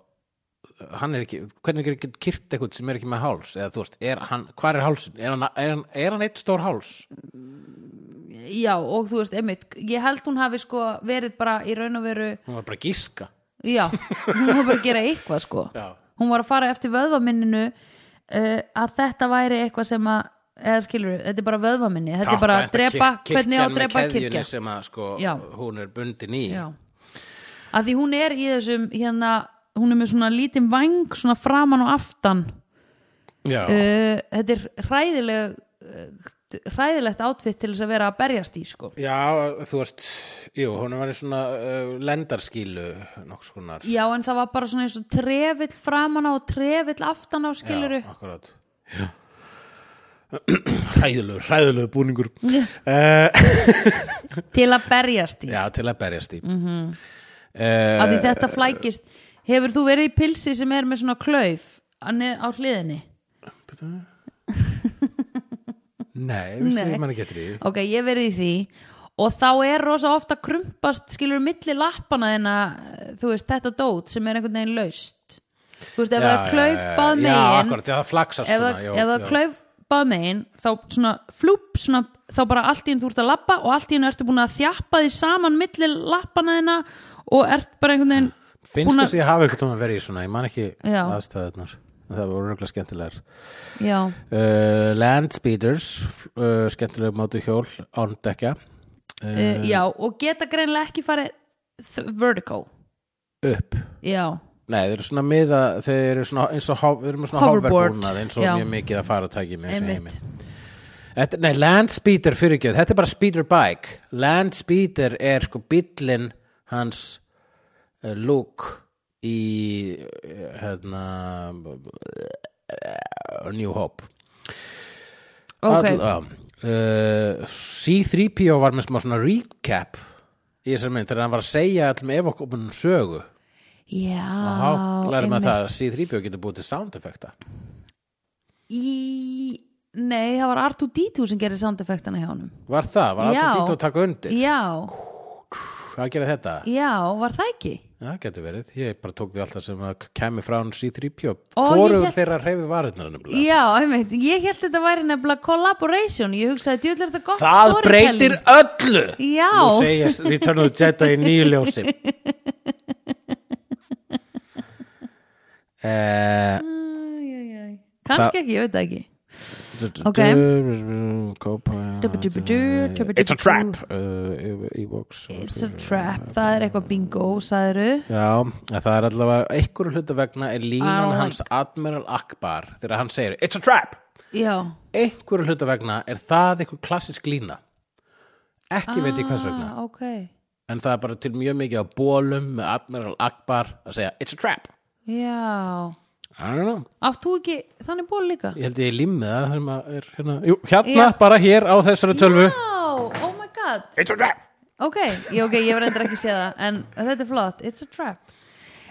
[SPEAKER 1] hann er ekki, hvernig er ekki kyrkt eitthvað sem er ekki með háls, eða þú veist, er hann hvar er hálsinn, er hann, er hann, er hann eitt stór háls?
[SPEAKER 2] já, og þú veist, einmitt, ég held hún hafi sko verið bara í raun og veru
[SPEAKER 1] Hún var bara að gíska
[SPEAKER 2] Já, hún var bara að gera eitthvað sko
[SPEAKER 1] Já.
[SPEAKER 2] Hún var að fara eftir vöðvaminninu uh, að þetta væri eitthvað sem að eða skilur, þetta er bara vöðvaminni þetta er bara að drepa, hvernig á að drepa kirkja
[SPEAKER 1] sem að, sko,
[SPEAKER 2] Já.
[SPEAKER 1] hún er bundin í
[SPEAKER 2] Já að því hún er í þessum hérna, hún er með svona lítinn vang svona framan og aftan
[SPEAKER 1] Já.
[SPEAKER 2] uh, þetta er hræðileg uh, hræðilegt átfitt til þess að vera að berjast í sko
[SPEAKER 1] Já, þú veist, jú, hún var í svona uh, lendarskílu nokkuð skonar.
[SPEAKER 2] Já, en það var bara svona eins og trefill framan á og trefill aftan á skiluru
[SPEAKER 1] Já, akkurat. Já. Ræðilegu, ræðilegu búningur. Eh,
[SPEAKER 2] til að berjast í
[SPEAKER 1] Já, til að berjast í. Eh, Mm
[SPEAKER 2] Mhm.
[SPEAKER 1] -hmm.
[SPEAKER 2] af því þetta flækist hefur þú verið í pilsi sem er með svona klauf á ne- á hliðinni
[SPEAKER 1] Nei, við
[SPEAKER 2] Nei.
[SPEAKER 1] séum hann ekki eftir því.
[SPEAKER 2] ok, ég hef verið í því og þá er rosa ofta krumpast skilur milli lappana en þú veist, þetta dót sem er einhvern veginn laust þú veist, ef það er klauf
[SPEAKER 1] Já,
[SPEAKER 2] báð megin
[SPEAKER 1] akkurat, já, það flaksast
[SPEAKER 2] ef
[SPEAKER 1] svona.
[SPEAKER 2] það-
[SPEAKER 1] já,
[SPEAKER 2] ef það er
[SPEAKER 1] já.
[SPEAKER 2] klauf báð megin þá svona flúp svona, þá bara allt í enn þú ert að lappa og allt í enn ertu búin að þjappa því saman milli lappana þeina og ert bara einhvern veginn
[SPEAKER 1] Finnst
[SPEAKER 2] búin að-
[SPEAKER 1] þess að ég hafi eitthvað tóma verið í svona, ég man ekki
[SPEAKER 2] Já.
[SPEAKER 1] aðstæðunar. Það voru röglega skemmtilegar.
[SPEAKER 2] já,
[SPEAKER 1] Uh, landspeeders, uh, skemmtilega mótu hjól, ándekja, Eh.
[SPEAKER 2] uh, já, og geta greinlega ekki farið th- vertical
[SPEAKER 1] upp.
[SPEAKER 2] Já,
[SPEAKER 1] Nei, þeir eru svona miða, þeir eru svona eins og hov- þeir eru með svona
[SPEAKER 2] Hoverboard,
[SPEAKER 1] hoverbúnað eins og
[SPEAKER 2] já.
[SPEAKER 1] mjög mikið að fara að tækja með þessu heimi.
[SPEAKER 2] einmitt
[SPEAKER 1] Þetta, nei, land speeder fyrir ekki, þetta er bara speeder bike. Land speeder er sko bíllinn hans uh, Luke í eh, hérna eh, New Hope.
[SPEAKER 2] Ok,
[SPEAKER 1] All- já. uh, C-3PO var með smá svona recap í þessar mynd þegar hann var að segja allum ef okkur sögu.
[SPEAKER 2] já
[SPEAKER 1] og þá lærum
[SPEAKER 2] einmitt.
[SPEAKER 1] við það að C-3PO getur búið til sound effekta
[SPEAKER 2] Í, nei, það var Artur Dítu sem gerði soundeffektana hjá honum
[SPEAKER 1] var það, var
[SPEAKER 2] Já.
[SPEAKER 1] alltaf dýtt að taka undir
[SPEAKER 2] Já,
[SPEAKER 1] hvað gerir þetta?
[SPEAKER 2] já, var það ekki?
[SPEAKER 1] það getur verið, ég bara tók því alltaf sem að kemi frá hann C-3PO
[SPEAKER 2] Ó, ég
[SPEAKER 1] hvorugur
[SPEAKER 2] hélt-
[SPEAKER 1] þeirra hreyfi varirnar nefnilega
[SPEAKER 2] Já, einmitt, ég held þetta væri nefnilega collaboration, ég hugsaði djúll er þetta gott
[SPEAKER 1] það
[SPEAKER 2] storytelling.
[SPEAKER 1] breytir öllu
[SPEAKER 2] Já.
[SPEAKER 1] nú segja Return of the Jedi í nýju ljósi eh
[SPEAKER 2] Æ, æ, æ. Kannski ekki, ég veit það ekki Ok. Dubba-dubba-dú, dubba-dubba-dú.
[SPEAKER 1] eh, It's a trap uh, Ewoks
[SPEAKER 2] It's a trap, það er eitthvað bingo, sagðiru
[SPEAKER 1] Já, en það er allavega einhverju hluta vegna er línan
[SPEAKER 2] I like.
[SPEAKER 1] hans Admiral Akbar þegar hann segir It's a trap!
[SPEAKER 2] Já,
[SPEAKER 1] Einhverju hluta vegna er það einhver klassisk lína ekki veit ég hvers vegna
[SPEAKER 2] ah, ok
[SPEAKER 1] en það er bara til mjög mikið á bólum með Admiral Akbar að segja It's a trap!
[SPEAKER 2] Já,
[SPEAKER 1] I don't know
[SPEAKER 2] átt þú ekki, þannig ból líka
[SPEAKER 1] Ég held ég limmið það þegar maður er hérna Jú, hérna,
[SPEAKER 2] Já.
[SPEAKER 1] bara hér á þessari tölvu
[SPEAKER 2] Já, oh my god
[SPEAKER 1] It's a trap!
[SPEAKER 2] Ok, ég, ok, ég var endur ekki séð það en þetta er flott, it's a trap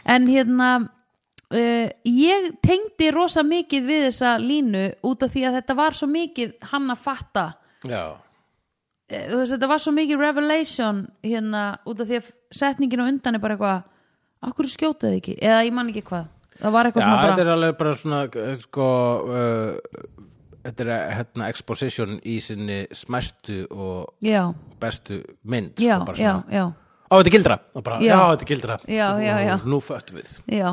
[SPEAKER 2] en hérna uh, ég tengdi rosa mikið við þessa línu út af því að þetta var svo mikið hann að fatta uh,
[SPEAKER 1] Já,
[SPEAKER 2] þú veist, þetta var svo mikið revelation hérna út af því að setningin á undan er bara eitthvað akkur skjótaðu ekki, eða ég man ekki hvað það var eitthvað
[SPEAKER 1] Já,
[SPEAKER 2] svona
[SPEAKER 1] þetta
[SPEAKER 2] bara
[SPEAKER 1] er alveg bara svona eh, sko uh, þetta er eh, hérna exposition í sinni smæstu og
[SPEAKER 2] já,
[SPEAKER 1] bestu mynd
[SPEAKER 2] já,
[SPEAKER 1] sko, bara
[SPEAKER 2] já,
[SPEAKER 1] svona,
[SPEAKER 2] já,
[SPEAKER 1] Ó, þetta er gildra og bara, já.
[SPEAKER 2] Já.
[SPEAKER 1] þetta er gildra
[SPEAKER 2] Já, já,
[SPEAKER 1] Nú-
[SPEAKER 2] já.
[SPEAKER 1] Nú föttum við
[SPEAKER 2] já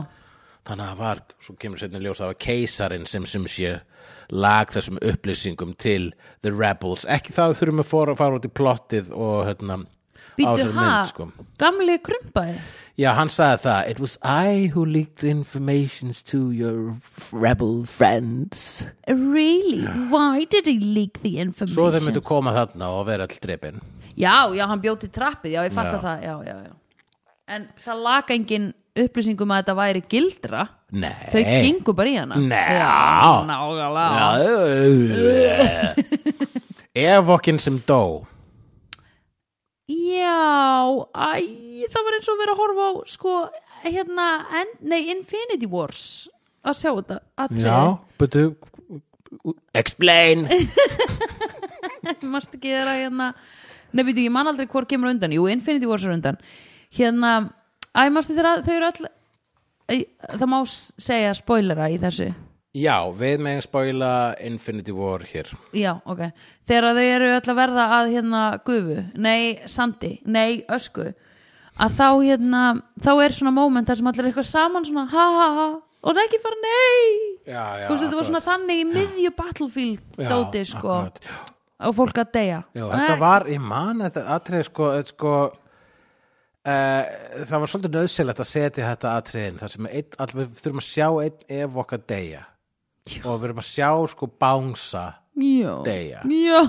[SPEAKER 1] Þannig að það var, svo kemur seinna í ljós það var keisarin sem sem sé lag þessum upplýsingum til The Rebels, ekki það þurfum við fóra að fara út í plottið og hérna á
[SPEAKER 2] býtu
[SPEAKER 1] þessari
[SPEAKER 2] ha,
[SPEAKER 1] mynd sko
[SPEAKER 2] gamli krumpaði
[SPEAKER 1] Já, hann sagði það It was I who leaked the informations to your rebel friends
[SPEAKER 2] really, why did he leak the information
[SPEAKER 1] Svo þeir myndu koma þarna og vera all drepin
[SPEAKER 2] Já, já, hann bjóti trappið, já, ég fatta
[SPEAKER 1] Já.
[SPEAKER 2] það, já, já, já. En það laga engin upplýsingum að þetta væri gildra
[SPEAKER 1] Nei.
[SPEAKER 2] þau gengur bara í hana
[SPEAKER 1] Nei.
[SPEAKER 2] Já, nákvæmlega
[SPEAKER 1] Já. Evokin sem dó
[SPEAKER 2] Já, æ, það var eins og verið að horfa á sko, hérna, en, nei, Infinity Wars að sjá þetta atriði.
[SPEAKER 1] Já, betur Explain
[SPEAKER 2] E. Marstu ekki þeirra hérna Nei, býtu, ég man aldrei hvort kemur á undan Jú, Infinity Wars er á undan Hérna, æ, marstu þeirra, þau eru all æ, Það má s- segja spoilera í þessu
[SPEAKER 1] Já, við megin spoila Infinity War hér
[SPEAKER 2] Já, ok Þegar þau eru öll að verða að hérna gufu Nei, sandi, nei, ösku Að þá hérna Þá er svona moment þar sem allir eru eitthvað saman svona ha ha ha Og það ekki fara nei
[SPEAKER 1] Já, já,
[SPEAKER 2] Þú veist, þetta var svona þannig í miðju battlefield
[SPEAKER 1] Já,
[SPEAKER 2] Dóti, sko
[SPEAKER 1] akkurat.
[SPEAKER 2] Og fólk að deyja
[SPEAKER 1] Já, þetta var, ég man þetta atrið sko, þetta sko Uh, það var svolítið nöðsynlegt að setja þetta atriðin þar sem einn, all, við þurfum að sjá einn ef okkar deyja og við erum að sjá sko bánsa
[SPEAKER 2] Já,
[SPEAKER 1] deyja.
[SPEAKER 2] Já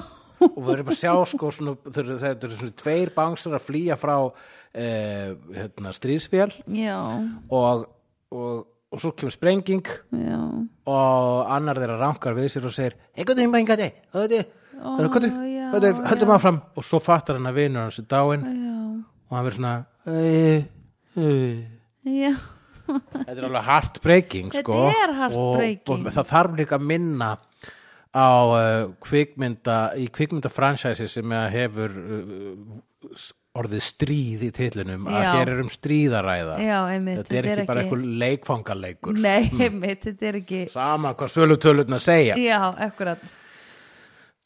[SPEAKER 1] og við erum að sjá sko svona, þeir, þeir, þeir eru svona tveir bánsar að flýja frá uh, hérna, stríðsfél
[SPEAKER 2] Já,
[SPEAKER 1] og, og, og svo kemur sprenging
[SPEAKER 2] já
[SPEAKER 1] og annar þeirra rankar við sér og segir hey, hvað er hinn bæðingati, hvað er
[SPEAKER 2] já,
[SPEAKER 1] þetta höldum áfram og svo fattar hann að vinur hans er dáin og hann verður svona "Æ, æ."
[SPEAKER 2] Já, já,
[SPEAKER 1] þetta er alveg heartbreaking
[SPEAKER 2] Þetta
[SPEAKER 1] sko.
[SPEAKER 2] er heartbreaking.
[SPEAKER 1] og, og það þarf líka að minna á uh, kvikmynda í kvikmynda fransæsi sem að hefur uh, s- orðið stríð í titlunum að
[SPEAKER 2] Já.
[SPEAKER 1] hér er um stríðaræða
[SPEAKER 2] já einmitt
[SPEAKER 1] þetta er ekki bara einhver leikfangaleikur
[SPEAKER 2] Nei, einmitt, þetta er ekki
[SPEAKER 1] sama hvað sölutölutna segja
[SPEAKER 2] Já, akkurat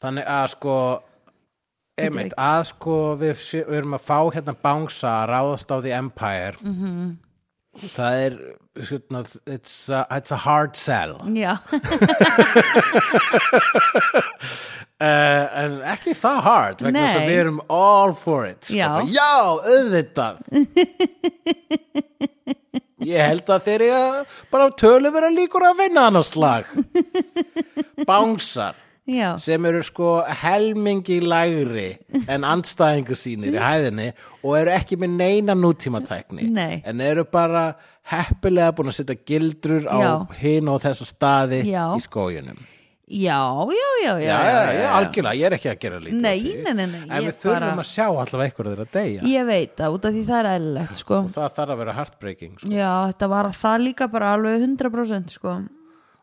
[SPEAKER 1] þannig að sko einmitt, að sko við, sé- við erum að fá hérna bángsa að ráðast á því Empire -hmm.
[SPEAKER 2] Mhm.
[SPEAKER 1] það er hérna, it's, a, it's a hard sell
[SPEAKER 2] Já,
[SPEAKER 1] uh, en ekki það hard vegna þess að
[SPEAKER 2] Nei.
[SPEAKER 1] við erum all for it sko.
[SPEAKER 2] Já.
[SPEAKER 1] Bara, já auðvitað ég held að þeir eru bara tölu vera líkur að vinna annars slag bángsar
[SPEAKER 2] já
[SPEAKER 1] sem eru sko helmingi lægri en andstæðingu sínir í hæðinni og eru ekki með neina nútíma tækni
[SPEAKER 2] Nei.
[SPEAKER 1] en eru bara heppilega búin að setja gildrur á
[SPEAKER 2] Já.
[SPEAKER 1] hinn og þessa staði
[SPEAKER 2] Já.
[SPEAKER 1] í skóginum
[SPEAKER 2] Já, já, já, já,
[SPEAKER 1] já, já, já, algjörlega, ég er ekki að gera lítið
[SPEAKER 2] Nei,
[SPEAKER 1] af því.
[SPEAKER 2] nei, nei, nei,
[SPEAKER 1] en
[SPEAKER 2] ég
[SPEAKER 1] við þurfum
[SPEAKER 2] bara-
[SPEAKER 1] að sjá allavega einhverju þeirra deyja
[SPEAKER 2] Ég veit það, út af því það er eðlilegt, sko
[SPEAKER 1] og það þarf að vera heartbreaking sko.
[SPEAKER 2] Já, þetta var það líka bara alveg 100% sko.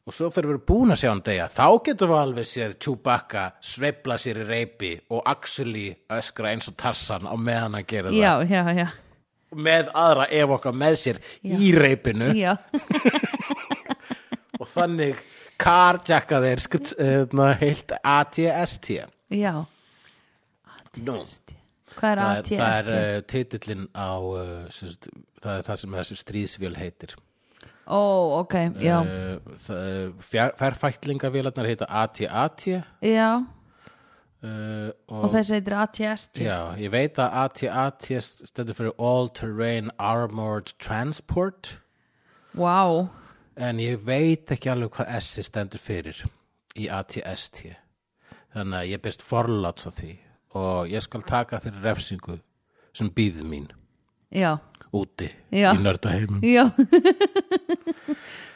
[SPEAKER 1] og svo þurfum við búin að sjá hann deyja þá getum við alveg séð Chewbacca sveifla sér í reipi og Axeli öskra eins og Tarsan á meðan að gera það
[SPEAKER 2] Já, já, já,
[SPEAKER 1] með aðra ef okkar með sér í reipinu
[SPEAKER 2] já.
[SPEAKER 1] og þannig karjakka þeir skut, uh, heilt ATST
[SPEAKER 2] já.
[SPEAKER 1] Nú,
[SPEAKER 2] Hvað er
[SPEAKER 1] það er,
[SPEAKER 2] ATST?
[SPEAKER 1] það er uh, titillin á uh, sérst, það er það sem þessi stríðsvél heitir
[SPEAKER 2] Ó, ok, já,
[SPEAKER 1] uh, færfætlingavélarnar heita ATAT uh,
[SPEAKER 2] já
[SPEAKER 1] eh, og,
[SPEAKER 2] Og þessi heitir ATST
[SPEAKER 1] já, ég veit að ATAT stendur fyrir All Terrain Armored Transport
[SPEAKER 2] Vá,
[SPEAKER 1] en ég veit ekki alveg hvað S stendur fyrir í ATST þannig að ég best forláts á því og ég skal taka þeirri refsingu sem býð mín
[SPEAKER 2] já
[SPEAKER 1] úti
[SPEAKER 2] Já.
[SPEAKER 1] í nördaheimum
[SPEAKER 2] Já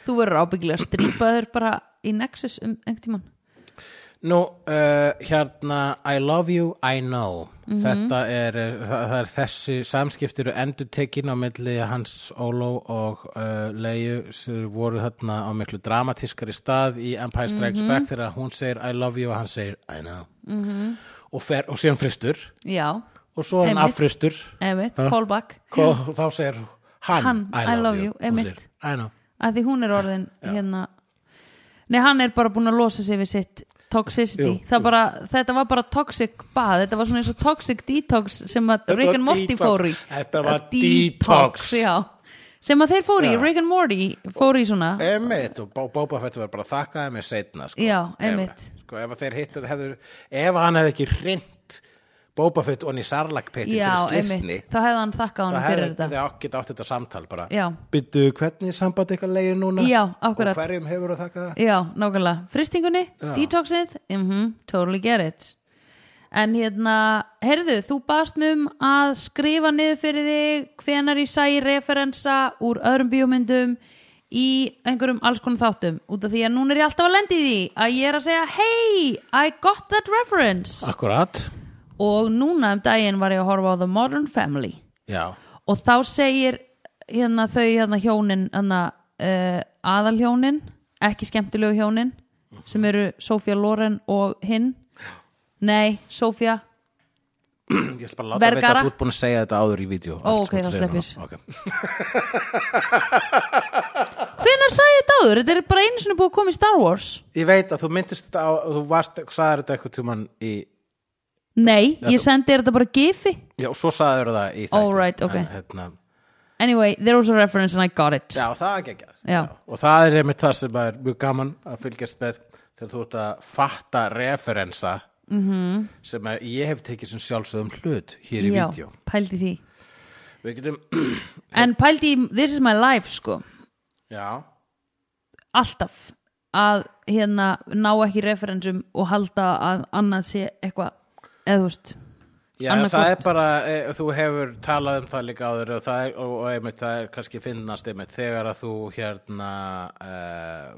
[SPEAKER 2] Þú verður ábyggilega strýpaður bara í Nexus um einhvern tímann
[SPEAKER 1] Nú, uh, hérna I love you, I know þetta er, uh, það, það er þessi samskiptir og endurtekin á milli hans Ólo og uh, Leiu sem voru þarna á miklu dramatískari stað í Empire Strikes Back þegar hún segir I love you og hann segir I know Mhm. og, fer, og síðan fristur
[SPEAKER 2] Já,
[SPEAKER 1] og svo er hann
[SPEAKER 2] Einmitt.
[SPEAKER 1] affristur
[SPEAKER 2] einmitt, callback
[SPEAKER 1] og þá segir hann,
[SPEAKER 2] Hann,
[SPEAKER 1] I love you, Hún
[SPEAKER 2] einmitt.
[SPEAKER 1] segir, I know
[SPEAKER 2] að því hún er orðin hérna Nei, hann er bara búin að losa sig við sitt toxicity,
[SPEAKER 1] Jú,
[SPEAKER 2] það bara þetta var bara toxic bað, þetta var svona eins og toxic detox sem að
[SPEAKER 1] Þetta
[SPEAKER 2] Rick
[SPEAKER 1] var
[SPEAKER 2] and Morty
[SPEAKER 1] detox.
[SPEAKER 2] fór í Uh,
[SPEAKER 1] Þetta var detox.
[SPEAKER 2] já, sem að þeir fór í, Rick and Morty fór í svona
[SPEAKER 1] Einmitt, og Bo- Boba Fett var bara þakkaði mig seinna sko.
[SPEAKER 2] Já, einmitt.
[SPEAKER 1] ef, sko, ef að þeir hittu hefðu, ef hann hefði ekki hrind Boba Fett onni sarlakpetti
[SPEAKER 2] já,
[SPEAKER 1] fyrir slisni
[SPEAKER 2] einmitt, þá hefði hann þakkað
[SPEAKER 1] það
[SPEAKER 2] honum
[SPEAKER 1] hefði
[SPEAKER 2] fyrir þetta
[SPEAKER 1] þið átt geta átt þetta samtal bara
[SPEAKER 2] Já.
[SPEAKER 1] Byddu, hvernig er samband eitthvað leiði núna
[SPEAKER 2] Já, akkurat.
[SPEAKER 1] og hverjum hefur að þakka það
[SPEAKER 2] Já, nákvæmlega. Fristingunni, detoxið, mhm, totally get it. en hérna, heyrðu, þú baðst mig um að skrifa niður fyrir þig hvenar ég sæi referensa úr öðrum bíómyndum í einhverjum alls konar þáttum út af því að núna er ég alltaf að lendi í því að ég er að segja hey, I got that reference
[SPEAKER 1] Akkurat
[SPEAKER 2] og núna um daginn var ég að horfa á The Modern Family
[SPEAKER 1] Já,
[SPEAKER 2] og þá segir hérna þau hérna hjónin hérna, uh, aðalhjónin ekki skemmtilegu hjónin sem eru Sofía Loren og hinn nei, Sofía
[SPEAKER 1] ég ætla bara að láta að vita
[SPEAKER 2] Vergara.
[SPEAKER 1] að þú ert búin að segja þetta áður í vídeo
[SPEAKER 2] Ó, ok, þá sleppir. hvenær sagði þetta áður? þetta er bara einu sinni búið að koma í Star Wars
[SPEAKER 1] Ég veit að þú myndist þetta á, þú varst, sagðir þetta eitthvað tímann í
[SPEAKER 2] nei, ég sendi þér þetta bara gifi
[SPEAKER 1] Já, og svo sagðir það í þætti
[SPEAKER 2] Alright, ok.
[SPEAKER 1] en, hérna,
[SPEAKER 2] anyway, there was a reference and I got it
[SPEAKER 1] Já, það er geggjað
[SPEAKER 2] Já.
[SPEAKER 1] Og það er einmitt það sem er mjög gaman að fylgjast með þegar þú ert að fatta referensa mm -hmm. sem að ég hef tekið sem sjálfsögum hlut hér í
[SPEAKER 2] Mhm. Já,
[SPEAKER 1] vídeo
[SPEAKER 2] pældi því
[SPEAKER 1] Við getum,
[SPEAKER 2] en pældi í This is my life sko
[SPEAKER 1] já
[SPEAKER 2] alltaf að hérna ná ekki referensum og halda að annað sé eitthvað eða þú veist
[SPEAKER 1] Já,
[SPEAKER 2] Annað
[SPEAKER 1] það er
[SPEAKER 2] hvort.
[SPEAKER 1] bara, e, þú hefur talað um það líka áður og, það er, og, og einmitt, það er kannski finnast einmitt þegar að þú hérna uh,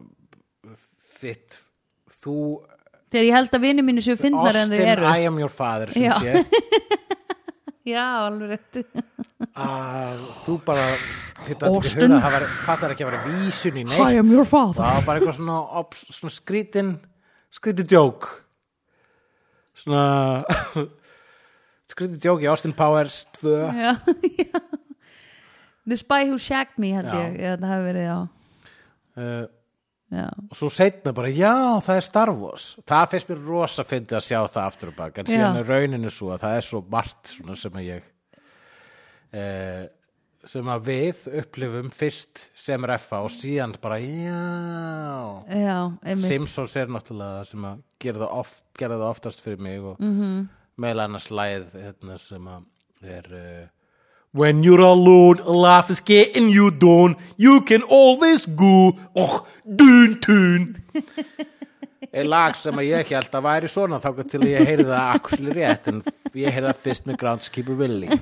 [SPEAKER 1] þitt, þú
[SPEAKER 2] þegar ég held að vinni mínu séu fyndnar en þau
[SPEAKER 1] Austin,
[SPEAKER 2] eru
[SPEAKER 1] I am your father sem
[SPEAKER 2] Já.
[SPEAKER 1] sé,
[SPEAKER 2] já, alveg rétt
[SPEAKER 1] að þú bara þetta ekki
[SPEAKER 2] Austin.
[SPEAKER 1] huga, það var, fattar ekki að vera vísun í neitt,
[SPEAKER 2] I am your father
[SPEAKER 1] það var bara eitthvað svona, obs, svona skrítin skrítin djók svona skrítin djók í Austin Powers 2
[SPEAKER 2] já, já. The Spy Who Shagged Me held
[SPEAKER 1] Já.
[SPEAKER 2] ég já, það hafi verið já,
[SPEAKER 1] uh,
[SPEAKER 2] já.
[SPEAKER 1] og svo setna bara, já, það er Star Wars það finnst mér rosa fyndi að sjá það aftur og bak, en
[SPEAKER 2] Já.
[SPEAKER 1] síðan er rauninu svo að það er svo margt svona sem að ég eh, sem að við upplifum fyrst sem reffa og síðan bara, já
[SPEAKER 2] já einmitt
[SPEAKER 1] Simpsons er náttúrulega það sem að gera það, oft, gera það oftast fyrir mig og mm
[SPEAKER 2] Mhm.
[SPEAKER 1] -hmm. meðal annars læð hérna, sem að er uh, When you're alone, a laugh is getting you down You can always go Och, dun, dun Einn lag sem að ég ekki held að væri svona þá til að ég heyri það akusli rétt en ég heyri það fyrst með Groundskeeper Willie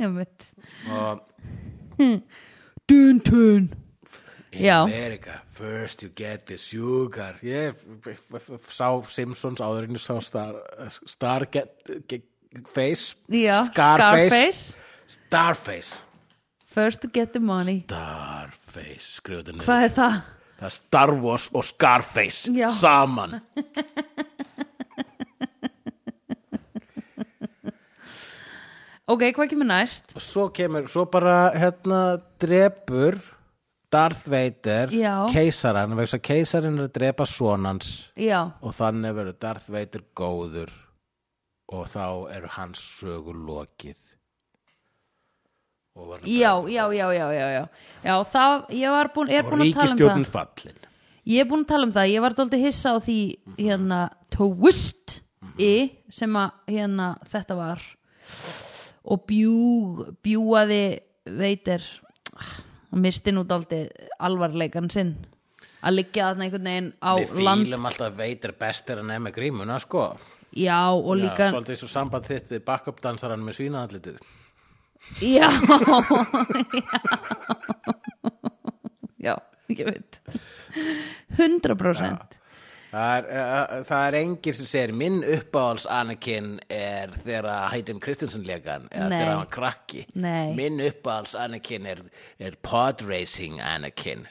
[SPEAKER 2] einmitt
[SPEAKER 1] og
[SPEAKER 2] dun dun já,
[SPEAKER 1] America, first you get the sugar ég sá Simpsons áður en ég sá Star, star get, get, Face
[SPEAKER 2] já
[SPEAKER 1] Scarface Starface
[SPEAKER 2] First to get the money
[SPEAKER 1] Starface, skrifa þetta niður
[SPEAKER 2] hvað er það?
[SPEAKER 1] það er Star Wars og Scarface
[SPEAKER 2] Já.
[SPEAKER 1] saman
[SPEAKER 2] ok, hvað kemur næst?
[SPEAKER 1] og svo kemur, svo bara hérna drepur Darth Vader
[SPEAKER 2] Já.
[SPEAKER 1] keisaran, vegna þess að keisarin er að drepa sonans
[SPEAKER 2] já,
[SPEAKER 1] og þannig verður Darth Vader góður og þá eru hans sögur lokið og, var-
[SPEAKER 2] já, já, já, já, já, já. já það, ég var búin, er
[SPEAKER 1] og
[SPEAKER 2] búin að tala um
[SPEAKER 1] ríkistjórnin
[SPEAKER 2] það
[SPEAKER 1] fallin
[SPEAKER 2] ég er búin að tala um það, ég var dálítið hissa á því hérna, twist i, sem að hérna þetta var og bjú, bjúaði veitir og misti nú dálítið alvarleikan sinn að liggja þarna einhvern veginn á
[SPEAKER 1] við
[SPEAKER 2] land
[SPEAKER 1] fýlum alltaf Vader bestir en emmi grímuna sko
[SPEAKER 2] já, og
[SPEAKER 1] Já,
[SPEAKER 2] líka
[SPEAKER 1] svolítið svo samband þitt við backup dansarann með svínaðallitið
[SPEAKER 2] Já, já, já, ég veit 100%
[SPEAKER 1] það er, uh, það er engin sem segir minn uppáhalds Anakin er þegar Hayden Christensen legan eða
[SPEAKER 2] Nei.
[SPEAKER 1] þegar hann var krakki
[SPEAKER 2] Nei.
[SPEAKER 1] minn uppáhalds Anakin er, er podracing Anakin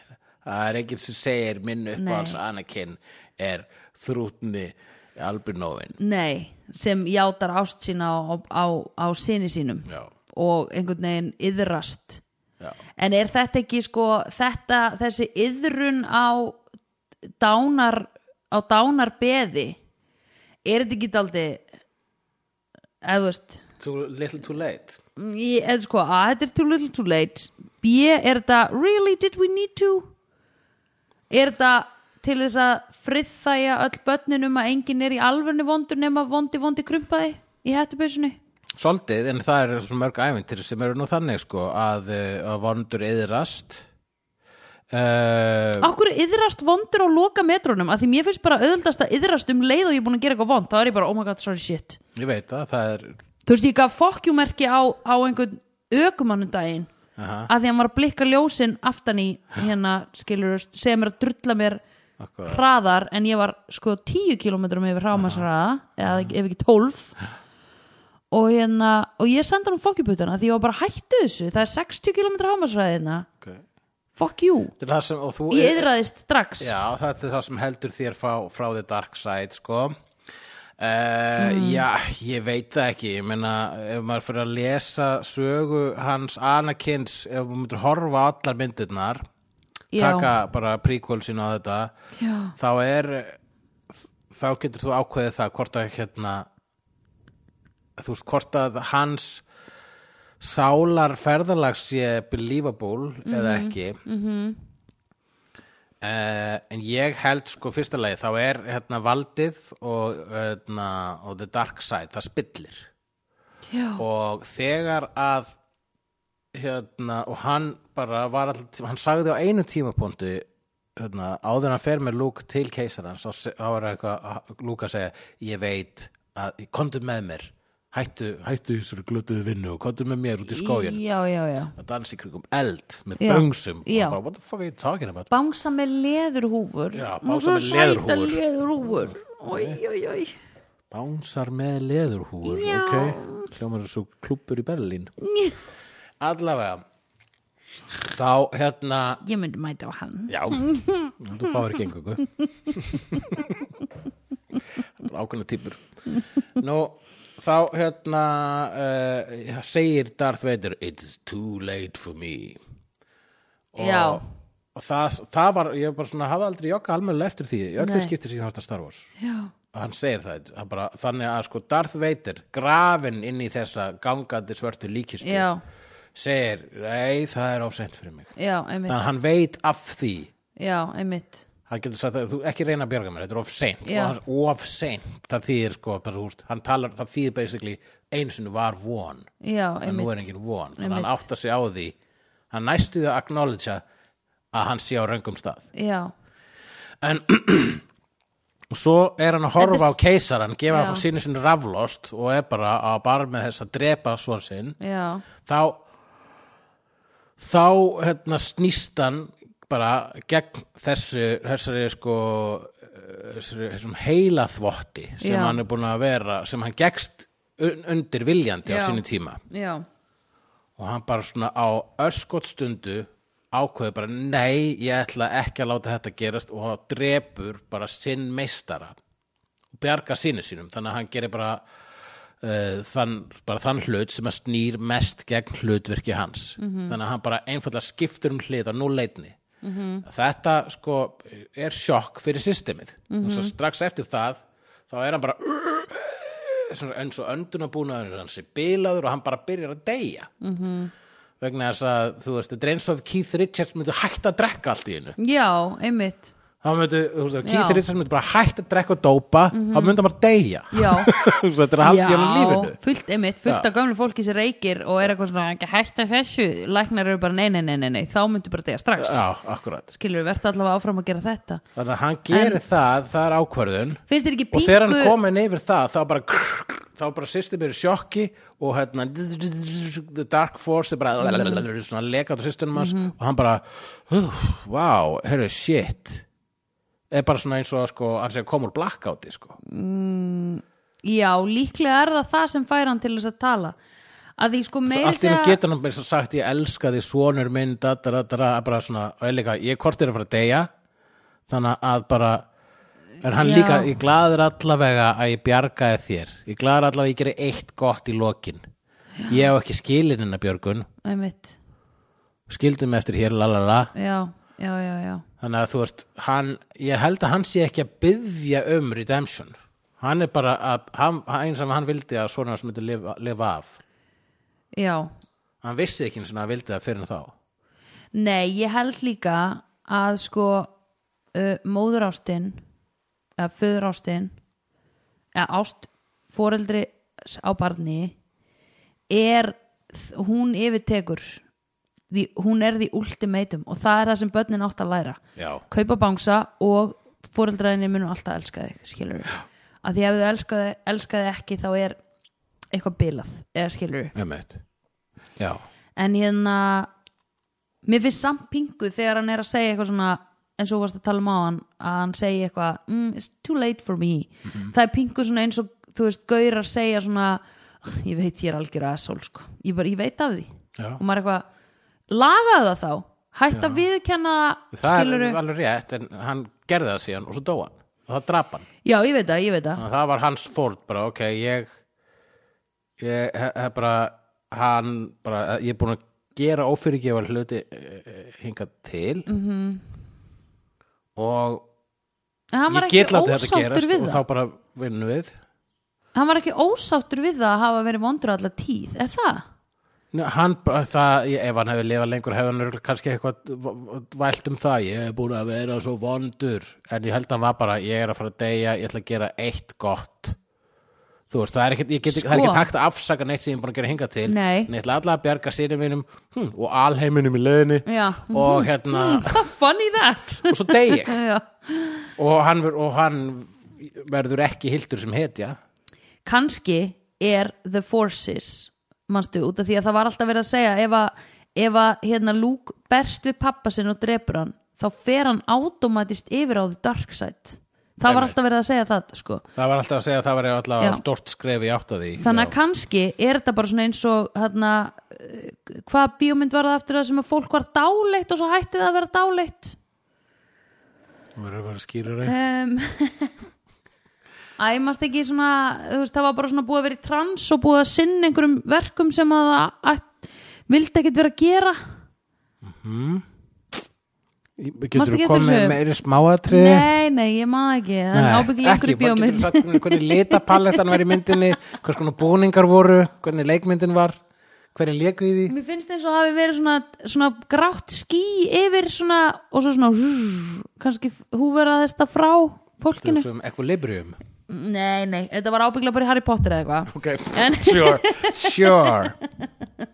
[SPEAKER 1] það er engin sem segir minn uppáhalds Anakin er þrútni albinóin
[SPEAKER 2] Nei, sem játar ást sína á, á, á sinni sínum
[SPEAKER 1] já,
[SPEAKER 2] og einhvern veginn yðrast
[SPEAKER 1] já.
[SPEAKER 2] En er þetta ekki sko þetta, þessi yðrun á dánar á dánarbeði er þetta ekki daldi eða þú veist
[SPEAKER 1] Too little too late
[SPEAKER 2] ég, eða sko, A, þetta er too little too late B, er þetta really did we need to er þetta til þess að friðþæja öll börnin um að enginn er í alvörni vondur nema vondi vondi krumpaði í hættubeysunni
[SPEAKER 1] Svolítið, en það eru svo mörg æfintir sem eru nú þannig sko að, eh, að vondur yðrast uh,
[SPEAKER 2] Akkur yðrast vondur á loka metrónum að því mér finnst bara auðvildast að yðrast um leið og ég er búin að gera eitthvað vond þá er ég bara, oh my god, sorry, shit
[SPEAKER 1] ég veit það, það er
[SPEAKER 2] Þú veist, ég gaf fokkjúmerki á, á einhvern ökumannundaginn
[SPEAKER 1] aha,
[SPEAKER 2] að því hann var að blikka ljósin aftan í hérna, skilur, sem er að drulla mér
[SPEAKER 1] akkurat,
[SPEAKER 2] hraðar en ég var sko 10 km yfir hrámasraða eða ef ekki 12 og, hérna, og ég sendi hann fokkjuputana því ég var bara hættu þessu það er 60 km hrámasraðina
[SPEAKER 1] ok
[SPEAKER 2] hérna. fuck you,
[SPEAKER 1] Þetta er það sem, og þú
[SPEAKER 2] ég yðraðist strax
[SPEAKER 1] Já, þetta er það sem heldur þér frá, frá the dark side, sko. Uh, Já, ég veit það ekki. Ég meina, ef maður fyrir að lesa sögu hans Anakins, ef maður myndir horfa á allar myndirnar,
[SPEAKER 2] Já.
[SPEAKER 1] taka bara prequel sín á þetta,
[SPEAKER 2] Já.
[SPEAKER 1] þá er, þá getur þú ákveðið það hvort að hérna, þú veist, hvort að hans sálar ferðalag sé believable eða
[SPEAKER 2] Mhm.
[SPEAKER 1] ekki
[SPEAKER 2] Mm-hmm.
[SPEAKER 1] Uh, en ég held sko fyrsta leið þá er hérna valdið og, hérna, og the dark side það spillir
[SPEAKER 2] Já.
[SPEAKER 1] og þegar að hérna og hann bara var alltaf hann sagði á einu tímapunktu hérna, áður en hann fer með Luke til keisarans þá se- þá var eitthvað Luke að segja ég veit að komdu með mér hættu, hættu þessari glötuðu vinnu og komdu með mér út í skógin
[SPEAKER 2] já, já, já
[SPEAKER 1] að dansa í krigum eld með
[SPEAKER 2] Já,
[SPEAKER 1] böngsum og
[SPEAKER 2] já.
[SPEAKER 1] bara what the fuck are you talking about
[SPEAKER 2] bangsa með leðurhúfur
[SPEAKER 1] Já,
[SPEAKER 2] Nú
[SPEAKER 1] bangsa
[SPEAKER 2] svo
[SPEAKER 1] með
[SPEAKER 2] sæta
[SPEAKER 1] leðurhúfur.
[SPEAKER 2] leðurhúfur Oj, oj, oj.
[SPEAKER 1] Bánsar með leðurhúur,
[SPEAKER 2] Já.
[SPEAKER 1] ok? Hljómar er svo klúppur í Berlín. Allavega, þá hérna,
[SPEAKER 2] ég myndi mæta á hann
[SPEAKER 1] já, þú fáir ekki engu, ok? Það er ákveðna típur. Nú, þá hérna, uh, segir Darth Vader, it's too late for me.
[SPEAKER 2] Já.
[SPEAKER 1] Og það, það var, ég bara svona, hafa aldrei jogga almennilega eftir því, ég öll
[SPEAKER 2] Nei.
[SPEAKER 1] þau skiptir sér hort að Star Wars
[SPEAKER 2] já,
[SPEAKER 1] og hann segir það, það bara, þannig að sko Darth Vader, grafin inn í þessa gangandi svörtu líkistu
[SPEAKER 2] já,
[SPEAKER 1] segir, nei það er ofsent fyrir mig
[SPEAKER 2] já, einmitt
[SPEAKER 1] þannig að hann veit af því
[SPEAKER 2] já, einmitt
[SPEAKER 1] hann getur sagt að þú ekki reyna að bjarga mér, þetta er ofsent
[SPEAKER 2] Já.
[SPEAKER 1] og hann ofsent, það þýðir sko bara, húst, hann talar, það þýðir basically einsinu var von,
[SPEAKER 2] já,
[SPEAKER 1] en nú er
[SPEAKER 2] einmitt
[SPEAKER 1] engin von þannig að
[SPEAKER 2] Einmitt.
[SPEAKER 1] hann áttar sig á því hann næstu það að acknowledge að hann sé á röngum stað
[SPEAKER 2] já,
[SPEAKER 1] en og svo er hann að horfa
[SPEAKER 2] Þetta
[SPEAKER 1] á keisaran gefa
[SPEAKER 2] Já.
[SPEAKER 1] hann sínu sinni raflost og er bara að bara með þess að drepa svo sinn
[SPEAKER 2] já,
[SPEAKER 1] þá þá hérna snýst hann bara gegn þessu þessari sko eh, þessari, þessum heila þvotti sem
[SPEAKER 2] Já.
[SPEAKER 1] hann er búin að vera sem hann gegst un- undir viljandi
[SPEAKER 2] Já.
[SPEAKER 1] á sínu tíma
[SPEAKER 2] já
[SPEAKER 1] og hann bara svona á öskot stundu ákveður bara nei, ég ætla ekki að láta þetta gerast og hann drepur bara sinn meistara og bjarga sinni sínum þannig að hann gerir bara, uh, þann, bara þann hlut sem að snýr mest gegn hlutverki hans þannig að hann bara einfallega skiptur um hlut á núleitni mm þetta sko er sjokk fyrir systemið mm -hmm. strax eftir það þá er hann bara svona eins og öndunabúnaður hans er bilaður og hann bara byrjar að deyja -hmm. vegna þess að þú veist, þetta er eins og ef Keith Richards myndi hætta að drekka allt í hennu
[SPEAKER 2] Já, einmitt
[SPEAKER 1] þá myndi, þú veist, ef
[SPEAKER 2] Já.
[SPEAKER 1] Keith Richards myndi bara hætta að drekka og dópa, þá myndi hann bara deyja
[SPEAKER 2] Já,
[SPEAKER 1] Þú veist, þetta er að halda í hann lífinu
[SPEAKER 2] fullt einmitt, fullt af gamlu fólki sem reykir og er eitthvað svona, ekki hætta þessu læknar eru bara, nei, nei, nei, nei, nei, þá myndu bara degja strax
[SPEAKER 1] já, akkurat,
[SPEAKER 2] skilur, verða allavega áfram að gera þetta
[SPEAKER 1] þannig að hann gerir það það er ákvörðun
[SPEAKER 2] finnst þér ekki
[SPEAKER 1] og þegar hann
[SPEAKER 2] pingu
[SPEAKER 1] komin yfir það þá bara þá bara system er í sjokki og hérna the dark force er bara svona lekat á systemum hans og hann bara "Úff, wow, herru, shit er bara svona eins og að, sko, hann sé að koma úr blackouti sko.
[SPEAKER 2] Já, líklega er það það sem fær hann til þess að tala að því sko meiri
[SPEAKER 1] allt í hennu getur hann bara sagt ég elska því svonur minn da, da, da, da, da, bara svona, og er líka, ég kortir að fara að deyja þannig að bara er hann
[SPEAKER 2] Já.
[SPEAKER 1] líka, ég glaður allavega að ég bjargaði þér ég glaður allavega að ég geri eitt gott í lokin ég hef ekki skilin hennar björgun
[SPEAKER 2] einmitt,
[SPEAKER 1] skildum eftir hér lalala
[SPEAKER 2] já, já, já, já
[SPEAKER 1] þannig að þú veist hann, ég held að hann sé ekki að byggja um redemption hann er bara að, hann, hann- eins og hann vildi að svona sem myndi lifa, lifa af
[SPEAKER 2] Já,
[SPEAKER 1] hann vissi ekki eins og hann vildi það fyrir en þá
[SPEAKER 2] nei, ég held líka að sko uh, móðurástin eða föðurástin eða ást foreldri á barni er hún yfirtekur því, hún er því ultimatum og það er það sem börnin átt að læra
[SPEAKER 1] Já.
[SPEAKER 2] kaupa bangsa og fóreldraðinni munum alltaf elska þig skilur við, að því ef þau elska þig, elska þig ekki þá er eitthvað bilað eða skilur við,
[SPEAKER 1] Emmett Já,
[SPEAKER 2] en hérna mér finnst samt pingu þegar hann er að segja eitthvað svona eins og þú varst að tala um á hann að hann segi eitthvað, mm, it's too late for me
[SPEAKER 1] Mhm.
[SPEAKER 2] það er pingu svona eins og þú veist, gaurar segja svona ég veit ég er algjör aðsól sko ég, bara, ég veit af því
[SPEAKER 1] Já.
[SPEAKER 2] og maður er eitthvað, lagaðu það þá hætt að viðkenna
[SPEAKER 1] það
[SPEAKER 2] skilurðu-
[SPEAKER 1] er alveg rétt en hann gerði það síðan og svo dó hann og það drap hann
[SPEAKER 2] Já, ég veit það, ég veit það.
[SPEAKER 1] Þannig að það var hans fórn bara, ok, ég ég he- he- bara hann bara, ég er búin að gera ófyrirgefa hluti eh, eh, hingað til -hmm. og
[SPEAKER 2] En Mhm. hann var
[SPEAKER 1] ég
[SPEAKER 2] ekki
[SPEAKER 1] get látið þetta
[SPEAKER 2] ósáttur
[SPEAKER 1] gerast
[SPEAKER 2] við
[SPEAKER 1] og
[SPEAKER 2] það.
[SPEAKER 1] þá bara vinnum við
[SPEAKER 2] Hann var ekki ósáttur við það að hafa verið vondur allar tíð, er það?
[SPEAKER 1] Nei, hann, bara- það, ég- ef hann hefði lifað lengur hefði hann örugglega kannski eitthvað v- v- vælt um það, ég hef búin að vera svo vondur en ég held að hann var bara ég er að fara að deyja, ég ætla að gera eitt gott þú veist, það er ekkit, ég get, það er
[SPEAKER 2] Sko.
[SPEAKER 1] ekkit hægt að afsaka neitt sem ég er búin að gera hingað til
[SPEAKER 2] Nei.
[SPEAKER 1] en ég ætla alla að bjarga sínum mínum hm, og alheiminum í leiðinni
[SPEAKER 2] Já. Hm.
[SPEAKER 1] og hérna,
[SPEAKER 2] Funny that.
[SPEAKER 1] og svo dey ég
[SPEAKER 2] Já.
[SPEAKER 1] og hann, ver- og hann verður ekki hildur sem hetja
[SPEAKER 2] Kanski er The Forces, manstu, út af því að það var alltaf verið að segja ef að, ef að hérna Luke berst við pappa sinn og drepur hann, þá fer hann automatist yfir á The Dark Side. Það var
[SPEAKER 1] Einmitt.
[SPEAKER 2] alltaf verið að segja það, sko.
[SPEAKER 1] það var alltaf að segja að það var
[SPEAKER 2] Já.
[SPEAKER 1] alltaf stort skref í átt að því
[SPEAKER 2] þannig að
[SPEAKER 1] Já.
[SPEAKER 2] kannski er þetta bara svona eins og hérna, eh, hvað bíómynd var það aftur það sem að fólk var dáleitt og svo hætti það að vera dáleitt
[SPEAKER 1] Þú verður bara að skýra reynd
[SPEAKER 2] um, æmast ekki svona þú veist, það var bara svona búið að vera í trans og búið að sinna einhverjum verkum sem að það að, vildi ekkert vera að gera Manstu
[SPEAKER 1] Getur þú
[SPEAKER 2] ekki eftir
[SPEAKER 1] komið með
[SPEAKER 2] þessu?
[SPEAKER 1] meiri smáatriði?
[SPEAKER 2] nei, nei, ég maður ekki það er ábygglega einhverju
[SPEAKER 1] Getur þú
[SPEAKER 2] bíómynd
[SPEAKER 1] sagt mér hvernig litapalettan var í myndinni, hvers konar búningar voru, hvernig leikmyndin var, hverju leiku í því?
[SPEAKER 2] Mér finnst eins og hafi verið svona, svona grátt ský yfir svona og svo svona hrrr, kannski húverað þetta frá
[SPEAKER 1] Þú
[SPEAKER 2] fólkinu
[SPEAKER 1] sem um equilibrium.
[SPEAKER 2] Nei, nei, þetta var ábyggla bara í Harry Potter eða eitthvað
[SPEAKER 1] Ok, sure, sure.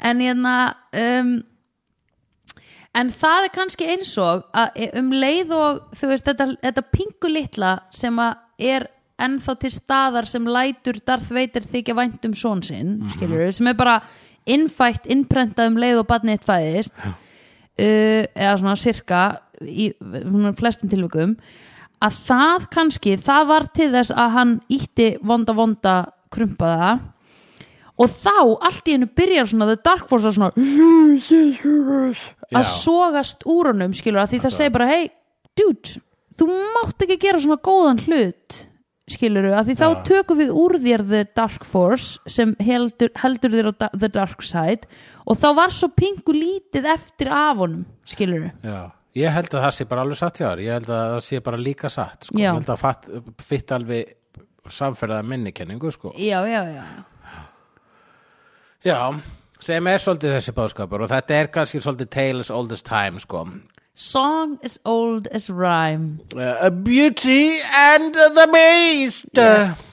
[SPEAKER 2] En hérna um, En það er kannski eins og að um leið og þú veist þetta, þetta pingu litla sem að er ennþá til staðar sem lætur Darth Vader þykja vænt um són sinn mm sem er bara innfætt, innprentað um leið og barnið þitt fæðist uh, eða svona sirka í svona flestum tilvikum að það kannski, það var til þess að hann ítti vonda vonda krumpaða og þá allt í hennu byrjar svona The Dark Force að svona
[SPEAKER 1] Já.
[SPEAKER 2] að sogast úr honum skilur að því það segir bara hey dude, þú mátt ekki gera svona góðan hlut skilur að því þá tökum við úr þér The Dark Force sem heldur, heldur þér á da- The Dark Side og þá var svo pingu lítið eftir af honum skilur
[SPEAKER 1] Já. Ég held að það sé bara alveg satt hjá þér, ég held að það sé bara líka satt, sko.
[SPEAKER 2] Já.
[SPEAKER 1] Ég held að fatt, fitt alveg samferðaða minnikenningu, sko.
[SPEAKER 2] já, já, já, já.
[SPEAKER 1] Já, sem er svolítið þessi báðskapur og þetta er kannski svolítið tale as old as time, sko.
[SPEAKER 2] song as old as rhyme
[SPEAKER 1] Uh, beauty and the beast.
[SPEAKER 2] yes.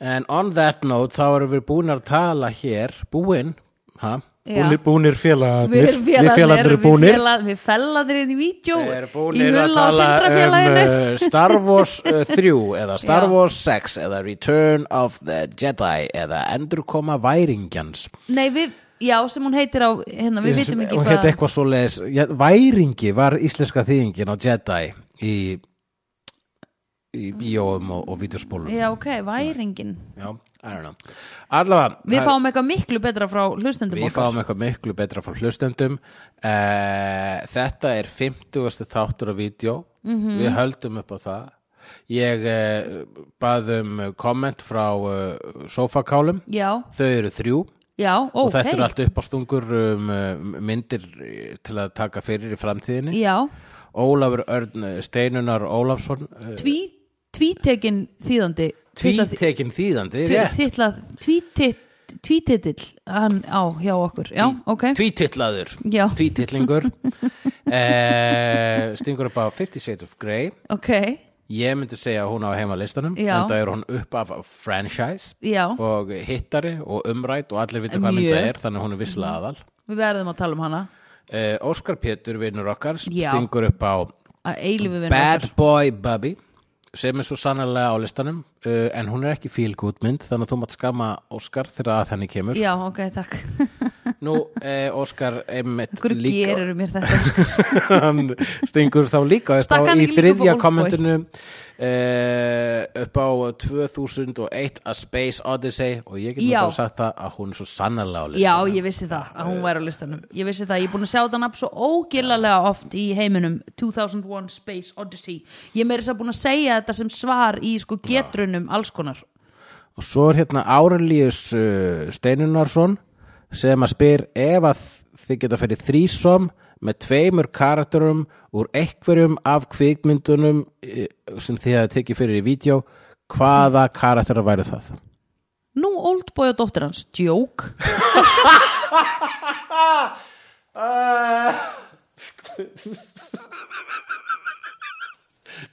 [SPEAKER 1] En on that note þá erum við búin að tala hér búin, ha?
[SPEAKER 2] Já.
[SPEAKER 1] Búnir, búnir félagarnir
[SPEAKER 2] við félagarnir,
[SPEAKER 1] félagarnir
[SPEAKER 2] við
[SPEAKER 1] búnir
[SPEAKER 2] félag- við felladir í vídeo
[SPEAKER 1] Við erum
[SPEAKER 2] í
[SPEAKER 1] búnir að
[SPEAKER 2] hulla á
[SPEAKER 1] tala um
[SPEAKER 2] syndrafélaginu
[SPEAKER 1] uh, Star Wars uh, 3 eða Star
[SPEAKER 2] Já.
[SPEAKER 1] Wars 6 eða Return of the Jedi eða Endurkoma Væringjans
[SPEAKER 2] nei, við, já, sem hún heitir á hérna, við vitum ekki
[SPEAKER 1] Hún hétt eitthvað svo leðis Væringi var íslenska þýðingin á Jedi í, í bíóum og, og vídeospólum
[SPEAKER 2] já, ok, væringin
[SPEAKER 1] Já, I don't know Allavega
[SPEAKER 2] við
[SPEAKER 1] það-
[SPEAKER 2] fáum eitthvað miklu betra frá hlustendum
[SPEAKER 1] Við
[SPEAKER 2] okkar
[SPEAKER 1] fáum eitthvað miklu betra frá hlustendum uh, Þetta er 50. þáttur á vídeo
[SPEAKER 2] Mhm.
[SPEAKER 1] Við höldum upp á það Ég uh, baðum komment frá uh, sofakálum
[SPEAKER 2] já,
[SPEAKER 1] Þau eru þrjú
[SPEAKER 2] já, ó,
[SPEAKER 1] og þetta
[SPEAKER 2] ok
[SPEAKER 1] eru allt uppástungur um, uh, myndir eh, til að taka fyrir í framtíðinni
[SPEAKER 2] já,
[SPEAKER 1] Ólafur Örn eh, Steinunar Ólafsson uh,
[SPEAKER 2] tví tvítekin þýðandi
[SPEAKER 1] Tvítekin þýðandi, rétt
[SPEAKER 2] tvítill tvítitill hann á hjá okkur, já, ok
[SPEAKER 1] Tvítitlaður,
[SPEAKER 2] Já.
[SPEAKER 1] Eh, tvítitlingur uh, Stingur upp á 50 Shades of Grey
[SPEAKER 2] ok,
[SPEAKER 1] Ég myndi segja að hún á heima á listanum
[SPEAKER 2] Já.
[SPEAKER 1] en það er hún upp af franchise
[SPEAKER 2] Já.
[SPEAKER 1] og hittari og umrætt og allir vita hvað
[SPEAKER 2] Mjög. Mhm.
[SPEAKER 1] mynda er þannig að hún er visslega aðal
[SPEAKER 2] Við verðum að tala um hana
[SPEAKER 1] uh, Óskar Pétur, vinnur okkar
[SPEAKER 2] Já.
[SPEAKER 1] stingur upp á
[SPEAKER 2] að eilífi við
[SPEAKER 1] Bad Boy Bubby sem er svo sannlega á listanum uh, en hún er ekki feel good mynd þannig að þú mátt skama Óskar þegar að henni kemur
[SPEAKER 2] Já, ok, takk
[SPEAKER 1] Nú, uh, Óskar einmitt
[SPEAKER 2] Hverju
[SPEAKER 1] líka
[SPEAKER 2] gerirðu mér þetta?
[SPEAKER 1] hann stingur þá líka þess
[SPEAKER 2] Stakk
[SPEAKER 1] þá
[SPEAKER 2] hann
[SPEAKER 1] í
[SPEAKER 2] ekki líka upp á
[SPEAKER 1] þriðja
[SPEAKER 2] Oldboy?
[SPEAKER 1] kommentinu uh, upp á 2001 A Space Odyssey og ég get nú
[SPEAKER 2] Já.
[SPEAKER 1] bara sagt það að hún er svo sannarlega á
[SPEAKER 2] Já,
[SPEAKER 1] listanum Eh,
[SPEAKER 2] ég vissi það, að hún væri á listanum Ég vissi það, ég er búin að sjá þetta nafn svo ógilalega oft í heiminum 2001 Space Odyssey Ég er meira þess að búin að segja þetta sem svar í sko getrunum alls konar
[SPEAKER 1] og svo er hérna Árelíus uh, Steinunarsson sem að spyr ef að þið geta fyrir þrísom með tveimur karakterum úr einhverjum af kvikmyndunum eh, sem þið hafið tekið fyrir í vídeo hvaða karakterar væri það?
[SPEAKER 2] Nú, Oldboy og dóttir hans, joke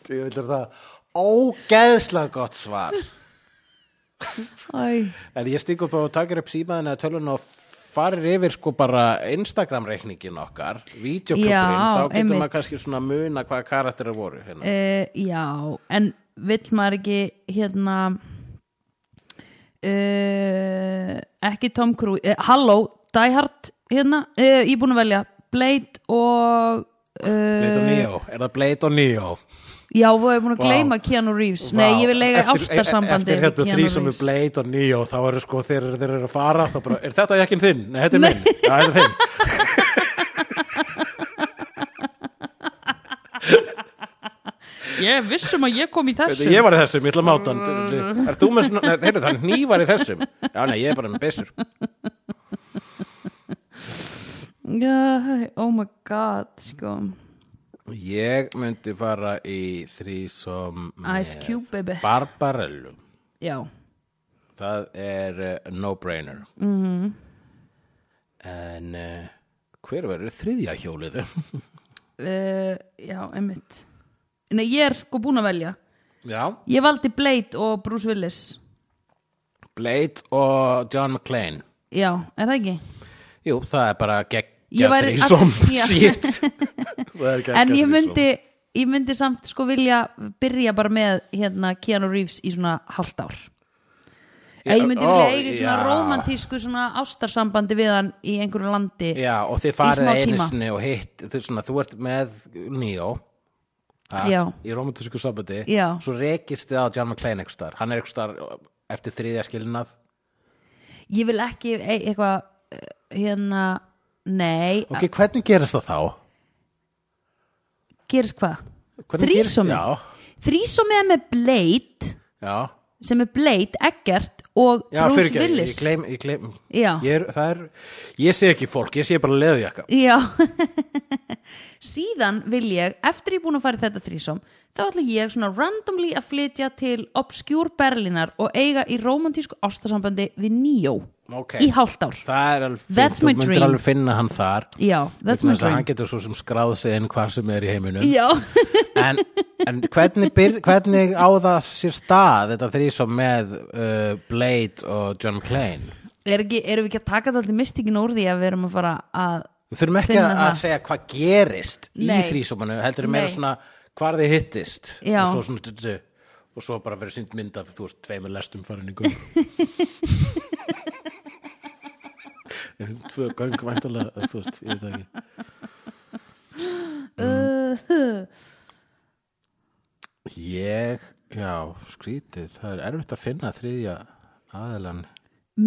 [SPEAKER 1] Ég vil það ógeðslega gott svar
[SPEAKER 2] Æ,
[SPEAKER 1] En ég stík upp á og takir upp símaðin að tölun og farir yfir sko bara Instagram-reikningin okkar,
[SPEAKER 2] Já,
[SPEAKER 1] videokluburinn, þá getur
[SPEAKER 2] einmitt.
[SPEAKER 1] maður kannski svona muna hvaða karakterar voru hérna.
[SPEAKER 2] uh, Já, en vill maður ekki hérna uh, ekki Tom Cruise uh, Halló, Die Hard hérna, uh, ég er búin að velja Blade og
[SPEAKER 1] Blade
[SPEAKER 2] uh,
[SPEAKER 1] og Neo, er það Blade og Neo?
[SPEAKER 2] Já, við erum búin að
[SPEAKER 1] Vá.
[SPEAKER 2] gleyma Keanu Reeves Nei, ég vil lega
[SPEAKER 1] Eftir-
[SPEAKER 2] ástarsambandi
[SPEAKER 1] Eftir hérna þrý sem er Blade og Neo, þá eru sko þeir, þeir eru að fara, þá bara, er þetta ekki þinn? Nei, þetta er minn, já, þetta er þinn.
[SPEAKER 2] Ég vissum að ég kom í þessu
[SPEAKER 1] Þetta, ég var í þessum, ég ætla að máta
[SPEAKER 2] Mm.
[SPEAKER 1] hann. Er þú með svona, nei, heyrðu, þannig hnífar í þessum. Já, nei, ég er bara með byssur.
[SPEAKER 2] Já, Oh my god, sko
[SPEAKER 1] Ég myndi fara í þrý som
[SPEAKER 2] Ice Cube, baby
[SPEAKER 1] Barbarello.
[SPEAKER 2] Já,
[SPEAKER 1] Það er uh, no-brainer.
[SPEAKER 2] Mm-hmm.
[SPEAKER 1] En uh, hver verður þriðja hjólið?
[SPEAKER 2] uh, já, einmitt Nei, ég er sko búin að velja
[SPEAKER 1] Já,
[SPEAKER 2] Ég valdi Blade og Bruce Willis
[SPEAKER 1] Blade og John McClane.
[SPEAKER 2] Já, er það ekki?
[SPEAKER 1] Jú, það er bara
[SPEAKER 2] Ég
[SPEAKER 1] geggja
[SPEAKER 2] væri-
[SPEAKER 1] þrísom.
[SPEAKER 2] Já.
[SPEAKER 1] Shit. Það er geggjað
[SPEAKER 2] En ég
[SPEAKER 1] þrísom.
[SPEAKER 2] myndi, ég myndi samt sko vilja byrja bara með hérna Keanu Reeves í svona hálft ár Eða ég myndi
[SPEAKER 1] Ó,
[SPEAKER 2] vilja eiga í svona
[SPEAKER 1] já.
[SPEAKER 2] romantísku svona ástarsambandi við hann í einhverju landi
[SPEAKER 1] Já, og þið
[SPEAKER 2] smá
[SPEAKER 1] farið einu
[SPEAKER 2] tíma.
[SPEAKER 1] sinni og hitt, þú, svona, þú ert með Neo ha,
[SPEAKER 2] Já.
[SPEAKER 1] í romantísku sambandi,
[SPEAKER 2] Já.
[SPEAKER 1] svo rekist þið á John McClane einhvers staðar, hann er einhvers staðar uh, eftir þriðja skilnað
[SPEAKER 2] Ég vil ekki e eitthvað eh, hérna, nei
[SPEAKER 1] Ok, hvernig gerist það þá?
[SPEAKER 2] gerist hvað?
[SPEAKER 1] Hvernig gerist-
[SPEAKER 2] Þrísomi Þrísomi er með Blade
[SPEAKER 1] Já, já
[SPEAKER 2] sem er Blade, Eggert og
[SPEAKER 1] Já,
[SPEAKER 2] Bruce
[SPEAKER 1] fyrirgefðu,
[SPEAKER 2] Willis
[SPEAKER 1] Ég gleym, ég gleym
[SPEAKER 2] Já.
[SPEAKER 1] ég, er, það er, ég sé ekki fólk, ég sé bara leðujakka
[SPEAKER 2] Já Síðan vil ég, eftir ég er búin að fara í þetta þrísom þá ætla ég svona randomly að flytja til Obscure Berlinar og eiga í romantísku ástasambandi við Neo
[SPEAKER 1] Ok.
[SPEAKER 2] í hálft ár
[SPEAKER 1] Það er alveg fínt,
[SPEAKER 2] That's
[SPEAKER 1] þú
[SPEAKER 2] my
[SPEAKER 1] myndir
[SPEAKER 2] dream.
[SPEAKER 1] alveg finna hann þar
[SPEAKER 2] Já, that's
[SPEAKER 1] vegna
[SPEAKER 2] my
[SPEAKER 1] þess að
[SPEAKER 2] dream
[SPEAKER 1] Hann getur svo sem skráð sig inn hvar sem er í heiminum
[SPEAKER 2] Já,
[SPEAKER 1] en, en hvernig, byr, hvernig á það sér stað þetta þrísom með uh, Blade og John McClane
[SPEAKER 2] er ekki, erum við ekki að taka þetta alltaf mystikinn úr því að við erum að fara að
[SPEAKER 1] við þurfum ekki
[SPEAKER 2] Finna
[SPEAKER 1] að
[SPEAKER 2] það.
[SPEAKER 1] segja hvað gerist í
[SPEAKER 2] Nei.
[SPEAKER 1] þrísomanu, heldur meira
[SPEAKER 2] Nei.
[SPEAKER 1] svona hvar þið hittist
[SPEAKER 2] Já.
[SPEAKER 1] og svo, svona, d- d- og svo bara verið sínt mynd af þú veist tveimur lestum farin í göng tvö göng væntalega þú veist, ég veit það ekki
[SPEAKER 2] Uh-huh.
[SPEAKER 1] ég, já, skrítið það er erfitt að finna þriðja aðilan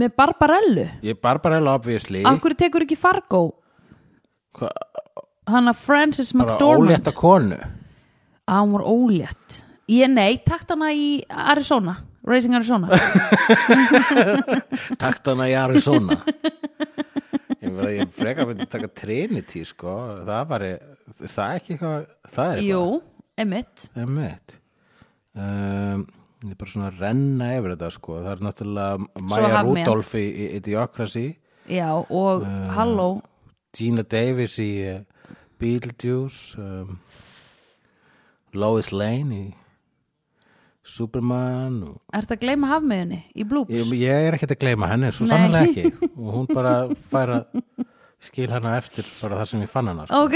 [SPEAKER 2] með Barbarellu
[SPEAKER 1] ég er Barbarella obviously
[SPEAKER 2] Akkur tekur ekki Fargo
[SPEAKER 1] Hva,
[SPEAKER 2] Hanna Frances
[SPEAKER 1] bara
[SPEAKER 2] McDormand
[SPEAKER 1] ólétta konu
[SPEAKER 2] Á, hún var ólétt Ég nei, takt hana í Arizona Raising Arizona
[SPEAKER 1] takt hana í Arizona ég verði ég frekar myndi taka Trinity sko það var það er ekki eitthvað það er
[SPEAKER 2] Jú, emitt
[SPEAKER 1] eitthvað emmitt um, ég er bara svona að renna yfir þetta sko það er náttúrulega Maja
[SPEAKER 2] Hafmeyjan.
[SPEAKER 1] Rudolph í, í Idiocracy
[SPEAKER 2] Já, og
[SPEAKER 1] Uh.
[SPEAKER 2] halló
[SPEAKER 1] Gina Davis í eh, uh, Beetlejuice um, Lois Lane í Superman og
[SPEAKER 2] Ertu að gleyma hafmeginni í blúps?
[SPEAKER 1] Ég, ég er ekkert að gleyma henni, svo
[SPEAKER 2] Nei.
[SPEAKER 1] sannlega ekki og hún bara fær að skil hana eftir bara þar sem ég fann hana sko.
[SPEAKER 2] Ok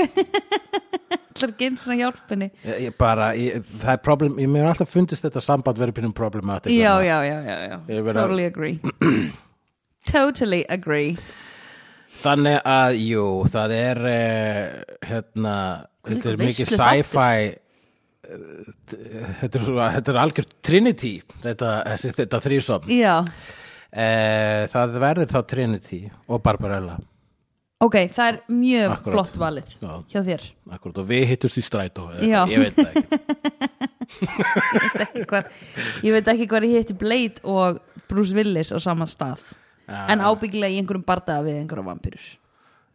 [SPEAKER 2] Það er ekki eins og hjálpinni
[SPEAKER 1] ég, ég bara, ég, það er problem ég mér hefur alltaf fundist þetta samband verið pínum problematik
[SPEAKER 2] Já, já, já, já, já
[SPEAKER 1] Ég verð að-
[SPEAKER 2] Totally agree Totally agree
[SPEAKER 1] þannig að, jú, það er eh, hérna þetta er
[SPEAKER 2] Hvílíkur
[SPEAKER 1] mikið
[SPEAKER 2] veislu
[SPEAKER 1] sci-fi eh, þetta er, svo, þetta er algjört Trinity þetta, þessi- þetta þrísom e,
[SPEAKER 2] Já,
[SPEAKER 1] það verður þá Trinity og Barbarella
[SPEAKER 2] ok, það er mjög
[SPEAKER 1] Akkúrat.
[SPEAKER 2] flott valið
[SPEAKER 1] Já.
[SPEAKER 2] hjá þér
[SPEAKER 1] Akkurat, og við hittumst í strætó eða eitthvað, ég
[SPEAKER 2] Já.
[SPEAKER 1] veit það ekki
[SPEAKER 2] Ekki hvar, Ég veit ekki hvað ég hitti Blade og Bruce Willis á sama stað
[SPEAKER 1] Já.
[SPEAKER 2] En ábyggilega í einhverjum bardaða við einhverjum vampýrur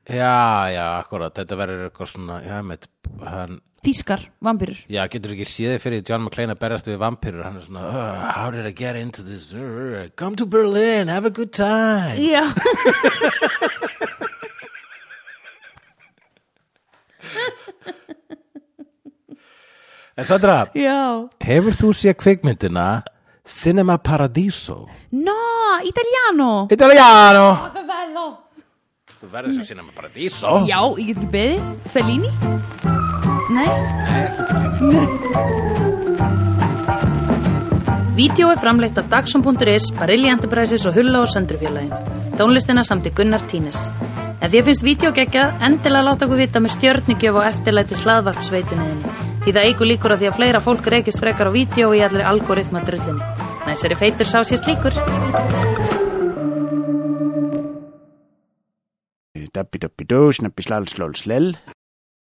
[SPEAKER 1] Já, já, akkurat, þetta verður eitthvað svona, já, meitt, hann,
[SPEAKER 2] Þískar vampýrur
[SPEAKER 1] já, getur ekki séð þig fyrir John McClane að berjast við vampirur, hann er svona, uh, how did I get into this, uh, come to Berlin, have a good time.
[SPEAKER 2] Já
[SPEAKER 1] En Sandra,
[SPEAKER 2] Já
[SPEAKER 1] hefur þú séð kvikmyndina Cinema Paradiso?
[SPEAKER 2] No, italiano
[SPEAKER 1] Italiano!
[SPEAKER 2] Machiavello
[SPEAKER 1] Þú verður sér Cinema Paradiso?
[SPEAKER 2] Já, ég get ekki beðið Fellini? Nei
[SPEAKER 4] Vídeó er framleitt af Dagsum.is, Barilli Enterprises og Hulla og Söndrufjörlægin. Tónlistina samt í Gunnar Tínes. Ef þér finnst vídeo geggjað, endilega láta okkur vita með stjörnigjöf og eftirlæti slaðvarpsveituninni. Því það eigur líkur að því að fleira fólk reykist frekar á vídeo í allir algoritma drullinni. Næsari feitur sá sér slíkur.
[SPEAKER 5] Dabbi dabbi dó, snabbi slal slal slel.